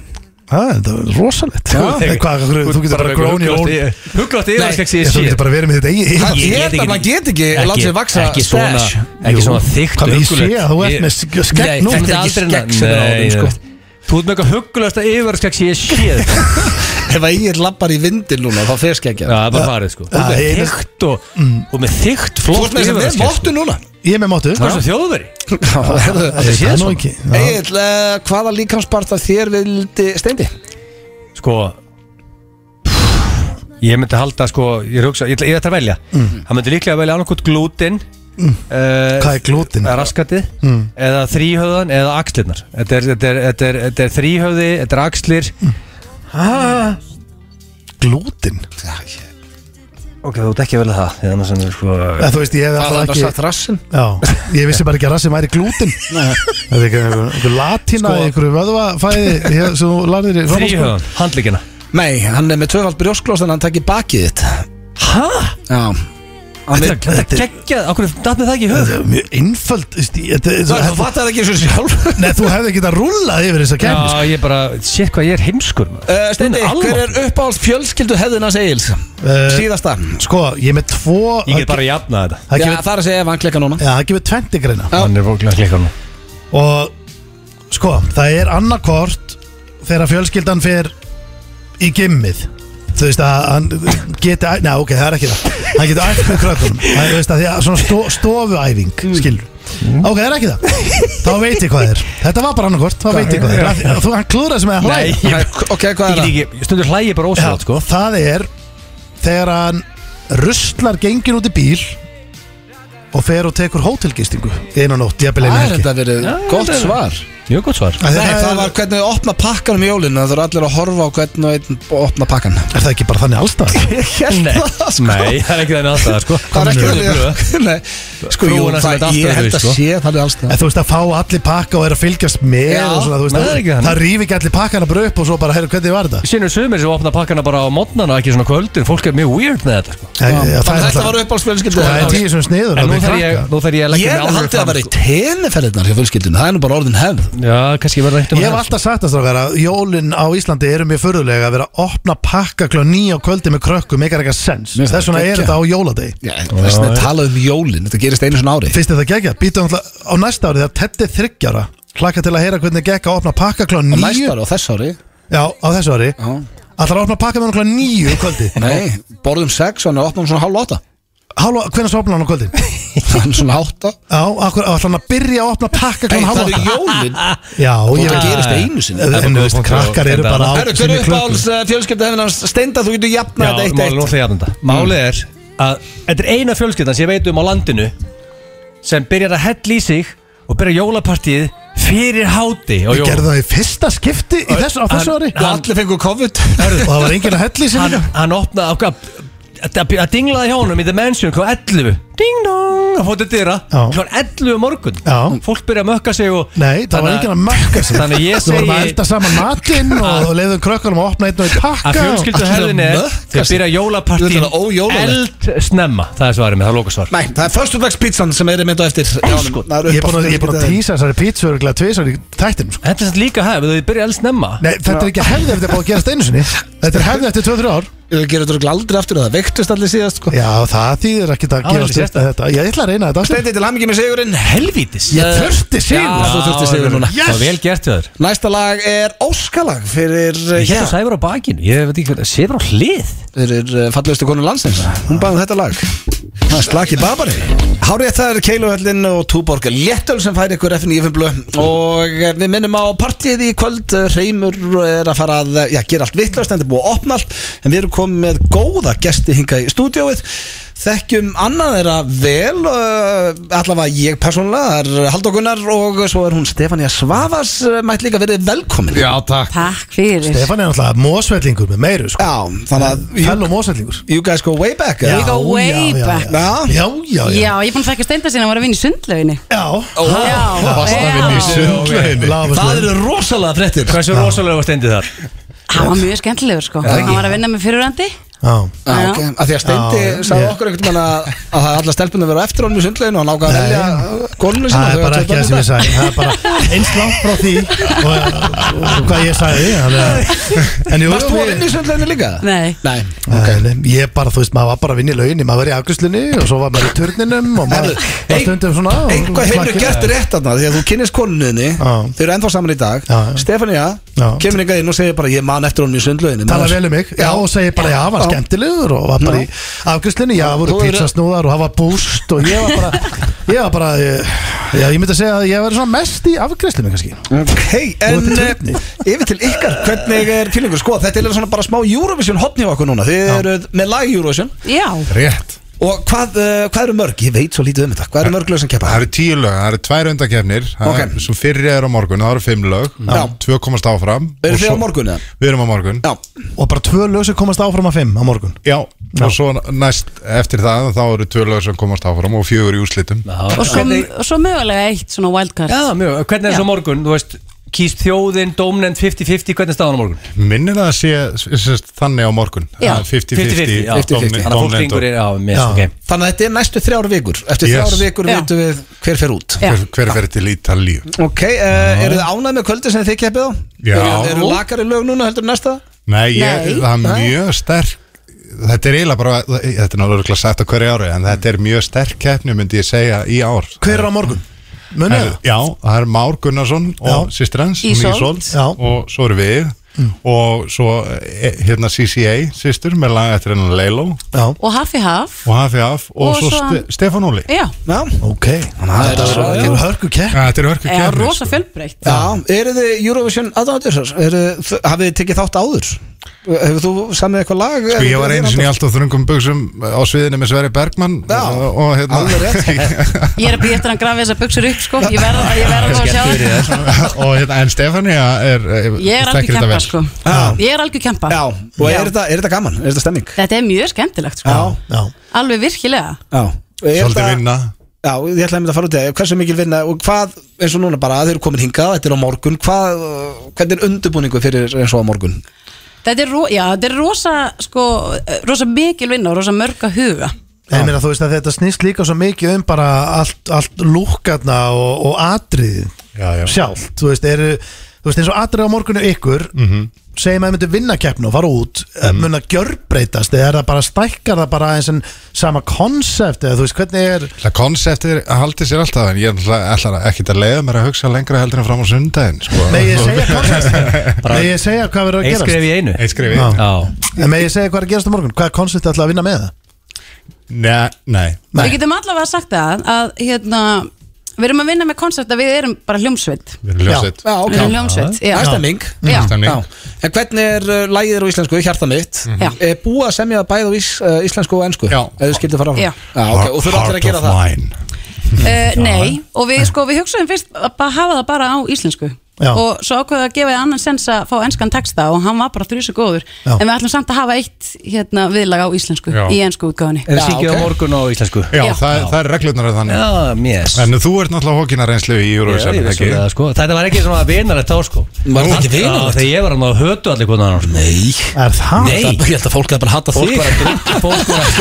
S3: Það er rosalegt
S1: Já.
S3: En hvað, Þú getur bara grown your own Já,
S2: Huglátt
S1: Nei,
S2: yfirskeks ég
S3: Þú
S2: sé
S3: getur bara verið með þetta eigið
S1: Hann
S2: Ég get
S1: geta,
S2: ekki-
S1: hann get ekki Látt sér vaksa
S2: ekki svona,
S1: stash.
S2: ekki
S3: Jú.
S2: svona þykkt
S3: Hvað, ég
S2: huggulegt.
S3: sé að þú ert
S2: Ég-
S3: með sk- skegg
S2: Nei,
S3: núna.
S2: þetta er
S1: Þetta er
S2: aldrei
S1: ekki skegg sem er á honum,
S2: Nei,
S1: sko.
S2: Þú ert með eitthvað huggulegasta yfirskegg sem ég séð
S1: Ef að Egil lappar í vindin núna, þá fer
S2: Já,
S1: skeggja
S2: það er bara farið sko Þú ert
S3: það
S2: með
S3: er- Mm.
S2: þykkt og, og með
S1: Þú
S2: þykkt
S1: ert
S2: flott sko.
S1: með þess að
S2: yfirvaraskeggg,
S1: móttu núna
S3: Ég er með móttu
S2: Hvað er það þjóðveri?
S1: Þetta
S3: Það
S1: séð
S3: er nú
S1: svona
S3: ekki Já.
S1: Egil, uh, hvaða líkansparta þér vildi Steindi?
S2: Sko Ég myndi halda sko Ég, hugsa, ég, ætla- ég ætla að velja Hann myndi líklega velja annarkot glútin mm.
S3: Mm. Hvað er glútin?
S2: raskatið,
S1: Mm.
S2: eða þríhöðan eða axlirnar þetta er, þetta er, þetta er, þetta er þríhöði, þetta er
S1: Mm.
S2: axlir
S3: Glútin?
S2: Ok, þú ert ekki vel að það Ég annars er sko
S3: En þú veist, ég hef alltaf ekki
S1: rassin
S3: Já, ég vissi bara ekki að rassi væri glútin Það er ekki einhver einhver latína sko, einhverju vöðvafæði hér, sem þú lærðir í framhaldsskóla.
S2: Þrýhöðan, handlíkina
S1: Nei, hann er með tvöfald brjósklós en hann takir bakið þitt
S2: Hæ?
S1: Já Hann er
S2: Þetta geggjað, okkur datt með það ekki í höf
S3: Það er Mjög einföld þú veist, ég- þetta-
S1: Það
S3: þetta-
S1: fattar það ekki svo sjálf
S3: Nei, þú hefði ekki að rúlla yfir þess að kemni
S2: Já, ég bara, sétt hvað ég er heimskur maður.
S1: Uh, Steindi,
S2: Hún
S1: hver
S2: alveg-
S1: er uppáhalds fjölskyldu hefðinans Egil's? Síðasta
S3: Sko, ég er með tvo
S2: Ég get bara að jafna þetta
S3: Það
S1: Já,
S3: gefur-
S1: það er að segja ef hann klikkar núna
S3: Já, það gefur 20 greina
S1: Já.
S2: Hann er fólklega að klikka nú
S3: Og sko, það er annarkort Þegar fjölskyldan fer Í gimmið Þú veist að hann geti Næ, ok, það er ekki það Hann geti ætt með krökkunum Það þú veist að því að svona sto, stofuæfing
S1: Mm.
S3: Skilur Ok, það er ekki það Þá veit ég hvað er Þetta var bara annarkort, þá veit ég hvað er Af því að Þú hann klúðraði sem að hlæja
S2: ég
S1: Ok, hvað er
S2: get
S1: það?
S2: ekki Stundur hlægi bara
S3: Já,
S2: ósvöld, sko
S3: Það er þegar hann ruslar gengin út í bíl og fer og tekur hótelgistingu einan nótt, jafnvel einu
S1: Það er
S3: helgi
S1: þetta verið gott
S2: þetta er-
S1: svar
S2: Mjög gott svar
S3: Af því
S1: Nei,
S3: það
S1: það
S3: er-
S1: var hvernig þau opna pakkanum í jólinu Það þurfa allir að horfa á hvernig og einn opna pakkan
S3: Er það ekki bara þannig allstað?
S1: Ég held það sko
S2: Nei, það er ekki þannig aðstæða, sko
S1: Það er ekki
S2: Konur eru blöð.
S1: þannig Nei, Sko, jú,
S2: Frúina
S1: það,
S2: sem þetta aftur
S1: ég
S2: er
S1: held
S2: við,
S1: að
S2: sko.
S1: sé Það er alls
S3: En þú veist að fá allir pakka og er að fylgjast með
S1: Já,
S3: og svona, þú veist,
S2: það er ekki
S3: það,
S2: þannig.
S3: það rýfi ekki allir pakkana bara upp og svo bara, heyrðu, hvernig var þetta?
S2: Sýnur sumir sem opna pakkana bara á modnana ekki svona kvöldin Fólk er mjög weird með þetta, sko
S3: Ég,
S1: Þannig
S3: ég,
S1: að
S3: það, er
S1: þetta var
S3: alltaf,
S1: uppáhaldsfjölskyldu
S3: það er tíu sem sniður
S2: En
S3: að
S2: nú
S3: með
S2: þarf ég,
S3: krakka.
S2: nú þarf ég
S1: Ég
S2: að leggja
S1: held
S2: mig alveg
S1: að það
S2: fram,
S1: var í
S2: sko.
S1: teneferðirnar hjá fjölskyldunum Það er nú bara orðin hefð
S2: Já, kannski verður eitt um
S3: Ég hef alltaf sagt það strákar að jólin á Íslandi eru mjög förðulega að vera að opna pakka klá nýja á kvöldi með krökkum, ekki ekki sens
S1: Mér finnst
S3: Þess vegna
S1: það
S3: er
S1: geggjað.
S3: þetta á jóladegi
S1: Já, Þess vegna talaðu um jólin Þetta gerist einu svona ári
S3: Fyrst er það gegja, býtum alltaf á næsta ári þegar Teddi er þryggjara Klaka til að heyra hvernig gekk að opna pakka klá
S1: Á
S3: nýju
S1: næsta ári og þess ári
S3: Já, á þessu ári
S1: Já.
S3: Alltaf að opna pakka með hann klá nýju í kvöldi
S1: Nei, borðum sex og hann opnaðum svona hálf átta
S3: Hálfa, hvernig svo opna hann á kvöldi?
S1: Hann svona átta
S3: Já, akkur, alltaf hann að byrja að opna pakka klá
S1: Nei,
S3: hálfa
S1: það eru
S3: átta.
S1: jólin
S3: Já,
S1: Það
S3: ég veit
S1: gerist einu sinni
S2: er bara
S3: En þú
S2: góð
S3: veist,
S2: punktur
S3: krakkar
S2: að
S3: eru
S2: benda
S3: bara á
S1: Herru, hver
S3: sinni
S1: er
S3: klukku.
S1: uppáhalds eh, fjölskylda hefðinans Steinda, þú getur jafna
S2: Já,
S1: þetta
S2: málið
S1: eitt
S2: nú ætla ég að
S3: Mm.
S2: þetta Málið er að þetta er eina fjölskyldan sem ég veit um á landinu sem byrjar að hella í sig og byrja jólapartíið fyrir háti á
S3: Ég gerði það í fyrsta skipti í þessu, á þessu
S2: Hann-
S3: ári
S1: eitt Og allir fengur COVID
S3: Og það var enginn að helli sér
S2: hann,
S3: líka
S2: hann opnaði okkar að að dinglaði hjá honum í The Mansion kl. 11 ding dong, hann fótti dyra
S3: Já.
S2: kl. 11 um morgun
S3: Já.
S2: fólk byrja að mökka sig og
S3: Nei, það var enginn að makka sér
S2: Þannig að ég
S3: Við vorum að
S2: segi-
S3: elda saman matinn og leiðum krökkunum að opna einn og einn pakka
S2: að fjölskyldu herðin er
S1: mökka
S2: þau byrja
S1: Þetta
S2: jólapartíin
S1: er ójólalegt.
S2: eld snemma það er svarið með, það er lókasvar
S1: Nei, það er föstudagspítsan sem er mynd á eftir
S2: Sko,
S3: Ég er búin að- ég er búin að tísa þessari pítsu örgulega tvisar í þættinum sko.
S2: þetta er samt líka hæf, þau byrja eld snemma
S3: Nei, þetta er ekki hefði eftir búið að gerast einu sinni Þetta er hefði eftir 2-3 ár
S1: Ég gerur þetta örugglega aldrei aftur og það veiktist allir síðast sko.
S3: Já, það þýðir ekki að
S2: Já,
S3: gerast
S2: þetta er
S3: upp með þetta Ég ætla að reyna þetta aftur
S1: Steindi til hamingi með sigurinn
S2: helvítis
S3: Ég þurfti
S1: Já,
S3: sigur
S1: þú þurftir sigur núna.
S2: það var vel gert hjá þér
S1: Næsta lag er Óskalag fyrir, eh, hérna,
S2: ég
S1: yeah,
S2: hefði sæfur á bakinu, ég veit ekki hvað sæfur á hlið
S1: fyrir uh, fallegustu konu landsins Hún baði um þetta lag Það er slaki babari Hárið það er Keiluhöllin og Túborg Léttöl sem fær ykkur F95 blö Og eh, við minnum á partíið í kvöld Eh, Hreimur er að fara að eh, já, gera allt vittlust En þetta er búið að opna allt En við erum komið með góða gesti hinga í stúdíóið Þekkjum annað þeirra vel uh, Allavega ég persónulega Það er Halldór Gunnar og svo er hún Stefania Svavas eh, Mætt líka verið velkomin
S8: Já, takk
S5: Takk fyrir
S3: Stefán er náttúrulega mósvellingur með meiru sko.
S1: Já, þannig að you,
S3: Fell og mósvellingur
S1: you guys go way back eh?
S5: We
S1: eða?
S5: go way
S3: Já,
S5: back.
S3: já, já,
S5: Já,
S3: já.
S5: ég er búin að þekka steinda sinna að voru að vinna í sundlauginni
S3: Já,
S5: Já, já
S3: sundlauginni
S1: Það
S3: Það
S1: eru rosalega fréttir
S2: hversu rosalega var steindið þar
S5: Hann var mjög skemmtilegur sko Hann var að vinna með fyrirrandi
S3: Já,
S1: Já, ok, að því að Steindi
S3: Já,
S1: sagði
S3: ég-
S1: okkur einhvern veginn að að það er alla stelpunni að vera á eftir honum í sundleginu og hann ákvað að
S3: Nei.
S1: velja konunni sinna
S3: það er bara ekki það
S1: um
S3: sem ég sagði Það er bara eins langt frá því og, og hvað ég sagði þannig að- En jú,
S1: Varst þú að vinna í sundleginu líka?
S5: Nei.
S1: Nei
S3: Okay. Ég bara, þú veist, maður var bara að vinna í lauginni maður var í afgjörslinni og svo var maður í turninum og maður var stundum svona og-
S1: Einhvað hefur
S3: slakið.
S1: gert rétt þarna því að þú kynnist konunniðinni
S3: Já.
S1: Þau eru ennþá saman í dag
S3: Já, já.
S1: Stefania
S3: Já.
S1: kemur ykkar inn og segir bara ég man eftir honum í sundleginu
S3: tala vel um mig já, og segi bara já, hann var
S1: Já.
S3: skemmtilegur og var bara í afgjörslinni, já, voru
S1: Þú eru-
S3: pizzasnúðar og það var búst og ég var bara ég var bara, ég, já, ég myndi að segja að ég var svona mest í afgjörslinni kannski
S1: Hei, en
S3: Þú ert í
S1: eh,
S3: turni.
S1: yfir til ykkar, hvernig er fílingur? Sko, þetta er svona bara smá Eurovision hopni á okkur núna Þið eruð með lag í Eurovision
S5: Já,
S8: Rétt
S1: Og hvað, uh, hvað eru mörg? Ég veit svo lítið um þetta Hvað eru mörg lög sem keppa?
S8: Það eru tíu lög, það eru tvær undakefnir
S1: Ok.
S8: Svo fyrri er á morgun, það eru fimm lög
S1: Já.
S8: Tvö komast áfram
S1: Eru
S8: og
S1: þið
S8: svo-
S1: á morgun eða?
S8: Við erum á morgun
S1: Já,
S3: Og bara tvö lög sem komast áfram að fimm á morgun
S8: Já, og svo næst eftir það þá eru tvö lög sem komast áfram og fjögur í úrslitum
S5: og svo, og svo mögulega eitt svona wildcard
S2: Já, mjög, hvernig er
S5: Já.
S2: svo morgun, þú veist Kýst þjóðin, dómnend 50-50, hvernig er staðan á morgun?
S8: Minnir það að sé s- sérst, þannig á morgun
S5: Já.
S8: Að 50-50
S2: já.
S8: domni-
S2: Þannig að fólk
S8: domnend og-
S2: ringur er, já, mér
S3: Já.
S2: ok
S1: þannig að þetta er næstu þrjár vikur Eftir
S8: Yes.
S1: þrjár vikur
S5: Já.
S1: veitum við hver fer út
S5: Já.
S8: Hver- Hver fer til Ítalíu?
S1: Ok, uh, eru þið ánægð með kvöldi sem þið keppið á?
S8: Já.
S1: Eru, eru lakari lög núna heldur en næsta?
S5: Nei.
S8: Nei, ég, það er mjög sterk Þetta er eiginlega bara, þetta er náttúrulega sagt á hverju ári En þetta er mjög sterk keppni, myndi ég segja, í ár
S3: Hver er á morgun? Munið
S8: Herðu,
S3: það?
S8: Já, það er Már Gunnarsson og
S3: Já.
S8: sýstir hans, hún
S5: Ísold.
S3: Já.
S8: og svo eru við og svo eh, hérna CCA sýstur með laga eftir hennan Leilo
S3: Já,
S5: og half í half
S8: og HFF og,
S5: Og
S8: svo
S5: svo
S8: Ste
S5: hann-
S8: Stefán Óli
S5: já,
S1: Já
S3: ok Þetta
S1: svo-
S3: er-
S1: já.
S3: er hörku kepp
S8: Ja, Þetta er hörku sko.
S5: eða
S8: keppni
S5: rosa fjölbreytt
S1: Já, eru þið Eurovision aðdánandur? Hafið þið tekið þátt áður? Hefur þú samið eitthvað lag?
S8: Sko ég var einu sinni í allt á þröngum buksum á sviðinu með Sverri Bergmann
S1: Já,
S8: og, og hérna
S1: alveg
S5: ég er að býja eftir að hann grafi þessar buksur upp sko. ég verða að, ég verð að fá að sjá það
S8: og hérna, en Stefania er eh,
S5: ég er algjör
S8: þekkir þetta
S5: kempa
S8: vel.
S5: sko. ég er algjör kempa
S1: Já, og er þetta, er þetta gaman? Er þetta stemming?
S5: þetta er mjög skemmtilegt sko.
S3: Já,
S5: alveg virkilega
S1: Já Og er
S8: Svolítið
S1: þetta-
S8: vinna
S1: Já, ég ætlaði einmitt að fara út í það Hversu mikil vinna og hvað, eins og núna bara þeir eru komin hingað, þetta er á morgun hvað, uh, hvernig er undirbúningu fyrir eins og á morgun?
S5: þetta er, ro já, þetta er rosa, sko, eh, rosa mikil vinna og rosa mörg að huga
S3: En meina, þú veist að þetta snýst líka svo mikið um bara allt, allt lúkarna og, og atriðið
S8: Já, já.
S3: sjálft þú veist, eru, þú veist eins og atrið á morgunu ykkur mm
S2: Mhm.
S3: -hmm. segjum að þið myndu vinna keppnu og fara út mm. mun að gjörbreytast eða er það bara stækkar það bara eins en sama konsept eða þú veist hvernig er
S8: Það konseptið haldi sér alltaf en ég ætla, ætla ekki að leiða mér að hugsa lengra heldur en fram á sundaginn sko.
S3: með ég segja konsept með ég segja hvað verður að
S2: Eitt skref
S3: gerast
S2: í einu
S8: Eitt skrifi
S3: Já.
S2: Já,
S3: með ég segja hvað er að gerast á morgun hvað konsept ætla að vinna með það
S8: Nei, nei
S3: Nei.
S5: við getum allavega sagt það að hérna, við erum að vinna með koncept að við erum bara hljómsveit
S8: Við erum ljósett
S1: Já, ok
S5: við erum hljómsveit já. Mm.
S1: Það er stemming
S5: Já.
S8: Þannig.
S1: Já. En hvernig er uh, lagið er á íslensku, hjarta mitt
S5: Já.
S1: Er búið að semja það bæði á ís, uh, íslensku og ennsku
S8: Já.
S1: Ef þú skildir fara áfram
S5: Já.
S1: ok, Og þú eru allir að gera það
S5: Uh, nei, og við, sko, við hugsaðum fyrst að bara hafa það bara á íslensku
S3: Já.
S5: og svo ákveða að gefa þið annan sens að fá enskan texta og hann var bara þrjusu góður
S3: Já.
S5: en við ætlum samt að hafa eitt hérna, viðlag á íslensku
S8: Já.
S5: í ensku útgáðunni
S2: en
S1: Já,
S2: syngið
S1: ok.
S2: á morgun á íslensku
S8: Já,
S5: Já.
S8: það, það er reglurnar að þannig
S2: Já, yes
S8: En þú ert náttúrulega hókinar einslu í
S2: Já,
S8: Eurovision
S2: ég vissi
S8: ekki?
S2: það, sko. Þetta var ekki svona vinarlegt þá sko
S1: Var þetta ekki vinalegt?
S2: Já, Þegar ég var hann að hötu allir sko. hvernig annars
S1: Nei,
S3: er það?
S2: Nei.
S1: Það, Ég held að fólk að bara hata
S2: Fólk var að drita Fólk var að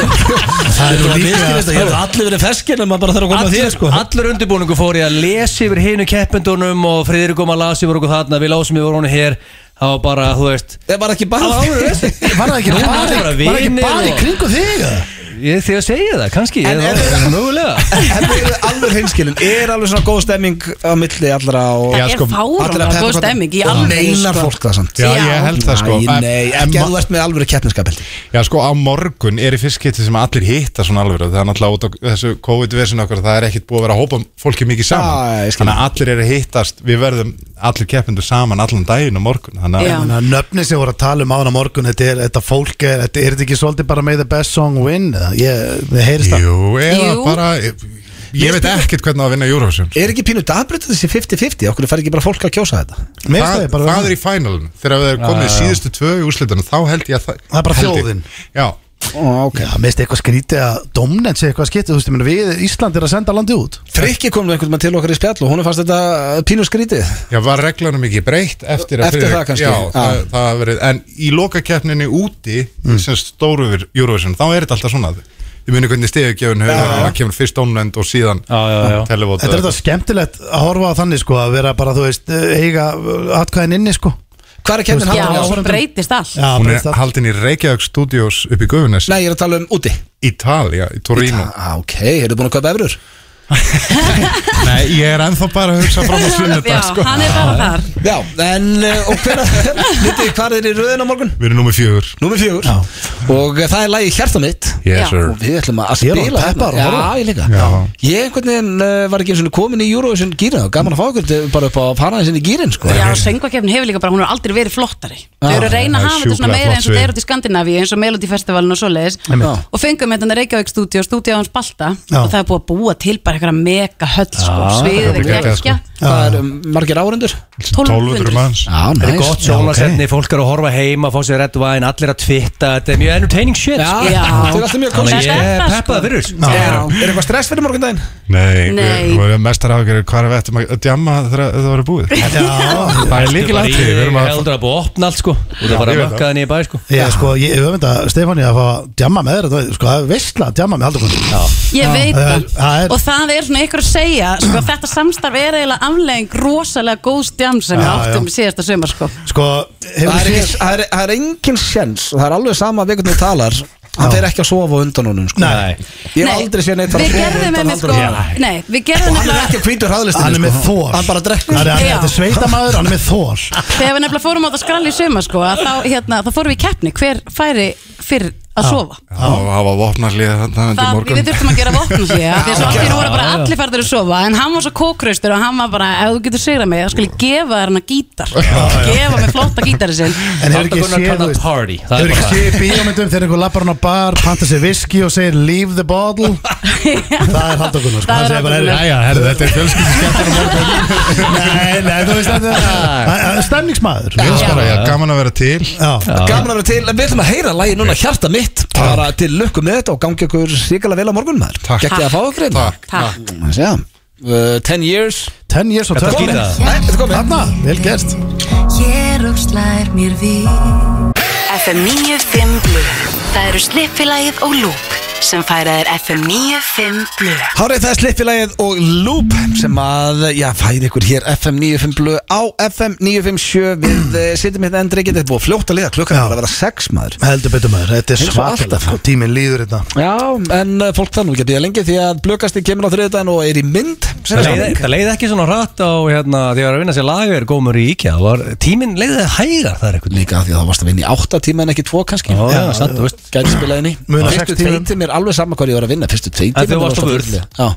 S1: Það er líka Ég held að allir verið feskin en maður bara þarf að koma að
S2: sko. Allir,
S1: þér sko
S2: allur undirbúningu fór ég að lesa yfir hinu keppendunum og Friðrik kom að lasa yfir okkur þarna við lásum yfir honum hér það var bara, þú veist
S1: Það var ekki bara
S3: var það ekki
S2: Nú,
S3: bara,
S2: bara
S3: bara, bara, ekki
S2: vinir
S3: bara í
S2: og-
S3: kringu þig eða?
S2: ég því að segja það, kannski en,
S1: er-
S2: það, mögulega
S1: En við erum alveg heimskilin Er alveg svona góð stemming á milli allra og
S5: Það
S8: Já,
S5: er
S8: sko,
S1: allra
S5: fáránlega
S1: pepparkorn-
S5: góð stemming í
S1: Og
S5: alveg
S1: Meinar
S5: sko.
S1: fólk það samt
S8: Já,
S5: Já.
S8: ég held það sko
S1: Æ, nei,
S8: En-
S1: ekki
S8: en
S1: að þú ert með alvöru keppniskapeldi
S8: Já sko, á morgun er í fyrst getið sem allir hitta svona alveg Það er náttúrulega út á þessu COVID-versin okkur Það er ekkit búið að vera að hópa fólki mikið
S1: Já,
S8: saman
S1: ég skil.
S8: Þannig að allir eru að hittast Við verðum allir keppindur saman allan daginn á morgun Þannig
S5: Já.
S8: að
S3: Þannig að nöfni sem voru að tala um ána morgun þetta er þetta fólk, er þetta, er þetta ekki svolítið bara með the best song win eða? ég, við heyrist það
S8: Jú, eða
S5: Jú.
S8: bara Ég, ég veit ekkert hvernig á að vinna Eurovision
S1: Er ekki pínu dagbreytið þessi 50-50? Okkur fær ekki bara fólk að kjósa þetta?
S3: Mér finnst
S8: Það,
S3: það bara
S8: það er í finalin Þegar við erum komið síðustu tvö í úrslitunum Þá held ég að það
S3: Það er bara
S8: held ég-
S3: þjóðin.
S8: Já,
S1: Ó, ok
S3: Já, mér finnst eitthvað skrítið að domnend sé eitthvað skrítið, þú veist, ég meina, við Ísland er að senda landi út
S1: Frikki kom nú einhvern veginn til okkar í spjall og hún fannst þetta uh, pínu skrítið
S8: já var reglunum ekki breytt Eftir, að
S1: Eftir
S8: Friðrik-
S1: það kannski,
S8: já,
S1: já.
S8: Það, það hafa verið, En í lokakeppninni úti
S3: Mm.
S8: sem stóru yfir Eurovision Þá er þetta alltaf svona Ég muni hvernig stegugjöfun hefur Það kemur fyrst ónlend og síðan
S2: Já, já, já.
S8: televóta
S3: Þetta er þetta skemmtilegt að horfa á þannig sko að vera bara, þú veist, eiga atkvæðin inni sko
S1: Hvað er keppnin
S3: Þú veist,
S5: já,
S1: hann?
S3: Já,
S5: hún breytist allt
S3: Já,
S8: Hún
S3: bara
S8: er
S3: það-
S8: haldin í Reykjavík Studios upp í Guðunes
S1: Nei, ég er að tala um úti
S8: Ítalja, í Torino
S1: ah, Ok, eru búin að kaupa efrur?
S8: Nei, ég er ennþá bara að hugsa fram á
S5: Já,
S8: sunnudag sko.
S5: hann er bara þar
S1: Já, en uh, og hver Vitið, hvað er í röðina á morgun?
S8: Við erum nummið fjögur
S1: Númer fjögur Og uh, það er lagi Hjarta mitt
S5: Já.
S8: Yes sir
S1: Og við ætlum að
S3: Ég er
S1: spila
S3: orðinn peppaður
S1: hérna.
S3: og horfður.
S1: Já, ég líka
S8: Já.
S1: Ég einhvern veginn uh, var ekki eins og komin í Eurovision gýrin og gaman að fá ykkur til- bara upp á að fara þessin í gýrin sko.
S5: Já, söngvakefnin hefur líka bara, hún er aldrei verið flottari Þau eru að reyna
S8: það
S5: að
S8: er
S5: hafa þetta svona meira eins
S8: sjúklega flott
S5: og
S8: svið.
S5: þeir eru til Skandinavíu eins og Melody Festivalin og svoleiðis
S1: Einmitt.
S5: og fengum þetta Reykjavík stúdíu og stúdíu hans Balta
S3: Já.
S5: og það er búið að búa til bara eitthvað mega höll sko,
S8: þetta
S5: sviðið
S8: er geggjað,
S5: gekkja
S1: Það er um, margir áhundur
S5: sko. 1200.
S8: 1200 manns
S1: Já,
S2: Það er
S1: næst
S2: gott sjónarsetni, fólk er að horfa heima, fá sér reddvæn, allir að twitta, þetta er mjög entertaining shit
S1: Já,
S2: sko.
S1: þetta
S5: Já.
S1: er sko. alltaf mjög
S2: Þannig
S1: konsert
S2: að ég er
S5: sko.
S2: peppað fyrir þessu.
S1: Er er eitthvað stress fyrir morgun daginn?
S8: Nei,
S5: Nei.
S8: Við, við mestar ágjör hvað er við ættum að að djamma þegar það var búið
S3: Já,
S8: Það er líkilega
S2: Bara í-
S8: atriði, við erum
S2: Ég
S8: að
S2: heldur að búið að opna allt sko Og það
S8: Já,
S2: bara
S8: ég veit
S2: mökkaði nýja bæ sko
S3: já sko, ég öfumynda Stefáni að fá að djamma með þér þetta var- Sko, það er veistla að djamma með haldakonum
S5: Ég veit
S3: það er-
S5: það,
S3: það er-
S5: og það er svona ykkur að segja sko, þetta samstarf er eiginlega aflegging rosalega góð stjám sem við
S3: Já,
S5: áttum
S3: já.
S5: síðasta sömur sko.
S3: Sko,
S1: Það er,
S3: hefur
S1: ekki, það, er, það er engin sjens og það er alveg sama að við hvernig þú talar hann
S3: Já.
S1: fer ekki að sofa á undan honum sko.
S3: Nei.
S1: ég hef aldrei séð neitt fara að
S5: Við
S1: sofa á
S5: gerðum sko-
S1: undan
S5: með
S1: haldur
S5: sko, nei, við gerðum
S1: og hann er
S5: nefnilega
S1: ekki að hvítur hraðlistinu
S3: Hann er með þor
S1: hann bara drekkur
S3: Hann er- hann er-
S5: Já.
S3: Þetta er sveitamæður, hann er með þor
S5: Þegar við nefnilega fórum á það skrall í suma sko, að þá, hérna, þá fórum við í keppni hver færi fyrr að sofa
S8: Það var vopnarlið þannig undir
S5: Það,
S8: morgun
S5: við þurftum að gera vopna því að því að svo allir voru bara allir farðir að sofa en hann var svo kókraustur og hann var bara ef þú getur sigrað mig, þá skal ég gefa þér hana gítar gefa mig flotta gítari sinn
S3: En hefur ekki
S2: Haldakonar
S3: séð,
S2: kann
S3: þú
S2: að
S3: veist
S2: party Það
S3: Hefur
S2: er
S3: ekki
S2: bara
S3: séð í bíómyndum þegar einhver lappar hann á bar panta sér viski og segir leave the bottle Það er sko. haldakonum
S5: Það er Halldór Gunnar.
S8: Jæja, herru, þetta er fjölskyldu skemmtur
S3: Nei, nei, þú veist þetta er- það er Stemningsmaður
S8: Mér finnst bara, já, gaman að vera til
S3: Já,
S1: gaman að vera til við ætlum að heyra lagi núna hjarta mitt bara til lukku með þetta og gangi ykkur sikala vel á morgun maður
S8: Takk.
S1: gekkið að fá hérna. okkur einn
S8: Takk.
S5: Takk.
S1: uh, 10 years
S3: 10 years og
S2: Þetta
S3: 12
S2: skýrða það.
S1: Nei, þetta er komið.
S3: Þarna, vel gert
S9: Hér og slær mér við FM 95 Blu Það eru slippilagið og lúp sem færa þér FM 95 Blu
S1: Hárið það er slippilagið og Loop sem að, já, fæði ykkur hér FM 95 blöð á FM 957 við eh, sitjum hérna endri, getið búið að fljóta liða klukkan er að vera sex maður
S3: Heldur betur maður, þetta er
S1: Eins og
S3: svakilegt
S1: alltaf.
S3: sko, Tíminn líður þetta
S1: Já, en eh, fólk það nú ekki að býja lengi því að blökasti kemur á þriðdæðin og er í mynd sem er
S2: Það leið-
S1: samning.
S2: það leiði ekki svona hratt á hérna, því að vera að vinna sér lager gómur í IKEA það var, tíminn leiði það hægar það er eitthvað
S1: Líka af því að það varst að vinna í átta tíma en ekki tvo kannski
S2: Já, já, samt, þú veist.
S1: Gæti spilaðin í
S3: Muna
S1: Fyrstu
S3: sex tímum.
S1: tveitir mér alveg saman hvað ég var að vinna Fyrstu
S2: En
S1: tveitir
S2: þú varst á vörð.
S1: Já,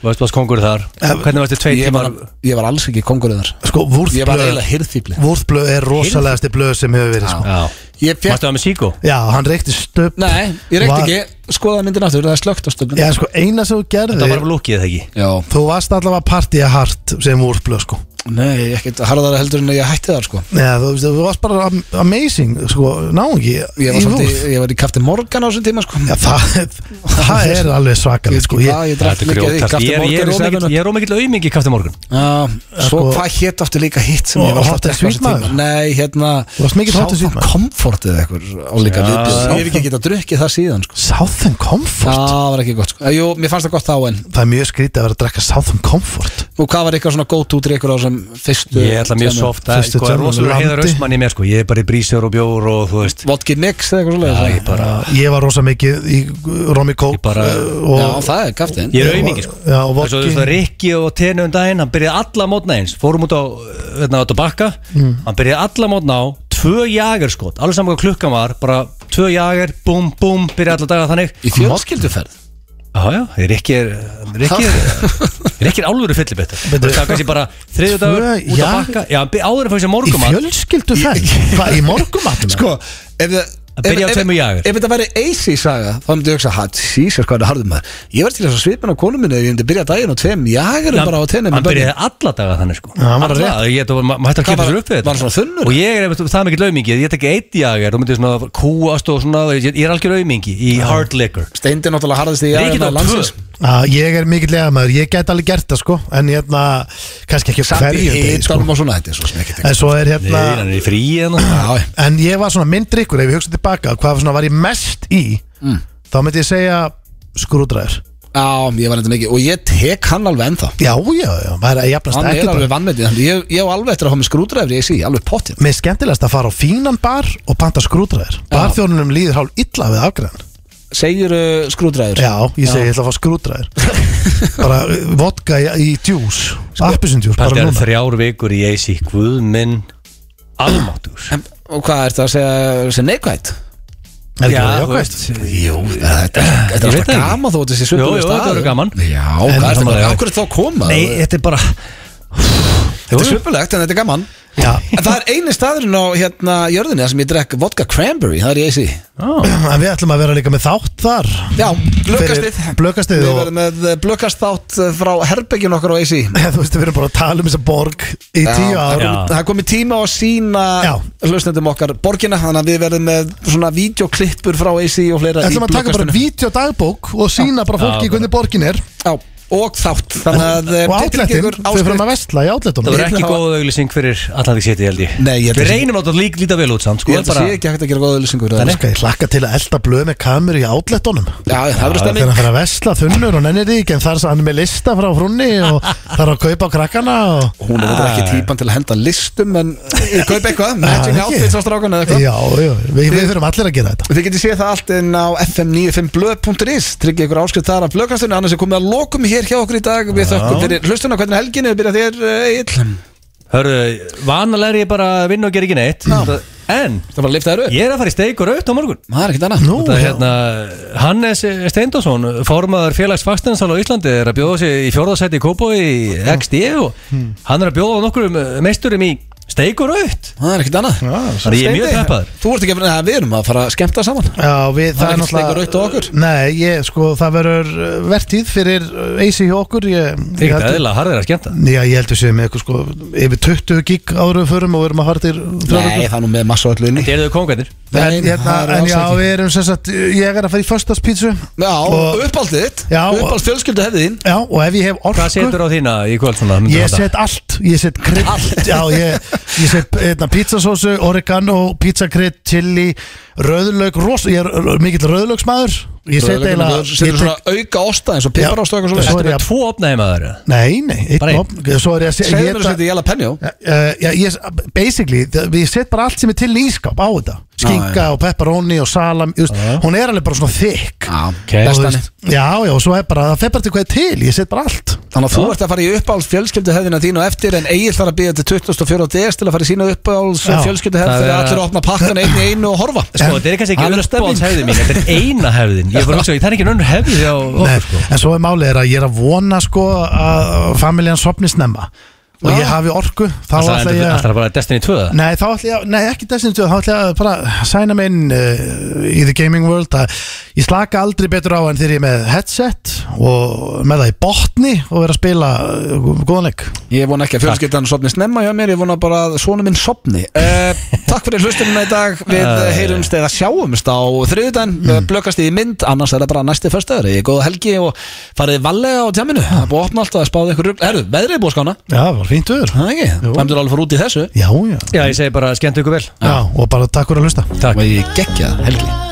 S2: Varst varst kongur þar Hvernig varstu tveit
S1: ég
S2: tímar
S1: var, ég var alls ekki konguröðar
S3: Sko,
S1: Ég var
S3: Vúrþblöð
S1: eiginlega hirðfýbli
S3: Vúrþblöð er rosalegasti blöð sem hefur verið sko.
S2: Já
S1: Ég fekk
S2: Varstu það með síkó
S3: Já, hann reykti stöp
S1: Nei, ég reykti
S3: Var-
S1: ekki, skoða myndin aftur, það er slögt á stöfnum
S3: Já, sko, eina sem þú
S2: Það var
S3: gerðir
S2: bara lúkið það ekki
S1: Já,
S3: Þú varst allavega partíja hart sem Vúrþblöð sko.
S1: nei, ekkert harðara heldur en að ég hætti þar sko
S3: Já, þú, veist, þú varst bara am- amazing sko, náungi
S1: Ég var,
S3: í
S1: samt,
S3: Vúrð.
S1: í- ég var í kafti Morgan á þessum tíma sko
S3: Já, það, það er alveg svakalegt sko.
S1: ég,
S3: Ég-
S1: ég, ég drakk
S2: Þetta er
S1: mikið af því,
S2: grjótast
S1: kafti
S2: Ég er- ég
S1: Morgan í
S2: er ómikill-
S1: sefinu
S2: Ég er ómikill auðmingi kafti morgun
S1: Svo
S3: sko-
S1: hvað hétt aftur líka hitt sem
S3: Og
S1: ég var
S3: Hot and
S1: alltaf að drekka á
S3: Sweet
S1: þessum tíma?
S3: maður.
S1: Nei, hérna
S3: Þú varst mikill Hot and Sweet maður.
S1: Comfort eða eitthvað álíka viðbjörn Ég hef ekki getað drukkið það síðan sko
S3: Southern Comfort
S1: Það var ekki gott sko Eh, Jú, mér fannst það gott þá en
S3: Það er mjög skrítið að vera að drekka Southern Comfort
S1: Og hvað var eitthvað svona go-to drikkur á þessum fyrstu
S2: Ég ætla mjög
S1: tveimur?
S2: soft Það
S3: Fyrstu
S2: sko, er
S3: tölvun
S2: rosalega
S3: landi.
S2: heiðar ösmann í mér sko Ég er bara í brísur og bjór og þú veist
S1: Vodka Nix eða eitthvað svoleiðis,
S2: Já,
S1: eða?
S2: ég bara
S3: Ég var rosa mikið í Romy Coke
S2: Ég bara-
S3: uh,
S1: Já,
S3: og,
S1: það er kaftin
S2: Ég er auðmingi sko
S3: Já, og
S2: Það er svo þú veist
S3: vodki
S2: að Rikki og Tenu um daginn Hann byrjaði alla mótna eins Fórum út á Þetta á bakka
S3: Mm.
S2: Hann byrjaði alla mótna á Tvö jager skot Alveg saman hvað klukkan var Bara tvö jager Búm, búm Byrjaði alla daga þannig
S1: Í fjölskylduferð
S2: Já, já, Rikki er Rikki er Rikki er álveru fyllibett Það er kannski bara þriðu dagur
S3: Tvö
S2: út á
S3: jager?
S2: bakka Já, hann by- áður að fá sér
S3: Í
S2: morgumat
S3: fjölskyldu þess Hvað, í morgumatnum?
S1: Sko, ef það
S2: Að byrja á
S1: ef- ef-
S2: tveimur jager.
S1: Ef þetta væri AC saga, þá myndi ég hugsa Hatt, sísar hvað er harður maður Ég var til þess að svipa á konu minni Ef ég myndi byrja daginn á tveim jager
S2: Hann-
S1: bara á tennum
S2: Hann byrjaði alla daga þannig sko
S3: hann var
S2: Alla, ég þetta var, ma- maður hætti að
S1: Hvað
S2: kemta
S1: var-
S2: sér upp við þetta
S1: var hann svona þunnur?
S2: Og ég er einmitt það mikið laumingi Ég tek eitt jager og myndi svona kúast og svona Ég ég er algjör laumingi í hard liquor
S1: Steindi náttúrulega harðist í
S2: Rikki
S1: jager
S2: tók tvö
S3: Já, ég er mikill lega maður, ég get alveg gert það sko En hérna, kannski ekki á
S1: Satt í
S3: hverju degi, sko.
S1: hitanum og svona Þetta er svo sem ekki
S3: En svo er
S2: Nei,
S3: hérna
S2: hann er í fríi hérna
S1: Já,
S3: En ég var svona myndrykkur, ef ég hugsa tilbaka Hvað svona var ég mest í
S1: Mm.
S3: Þá myndi ég segja skrúdræður
S1: já, ég var þetta mikið Og ég tek hann alveg ennþá
S3: Já, já, já, maður er að jafnast
S1: Hann
S3: ekki
S1: er
S3: bara.
S1: alveg vannmetið þannig Ég ég á alveg eftir að hafa með skrúdræfri í sí, alveg pottið
S3: Mér er skemmtilegast að fara á fínan bar og panta skrúdræðir Barþjónunum líður hálf illa við afgræðan
S1: Segir uh, skrúdræfur
S3: Já, ég segi, ég ætla að fá skrúdræðir bara uh, vodka í, í djús
S1: Sko,
S3: appisindjús, bara
S2: Paldið er
S3: núna
S2: þrjár vikur í AC Guð minn Almáttur
S1: En, og hvað er þetta að segja sem neikvægt?
S3: Er
S2: Já,
S3: það
S2: þú
S3: jákvæmt?
S1: Jú, þetta þetta er
S2: Ég veit
S1: alltaf
S2: það ekki.
S1: gaman þó að þessi
S2: Jú,
S1: svipur
S2: jú, þetta verður gaman
S1: Já, hvað er
S3: það
S1: þetta?
S3: var-
S1: Akkur er þá að koma?
S2: þetta er bara
S1: þetta er svipulegt en þetta er gaman
S3: Já,
S1: En það er eini staðurinn á hérna jörðinni þar sem ég drekk vodka cranberry, það er í AC
S3: en við ætlum að vera líka með þátt þar
S1: Já, blökastið
S3: Fyrir Blökastið
S1: Við
S3: og
S1: verðum með eh, blökast þátt frá herbyggjun okkar á AC
S3: þú veist, við erum bara að tala um þessa borg í tíu ár
S2: Já.
S1: Það er komið tíma á að sína
S3: Já.
S1: hlustendum okkar borgina Þannig að við verðum með svona videoklippur frá AC og fleira
S3: ætlum að taka bara videodagbók og sína bara fólki
S2: Já,
S3: hvernig borgin er
S1: Já, og þátt Þannig að eh,
S3: og
S1: tippið
S3: átletin,
S1: gengur
S3: þau fyrir að vestla í
S2: Það
S3: átletunum
S2: verður ekki góð auglýsing fyrir Atlantik City held ég
S1: Nei, ég held
S2: Við
S1: að-
S2: reynum láta lík líta vel út samt sko
S1: Ég held að
S2: bara-
S1: sé ekki hægt að gera góða lýsingur Já,
S3: Þannig að ég hlakka til að elda blöð með kameru í átletunum
S1: já, það verður
S3: Þegar
S1: stemming
S3: að fara að vesla þunnur og nennir því ekki en þar er hann er með lista frá frunni og þarf að kaupa á krakkana og
S1: Hún er þetta ekki típan til að henda listum En ég kaup eitthvað,
S3: Ah,
S1: matching
S3: ekki.
S1: outfits á strákan eða eitthvað
S3: Já, já, við, við þurfum allir að gera þetta
S1: Þið getið séð það allt inn á fm95blöð.is Tryggja ykkur áskrift þar af blöðkastunni Annars er komið að lokum hér hjá okkur í dag Við þökkum fyrir hlustuna hvernig er helginni Við byrja þér eh, eill
S2: Hörðu, vanalega er ég bara að vinna og gera ekki neitt Það- En
S1: Það var að lifta þér upp
S2: ég er að fara í steik og raut á morgun
S1: Það er ekkert annað
S3: Nú,
S2: Það er hérna, Hannes Steindorsson, formaður félags fagstæðansal á Íslandi er að bjóða sig í fjórðasæti í Kópo í XD og
S3: Hmm.
S2: hann er að bjóða nokkur meisturum í steik og raut
S1: Það er ekkert annað
S2: Þannig að ég er mjög
S1: Steindi,
S2: peppaður
S1: Þú ert ekki að finna það Við erum að fara að skemmta saman
S3: já, við, það,
S1: er
S3: er
S1: ekkert sleikur rautt á okkur.
S3: náttúrulega Nei, ég, sko, það verður uh, vertíð fyrir uh, AC hjá okkur ég,
S2: Það er
S3: ég
S2: ekkert
S3: held-
S2: eðlilega harðir að skemmta
S3: Já, ég heldur sér með eitthvað sko yfir 20 gig áður en við förum og við erum að fara til þrjár
S1: Nei,
S3: vikur.
S1: það er nú með massa öllu inni
S2: Þetta eru þau kongarnir
S3: en,
S1: Nei,
S3: hérna,
S1: það er
S3: en
S1: alls
S3: já,
S1: ekki.
S3: við erum sem sagt ég er að fara í föstaspítsu
S1: Já,
S3: og,
S1: uppáldið þitt
S3: Já, og-
S1: Uppáld fjölskyldu hefðið þín
S3: já, og ef ég hef orku
S2: Hvað setur á þína í kvöld svona? myndi
S3: Ég
S2: halda?
S3: set allt, ég set krydd Já, ég, ég set hérna, pizzasósu, oregano, pizzakrydd, chili, rauðlaug ros, Ég er r- mikill rauðlaugsmaður Ég set eiginlega
S1: Setur
S3: ég
S1: svona
S3: tek-
S1: auka osta eins og piparost og eitthvað
S3: Svo
S1: svona
S3: er ég
S2: Tvo opnaði maður
S3: Nei, nei, eitt
S2: Bara einn.
S3: opn Svo er ég að se-
S1: Segðu mér að
S3: éta-
S1: setja jalapeno
S3: Uh, já, ég, basically, það- ég set bara allt sem er til í ískap á þetta Skinka og pepperoni og salam just, Hún er alveg bara svona þykk
S1: Já,
S2: Ok.
S3: Og þú
S1: bestanni.
S3: veist, Já, já, og svo er bara, það fer bara til hvað er til Ég set bara allt
S1: Þannig að þú ert að fara í uppáhalds fjölskylduhefðina þín og eftir en Egil þarf að bíða til 24. DS til að fara í sína uppáhalds
S3: Já.
S1: fjölskylduhefð
S2: Það
S1: þegar
S2: er-
S1: allir að opna pakkan einn í einu og horfa
S2: Sko, þetta er kannski
S1: Það
S2: ekki
S1: er stemning.
S2: uppáhalds hefðin mín Þetta er eina hefðin Ég var að hugsa, það er ekki nönnur hefði á
S3: Nei,
S2: okkur sko
S3: En svo er málið er að ég er að vona sko að familjan sopni snemma Og
S1: Já.
S3: ég hafi orku Þá
S2: Það
S3: ætla
S2: er
S3: ég að
S2: alltaf bara Destiny 2 það?
S3: Nei, þá ætla ég að, nei, ekki Destiny 2, þá ætla ég að bara sæna mig inn uh, í The Gaming World að ég slaka aldrei betur á en þegar ég er með headset og með það í botni og er að spila uh, góðanleik.
S1: Ég vona ekki að fjölskyldan sopni snemma hjá mér, ég vona bara að svona minn sopni uh, Takk fyrir hlustunina í dag, við uh, heyrumst eða sjáumst á þriðudan mm. Blökast í mynd, annars er það bara næsti föstaður Ég góða helgi og farið vallega á tjáminu Það er búið að opna alltaf að spáði ykkur rugl Herru, veðrið er búið að skána,
S3: Já, það var fínt öður.
S1: það er ekki
S3: Jú.
S1: Það er alveg að fara út í þessu
S3: Já, já.
S2: Já, ég segi bara, skemmtu ykkur vel
S3: Já, og bara takk fyrir að hlusta.
S2: Takk
S1: Og ég geggja helgi